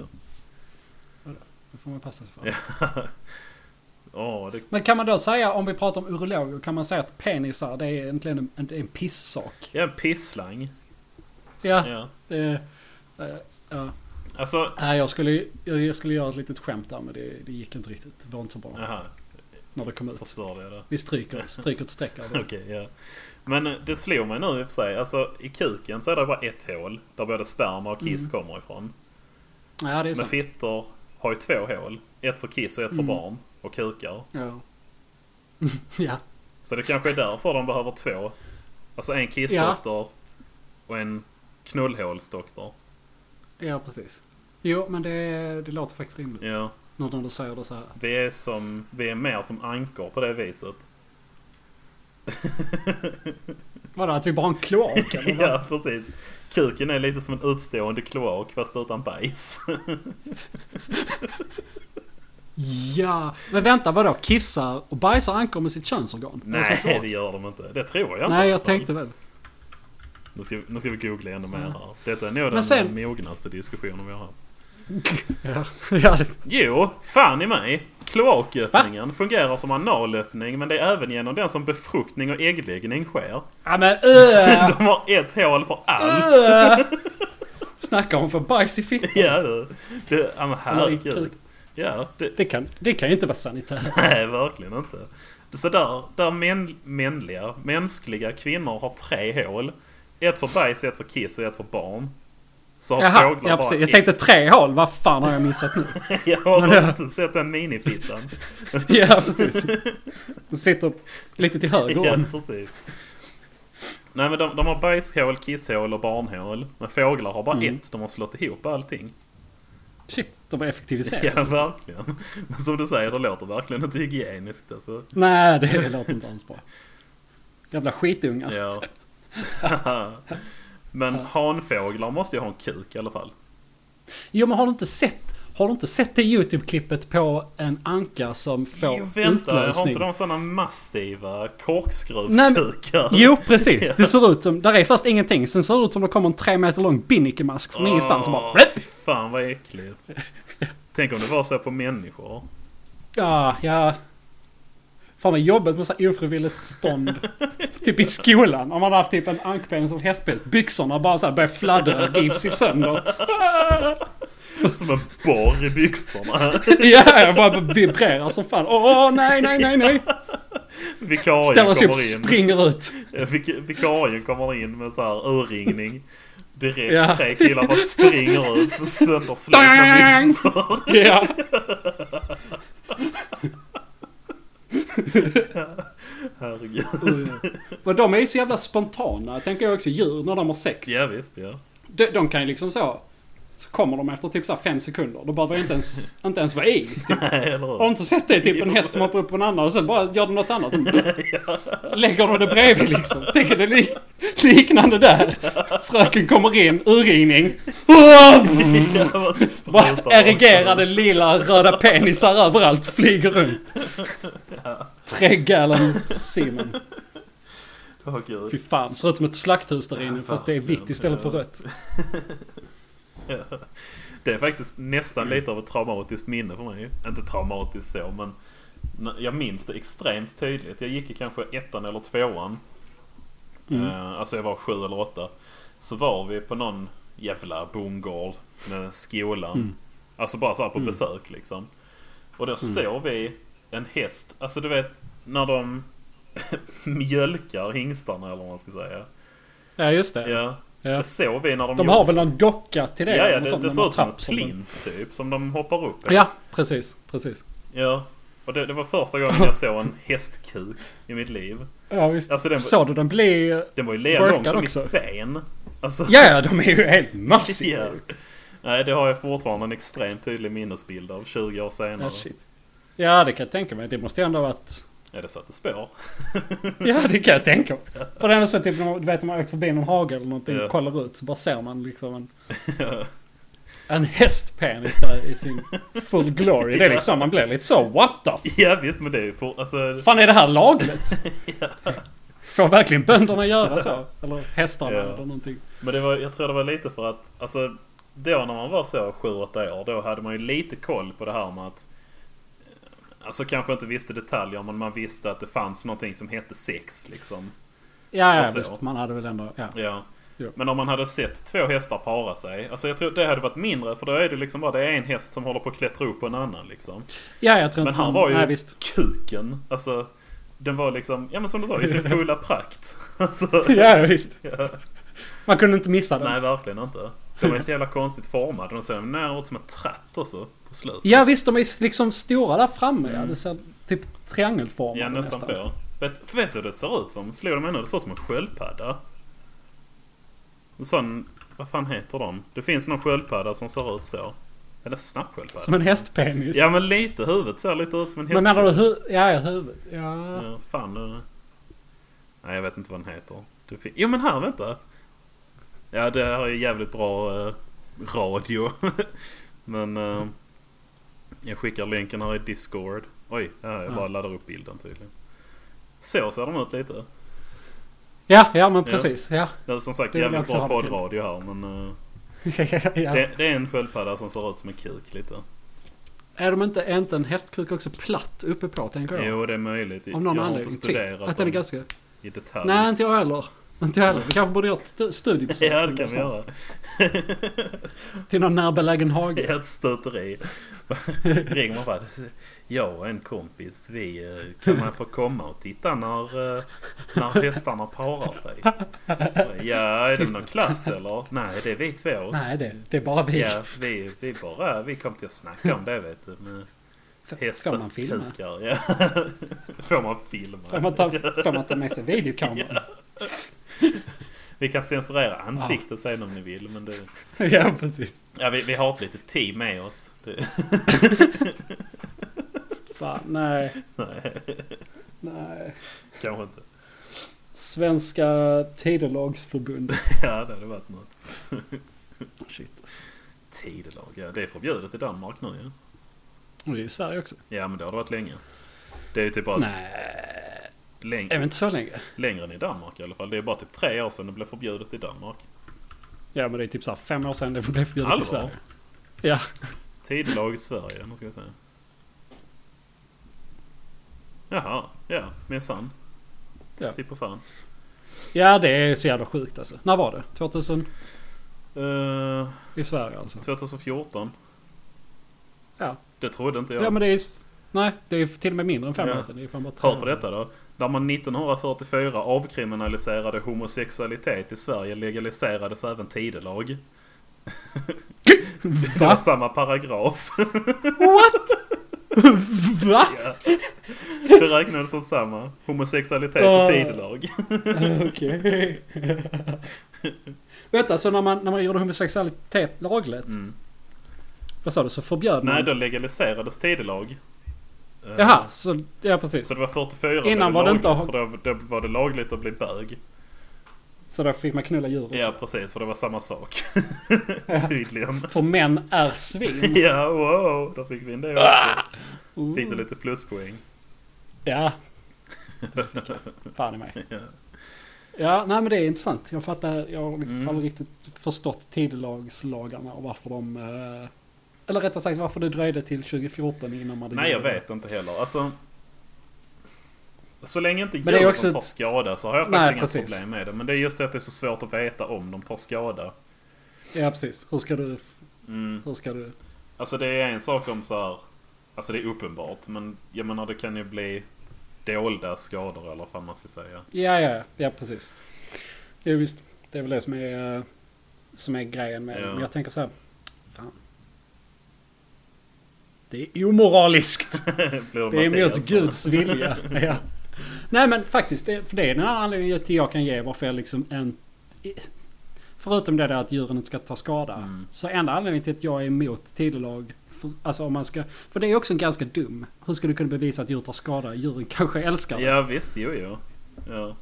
S1: Vad är det? Det får man passa sig för.
S2: Ja, det
S1: Men kan man då säga, om vi pratar om urologer, kan man säga att penisar det är egentligen en, en, det är en pisssak?
S2: är en pisslang.
S1: Ja,
S2: Ja.
S1: det är... eh, Ja.
S2: Alltså,
S1: Nej, jag skulle, jag, jag skulle göra ett litet skämt där men det, det gick inte riktigt. Det var inte så bra
S2: aha,
S1: när det kom ut.
S2: förstörde jag det.
S1: Vi stryker, stryker ett streck över det.
S2: Okej, ja. Men eh, det slår mig nu i och för sig. Alltså i kuken så är det bara ett hål där både sperma och kiss kommer ifrån.
S1: Ja, Mm. det är
S2: Men
S1: sant. Mm.
S2: fittor har ju två hål. Ett för kiss och ett för barn. Och kukar.
S1: Ja. ja.
S2: Så det kanske är därför de behöver två. Alltså en kissdoktor och en knullhålsdoktor.
S1: ja, precis. Jo, men det, det låter faktiskt rimligt.
S2: Ja.
S1: Nu när du säger det så här.
S2: Vi är, som, vi är mer som ankor på det viset.
S1: Vadå, att vi bara har en kloak eller? vad?
S2: Ja, precis. Kuken är lite som en utstående kloak fast utan bajs.
S1: ja. Men vänta, vadå? Kissar och bajsar ankor med sitt könsorgan? Eller som
S2: Nej,
S1: kloak?
S2: det gör de inte. Det tror jag inte.
S1: Nej, jag tänkte väl.
S2: Nu ska, nu ska vi googla ännu mer här. Detta är nog den
S1: Men sen-
S2: mognaste diskussionen vi har haft.
S1: Ja, ja det,
S2: Jo, fan i mig! Kloaköppningen fungerar som analöppning men det är även genom den som befruktning och äggläggning sker.
S1: Ja men öh!
S2: De har ett hål för allt!
S1: öh. Snacka om för bajs i fittan.
S2: Ja du! Det- Ja men
S1: Eller i
S2: herregud.
S1: kuk.
S2: Ja, det,
S1: Det kan, det kan ju inte vara sanitärt.
S2: Nej, verkligen inte. Så där, där män, mänliga, mänskliga kvinnor har tre hål. Ett för bajs, ett för kiss och ett för barn. Så har
S1: Jaha,
S2: fåglar
S1: ja,
S2: bara
S1: precis. Jag
S2: ett.
S1: tänkte tre hål. Vad fan har jag missat nu?
S2: Jag har
S1: Men-
S2: inte sett den minifittan.
S1: ja precis. Den sitter lite till höger
S2: ja,
S1: om.
S2: precis. Nej men de, de har bajshål, kisshål och barnhål. Men fåglar har bara
S1: Mm.
S2: ett. De har slått ihop allting.
S1: Shit, de har effektiviserat.
S2: Ja, verkligen. Men som du säger, det låter verkligen inte hygieniskt alltså.
S1: Nej, det låter inte alls bra. Jävla skitungar.
S2: Ja. men hanfåglar måste ju ha en kuk i alla fall.
S1: Jo men har du inte sett har du inte sett det YouTube-klippet på en anka som får
S2: Jo, vänta, har
S1: utlösning?
S2: inte de sådana massiva
S1: Nej, men-
S2: korkskruvskukar?
S1: Jo, precis. Det ser ut som... Där är först ingenting. Sen ser det ut som det kommer en tre meter lång binnikemask
S2: Ah.
S1: från ingenstans och bara...
S2: Åh, fy fan vad äckligt. Tänk om det var så på människor.
S1: Ja, ja. Fan vad jobbigt med så här ofrivilligt stånd. typ i skolan. Om man har haft typ en ankpenis som hästpäls. Byxorna bara så här börjar fladdra, rivs i sönder.
S2: Som en borr i byxorna.
S1: Ja, jag bara vibrerar som fan. Åh, nej, nej, nej, nej. Ställer
S2: Vikarien
S1: sig upp,
S2: kommer in.
S1: springer ut.
S2: Vik- Vikarien kommer in med så här urringning. Direkt
S1: Ja.
S2: tre killar bara springer ut. Sönderslitna
S1: Dang!
S2: byxor.
S1: Ja.
S2: Herregud.
S1: Men de är ju så jävla spontana. Jag tänker också djur när de har sex.
S2: Ja, visst ja.
S1: De, de kan ju liksom så... Så kommer de efter typ så här fem sekunder. Då behöver jag inte ens, inte ens vara i. Typ.
S2: Nej, eller
S1: Har du
S2: hur?
S1: inte sett det? Typ en häst som hoppar upp på en annan och sen bara gör den något annat. Lägger de det bredvid liksom. Tänker det lik, liknande där. Fröken kommer in, urringning.
S2: Ja, vad
S1: Bara
S2: sprutar
S1: erigerade lila röda penisar överallt flyger runt. Tre gallon semen.
S2: Åh, gud.
S1: Fy fan, ser ut som ett slakthus där inne fast det är vitt istället för rött.
S2: Det är faktiskt nästan
S1: Mm.
S2: lite av ett traumatiskt minne för mig. Inte traumatiskt så, men n- jag minns det extremt tydligt. Jag gick i kanske ettan eller tvåan.
S1: Mm.
S2: Eh, alltså jag var sju eller åtta. Så var vi på någon jävla bondgård med skolan.
S1: Mm.
S2: Alltså bara så här på besök liksom. Och då såg vi en häst. Alltså du vet när de mjölkar hingstarna eller vad man ska säga.
S1: Ja just det.
S2: Ja.
S1: Ja.
S2: Det såg vi när de,
S1: De har väl någon docka till det?
S2: Ja, ja
S1: eller något
S2: det,
S1: sånt,
S2: det
S1: någon
S2: såg ut som en
S1: trapp de-
S2: plint typ. Som de hoppar upp i.
S1: Ja, precis. precis.
S2: ja. Och det, det var första gången jag såg en hästkuk i mitt liv.
S1: Ja, visst.
S2: Alltså, den-
S1: Såg du den bli...
S2: Den var ju lika lång
S1: Workad
S2: som
S1: också.
S2: mitt ben. Alltså,
S1: Ja, ja, de är ju helt massiva.
S2: Ja. Nej, det har jag fortfarande en extremt tydlig minnesbild av 20 år senare.
S1: Ja, shit. Ja, det kan jag tänka mig. Det måste ändå ha varit...
S2: ja, det satte spår.
S1: Ja, det kan jag tänka mig. För det är ändå så typ, när man- du vet, om man har åkt förbi någon hage eller någonting
S2: Ja.
S1: och kollar ut så bara ser man liksom en... En hästpenis där i sin full glory. Det är liksom, man blir lite så what the
S2: ja, visst, men det är ju for, alltså,
S1: fan är det här lagligt? Får verkligen bönderna göra så? Eller hästarna
S2: Ja.
S1: eller någonting.
S2: Men det var, jag tror det var lite för att, alltså då när man var så 7-8 år, då hade man ju lite koll på det här med att eh, Alltså kanske inte visste detaljer men man visste att det fanns någonting som hette sex liksom.
S1: Ja, ja
S2: Och så.
S1: visst. Man hade väl ändå... Ja.
S2: Alltså, Ja.
S1: Ja.
S2: Men om man hade sett två hästar para sig. Alltså jag tror det hade varit mindre för då är det liksom bara det är en häst som håller på att klättra upp på en annan liksom.
S1: ja, jag tror
S2: Men
S1: inte man-
S2: han var ju
S1: Nej, visst.
S2: kuken. Alltså den var liksom, ja men som du sa, i sin fulla prakt. Alltså,
S1: Ja, ja, visst.
S2: ja.
S1: Man kunde inte missa den.
S2: Nej, verkligen inte. De var ju så jävla konstigt formade. De ser nära ut som en tratt och så på slutet.
S1: Ja, visst. De är liksom stora där framme. Ja, det ser typ triangelformat
S2: Ja, nästan på. Vet, vet du vad det ser ut som? Slog de mig nu? Det ser ut som en sköldpadda. En sån... Vad fan heter de? Det finns någon sköldpadda som ser ut så. Eller snappsköldpadda.
S1: Som en hästpenis.
S2: Ja, men lite. Huvudet ser lite ut som en
S1: Men
S2: häst.
S1: menar du hu- ja, ja, huvudet? Ja.
S2: Ja, fan nu. Nej, jag vet inte vad den heter. Det fin- jo, men här, vänta. Ja, det här är ju jävligt bra eh, radio. men... Eh, jag skickar länken här i Discord. Oj, ja, jag bara
S1: Ja.
S2: laddar upp bilden tydligen. Så ser de ut lite.
S1: Ja, ja men
S2: Ja.
S1: precis. Ja.
S2: Det är som sagt
S1: Det vill jag
S2: jävligt
S1: också
S2: bra
S1: ha det till.
S2: poddradio här men... eh,
S1: ja.
S2: det, det är en sköldpadda som ser ut som en kuk lite.
S1: Är de inte, är inte en hästkuk också platt uppe på tänker jag?
S2: Jo, det är möjligt.
S1: Av någon
S2: jag har inte
S1: anledning. typ.
S2: studerat
S1: att den är
S2: dem
S1: ganska...
S2: i detalj.
S1: Nej, inte jag heller. Inte jag heller. Vi kanske borde göra ett stu- studiebesök.
S2: ja, det kan vi
S1: någonstans.
S2: göra.
S1: liksom. Till någon närbelägen
S2: Det
S1: hage.
S2: är ett stöteri. Ringer man bara. Jag och en kompis, vi eh, kan man få komma och titta när, eh, när hästarna parar sig? Ja, är det någon klass eller? Nej, det är vi två.
S1: Nej, det, det är bara vi.
S2: Ja, vi, vi bara, vi kom till att snacka om det vet du. Med
S1: F-
S2: hästar,
S1: Får man filma?
S2: kukar, Ja. Får man filma?
S1: Får man ta, får man ta med sig videokameran?
S2: Vi kan censurera ansiktet sen om ni vill. Men det,
S1: Ja, precis.
S2: ja, vi, vi har ett litet team med oss. Det,
S1: Fan, nej. Nej.
S2: kanske inte.
S1: Svenska tidelagsförbundet.
S2: Ja, det hade varit något.
S1: Shit alltså.
S2: Tidelag, ja. Det är förbjudet i Danmark nu ju. Ja.
S1: Och det är i Sverige också.
S2: ja, men det har det varit länge. Det är ju typ bara
S1: Nej, det är
S2: läng-
S1: väl inte så länge.
S2: längre än i Danmark i alla fall. Det är bara typ tre år sedan det blev förbjudet i Danmark.
S1: Ja, men det är typ så här fem år sedan det blev förbjudet i
S2: Allvar?
S1: Sverige. Ja.
S2: Tidelag i Sverige, nu ska jag säga. Jaha, ja, minsann.
S1: Ja.
S2: Se på fan.
S1: ja, det är så jävla sjukt alltså. När var det? 2000?
S2: Eh,
S1: I Sverige alltså?
S2: 2014.
S1: Ja.
S2: Det trodde inte jag.
S1: Ja, men det är... s- Nej, det är till och med mindre än fem
S2: Ja.
S1: år sedan. Det är fan bara tre
S2: Hör
S1: år
S2: på
S1: sedan.
S2: detta då. Där man 1944 avkriminaliserade homosexualitet i Sverige legaliserades även tidelag. Det var
S1: Va?
S2: samma paragraf.
S1: Va?
S2: Det räknades som samma. Homosexualitet
S1: Ah.
S2: och tidelag.
S1: Okej. Vänta, så när man, när man gjorde homosexualitet lagligt?
S2: Mm.
S1: Vad sa du? Så förbjöd
S2: Nej,
S1: man?
S2: då legaliserades tidelag. Eh,
S1: Jaha, så... Ja, precis.
S2: Så det var 44 blev
S1: Innan var det inte
S2: lagligt, för då, då var det lagligt att bli bög.
S1: Så då fick man knulla djur också.
S2: Ja, precis. För det var samma sak. Tydligen.
S1: För män är svin.
S2: Ja, wow. Då fick vi in det
S1: Ah!
S2: också. Fick du lite pluspoäng.
S1: Ja. Fan i mig. Ja, nej men det är intressant. Jag fattar, jag har
S2: Mm.
S1: aldrig riktigt förstått tidelagslagarna och varför de... eh, Eller rättare sagt varför det dröjde till 2014 innan man...
S2: Nej, jag
S1: gjorde det.
S2: vet inte heller. Alltså... Så länge inte
S1: Men det är
S2: djuren
S1: också
S2: tar
S1: ett-
S2: skada så har jag
S1: Nej,
S2: faktiskt inga
S1: precis.
S2: problem med det. Men det är just det att det är så svårt att veta om de tar skada.
S1: Ja, precis. Hur ska du...
S2: Mm.
S1: Hur ska du...
S2: Alltså det är en sak om så här... Alltså det är uppenbart. Men jag menar det kan ju bli dolda skador eller vad fan man ska säga.
S1: Ja, ja, ja, ja precis. Jo, visst. Det är väl det som är, eh, som är grejen med det.
S2: Ja.
S1: Men jag tänker så här. Fan. Det är omoraliskt.
S2: Blir
S1: Det är
S2: Mattias
S1: emot
S2: då?
S1: Guds vilja. Ja. Nej men faktiskt, det, för det är den här anledningen till jag kan ge varför jag liksom en, Förutom det där att djuren inte ska ta skada.
S2: Mm.
S1: Så enda anledningen till att jag är emot tidelag. För, alltså om man ska, för det är också ganska dum. Hur ska du kunna bevisa att djur tar skada? Djuren kanske älskar det.
S2: Ja visst, jo jo. Ja.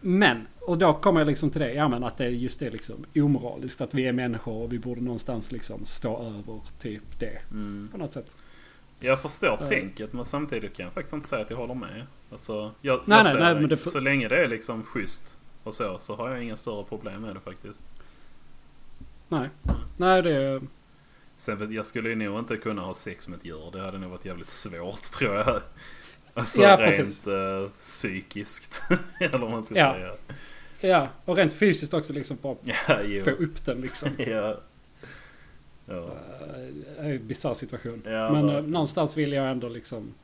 S1: Men, och då kommer jag liksom till det. Ja men att det är just det liksom omoraliskt. Att vi är människor och vi borde någonstans liksom stå över typ det.
S2: Mm.
S1: På något sätt.
S2: Jag förstår
S1: Ja.
S2: tänket men samtidigt kan jag faktiskt inte säga att jag håller med. Alltså, jag,
S1: Nej,
S2: jag
S1: nej,
S2: ser
S1: nej,
S2: det.
S1: men det får-
S2: Så länge det är liksom schysst och så, så har jag inga större problem med det faktiskt.
S1: Nej. Nej det är...
S2: Sen, vet- jag skulle ju nog inte kunna ha sex med ett djur. Det hade nog varit jävligt svårt tror jag. Alltså
S1: Ja, precis.
S2: rent eh, psykiskt. Eller vad man ska
S1: Ja.
S2: säga.
S1: Ja, och rent fysiskt också liksom bara
S2: Ja, jo.
S1: få upp den liksom.
S2: Ja. Ja.
S1: Eh, en Bisarr situation.
S2: Ja,
S1: Men
S2: verkligen.
S1: eh, någonstans vill jag ändå liksom...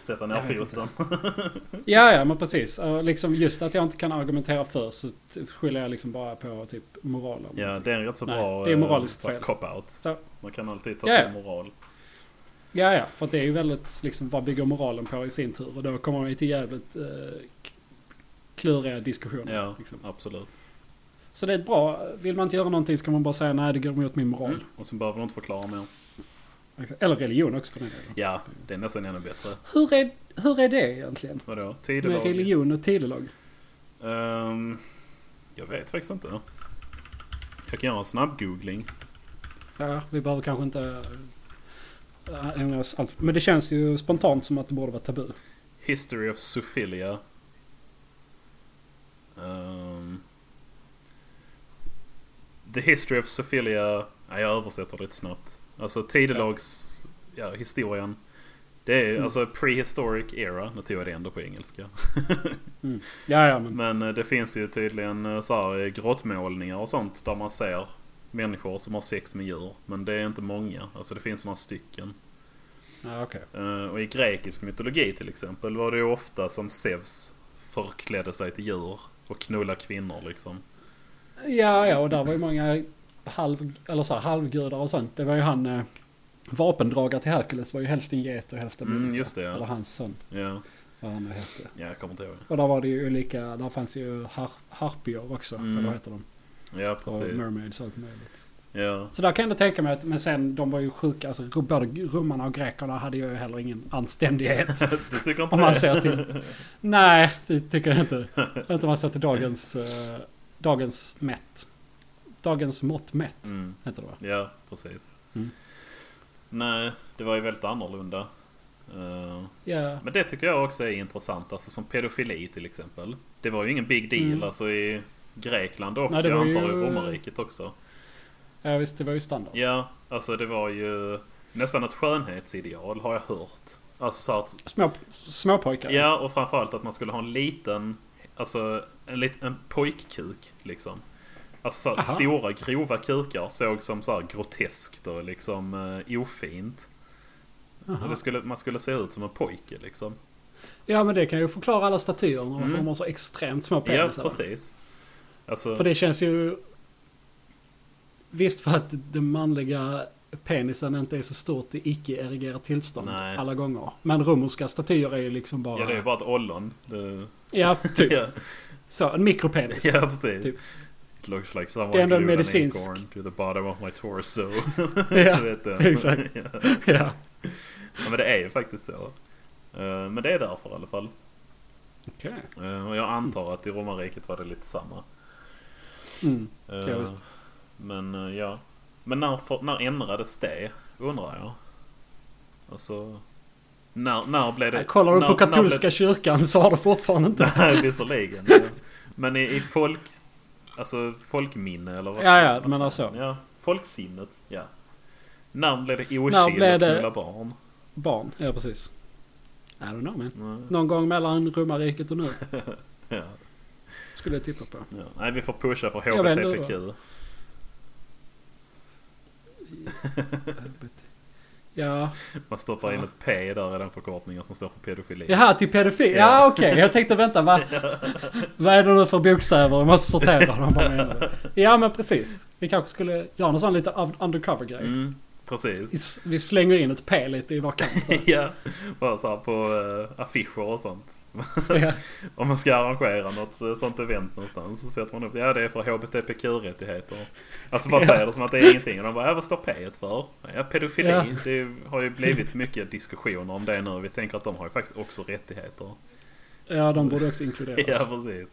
S2: Sätta ner
S1: Jag vet inte.
S2: foten.
S1: Ja, ja, men precis. Eh, Liksom just att jag inte kan argumentera för så t- skyller jag liksom bara på typ moralen.
S2: Ja, det är en rätt så
S1: Nej,
S2: bra
S1: det är moraliskt
S2: eh, så här
S1: fel.
S2: cop-out.
S1: Så,
S2: Man kan alltid ta
S1: Ja, ja.
S2: till moral.
S1: ja, ja, för det är ju väldigt liksom vad bygger moralen på i sin tur? Och då kommer man ju till jävligt eh, k- kluriga diskussioner.
S2: Ja,
S1: Liksom.
S2: absolut.
S1: Så det är ett bra, vill man inte göra någonting så kan man bara säga nej det går emot min moral.
S2: Och sen behöver du inte förklara mer.
S1: Eller religion också för den delen.
S2: Ja, det är nästan ännu bättre.
S1: Hur är, hur är det egentligen?
S2: Vadå?
S1: Med
S2: Tidelag?
S1: religion och tidelag?
S2: Ehm, jag vet faktiskt inte. Jag kan göra en snabb googling.
S1: Ja, vi behöver kanske inte äh, ägna oss allt. Men det känns ju spontant som att det borde vara tabu.
S2: History of Sophilia. Ehm, the History of Sophilia. Ja, jag översätter det lite snabbt. Alltså tidelags... Ja, historien. Det är alltså prehistoric era. Nu tog jag det ändå på engelska.
S1: Ja, ja, men
S2: Men eh, det finns ju tydligen eh, så här eh, grottmålningar och sånt där man ser människor som har sex med djur. Men det är inte många. Alltså det finns några stycken.
S1: ja, okej.
S2: Eh, Och i grekisk mytologi till exempel var det ju ofta som Zeus förklädde sig till djur och knulla kvinnor liksom.
S1: Ja, ja, och där var ju många halv, eller så här, halvgudar och sånt. Det var ju han eh, vapendragare till Herkules var ju hälften get och hälften
S2: Mm,
S1: människa.
S2: just det, ja.
S1: Eller hans son,
S2: Ja,
S1: vad han nu hette.
S2: ja jag kommer inte ihåg.
S1: Och där var det ju olika, där fanns ju har, harpior också,
S2: Mm,
S1: eller vad heter de?
S2: Ja,
S1: Och
S2: precis.
S1: mermaids och allt möjligt.
S2: Ja,
S1: Så där kan jag ändå tänka mig att, men sen de var ju sjuka, alltså både romarna och grekerna hade ju heller ingen anständighet.
S2: du tycker inte
S1: Om man
S2: det?
S1: ser till... Nej, det tycker jag inte. Inte om man ser till dagens... eh, dagens mätt. Dagens mått mätt.
S2: Mm.
S1: Heter det va?
S2: Ja, precis.
S1: Mm.
S2: Nej, det var ju väldigt annorlunda. Eh,
S1: Ja.
S2: Men det tycker jag också är intressant. Alltså som pedofili till exempel. Det var ju ingen big deal
S1: Mm.
S2: alltså i Grekland och
S1: Nej, det
S2: jag
S1: var ju-
S2: antar i romarriket också.
S1: ja, visst det var ju standard.
S2: Ja, alltså det var ju nästan ett skönhetsideal har jag hört. Alltså så att,
S1: Små, småpojkar.
S2: ja och framförallt att man skulle ha en liten, alltså en, lit, en pojkkuk liksom. Alltså så här,
S1: Aha.
S2: stora grova kukar såg som så här groteskt och liksom eh, ofint. Och
S1: Aha.
S2: Det skulle, man skulle se ut som en pojke liksom.
S1: ja, men det kan ju förklara alla statyer. Varför
S2: Mm.
S1: de har så extremt små
S2: Ja,
S1: penisar.
S2: precis. Alltså,
S1: För det känns ju... Visst för att den manliga penisen inte är så stort i icke-erigerat tillstånd
S2: Nej.
S1: alla gånger. Men romerska statyer är ju liksom bara...
S2: Ja det är bara ett ollon. Det...
S1: Ja, typ.
S2: Ja,
S1: Så, en mikropenis.
S2: ja precis.
S1: Typ.
S2: It looks like someone
S1: Det är ändå en
S2: glued an
S1: medicinsk-
S2: acorn to the bottom of my torso.
S1: Ja,
S2: Du vet det.
S1: exakt.
S2: ja.
S1: ja.
S2: Ja, Men det är ju faktiskt så. Eh, Men det är därför i alla fall.
S1: Okej.
S2: Eh, Och jag antar att i romarriket var det lite samma.
S1: Mm.
S2: Eh,
S1: Ja, visst.
S2: Men eh, ja. Men när, för, när ändrades det? Undrar jag. Alltså. När, när blev det...
S1: Kollar du
S2: när,
S1: på
S2: när blev-
S1: katolska kyrkan så har du fortfarande inte...
S2: Nej, visserligen. ja. Men i, i folk... Alltså folkminne eller vad
S1: Ja, ja,
S2: vad
S1: men
S2: säger
S1: alltså.
S2: man? Ja, folksinnet. Ja. När blev det
S1: När
S2: ochill
S1: blev
S2: att
S1: det-
S2: knulla barn?
S1: Barn, ja precis. I don't know man.
S2: Nej,
S1: Någon gång mellan romarriket och nu.
S2: Mm, Ja,
S1: Skulle jag tippa på.
S2: ja. Nej, vi får pusha för
S1: Jag vet inte.
S2: HBTPQ.
S1: Ja.
S2: Man stoppar in ett P där i den förkortningen som står för pedofili.
S1: Jaha, till pedofil? Ja,
S2: Ja.
S1: okej. Jag tänkte vänta, vad, vad är det nu för bokstäver? Jag måste sortera dem. Bara en. ja, men precis. Vi kanske skulle göra någon sån lite av- undercover-grej.
S2: Mm,
S1: Vi
S2: precis.
S1: s- Vi slänger in ett P lite i var kant. där.
S2: ja, bara så här på eh, affischer och sånt.
S1: Ja.
S2: Om man ska arrangera något eh, sånt event någonstans så sätter man upp det. Ja, det är för HBTQ-rättigheter. Alltså bara säger det som att det är ingenting. Och de bara, ja, vad står P för? Ja, pedofili.
S1: Ja.
S2: Det har ju blivit mycket diskussioner om det nu. Vi tänker att de har ju faktiskt också rättigheter.
S1: ja, de borde också
S2: Ja,
S1: inkluderas.
S2: precis.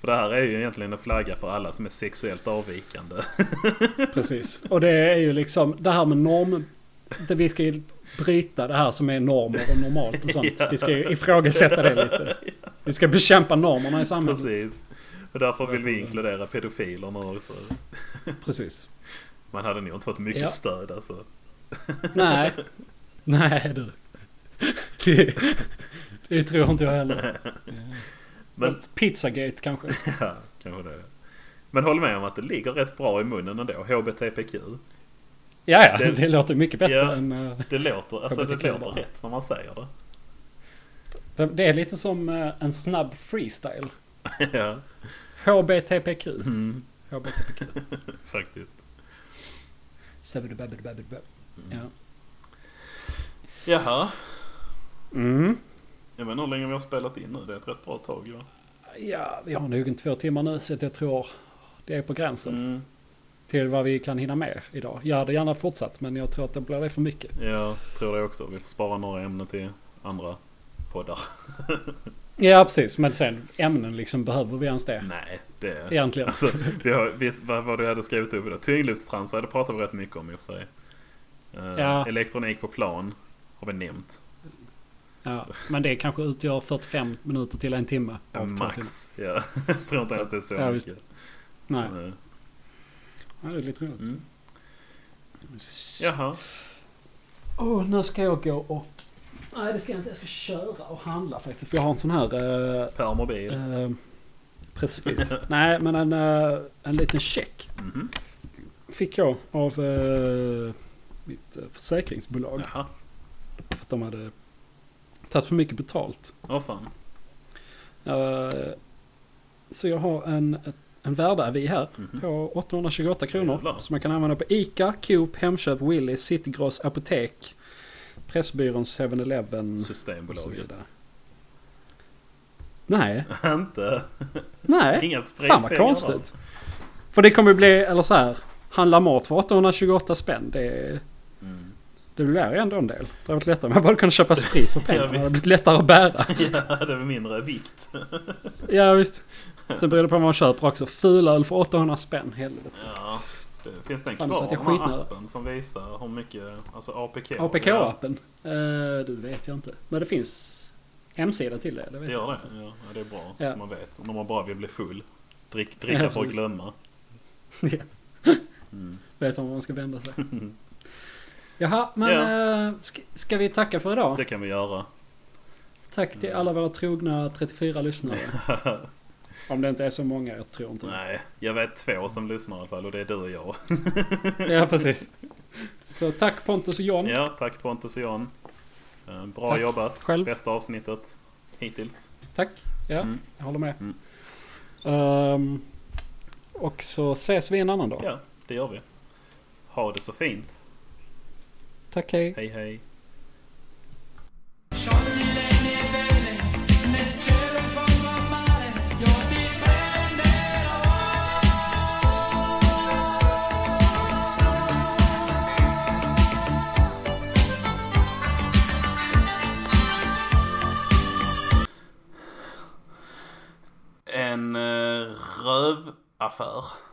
S2: För det här är ju egentligen en flagga för alla som är sexuellt avvikande.
S1: Precis. Och det är ju liksom det här med norm. Det vi ska ju bryta det här som är normer och normalt och sånt. Vi ska ju ifrågasätta det lite. Vi ska bekämpa normerna i samhället. Precis.
S2: Precis. Och därför vill vi inkludera pedofiler nu också. Man hade nog inte fått mycket
S1: Ja.
S2: stöd alltså.
S1: Nej. Nej du. Det, det tror inte jag heller.
S2: Men-
S1: Men, Pizzagate kanske.
S2: Ja, kanske det. Men håll med om att det ligger rätt bra i munnen ändå. HBTPQ.
S1: Ja, ja. Det,
S2: Det-
S1: låter mycket bättre
S2: Ja.
S1: än... eh,
S2: Det låter, alltså, det
S1: HBTQ
S2: låter
S1: bara.
S2: rätt när man säger det.
S1: det, det är lite som eh, en snabb freestyle.
S2: ja,
S1: HBTPQ.
S2: Mm.
S1: HBTPQ.
S2: faktiskt.
S1: Sabidubabidubabidubab.
S2: Mm.
S1: Ja.
S2: Jaha.
S1: Mm.
S2: Jag vet inte hur länge vi har spelat in nu. Det är ett rätt bra tag ju.
S1: ja, vi har nog en två timmar nu så att jag tror det är på gränsen
S2: Mm.
S1: till vad vi kan hinna med idag. Jag hade gärna fortsatt men jag tror att det blir det för mycket.
S2: Jag tror det också. Vi får spara några ämnen till andra poddar.
S1: Ja, precis. Men sen ämnen liksom, behöver vi ens det?
S2: Nej, det...
S1: Egentligen.
S2: Alltså, vi har, vi, vad, vad du hade skrivit upp idag. Tyngdlyftstransar, det pratar vi rätt mycket om i och för sig. Eh,
S1: Ja.
S2: Elektronik på plan har vi nämnt.
S1: Ja, men det kanske utgör 45 minuter till en timme. av två timmar.
S2: Max. Ja. Jag tror inte ens det är så
S1: Ja, visst.
S2: mycket.
S1: Nej,
S2: Men, eh,
S1: ja, det är lite roligt.
S2: Mm. Jaha.
S1: Åh, nu ska jag gå och... Nej, det ska jag inte. Jag ska köra och handla faktiskt. För jag har en sån här... eh,
S2: Permobil.
S1: eh, precis. Nej, men en, eh, en liten check
S2: Mhm.
S1: fick jag av eh, mitt eh, försäkringsbolag.
S2: Jaha.
S1: För att de hade tagit för mycket betalt.
S2: Åh fan.
S1: Eh, Så jag har en, en värdeavi här
S2: Mhm.
S1: på 828 kronor.
S2: Jävlar.
S1: Som man kan använda på ICA, Coop, Hemköp, Willys, Citygross, Apotek, Pressbyrån, 7-Eleven och så
S2: Systembolaget.
S1: vidare. Nej,
S2: inte.
S1: nej.
S2: Inga spritpengar
S1: Fan vad konstigt. För det kommer bli, eller så här, handla mat för 828 spänn. Det,
S2: där. Mm.
S1: det blir ju ändå en del. Det hade varit lättare om jag bara kunde köpa sprit för pengarna. det hade
S2: visst.
S1: blivit lättare att bära.
S2: Ja, det var mindre vikt.
S1: Ja visst. Sen beror det på vad man köper också. Fulöl för 800 spänn. Helvete.
S2: Ja. Det, finns den
S1: Fan, så
S2: kvar?
S1: att jag
S2: Den här
S1: skitnär.
S2: appen som visar hur mycket, alltså APK. Ja,
S1: APK-appen? Eh, du vet jag inte. Men det finns hemsida till det. det vet
S2: det
S1: jag.
S2: gör det. Ja, ja, det är bra.
S1: Ja.
S2: Så man vet. När man bara vill bli full. Drick,
S1: Ja,
S2: dricka för att
S1: precis.
S2: glömma.
S1: vet man var man ska vända sig. Jaha, men eh, ska, ska vi tacka för idag?
S2: Det kan vi göra.
S1: Tack till alla våra trogna 34 lyssnare. Om det inte är så många, jag tror inte det.
S2: Nej, jag vet två som lyssnar i alla fall och det är du och jag.
S1: Ja, precis. Så tack Pontus och John.
S2: Ja, tack Pontus och Jan. Eh, Bra
S1: Tack
S2: jobbat.
S1: själv.
S2: Bästa avsnittet hittills.
S1: Tack. Ja,
S2: Mm.
S1: jag håller med.
S2: Mm.
S1: Ehm, och så ses vi en annan dag.
S2: Ja, det gör vi. Ha det så fint.
S1: Tack, hej.
S2: Hej hej.
S3: Sciogli le nivelle nel cielo in fondo al mare, io ti prenderò.
S2: eh, En rövaffär.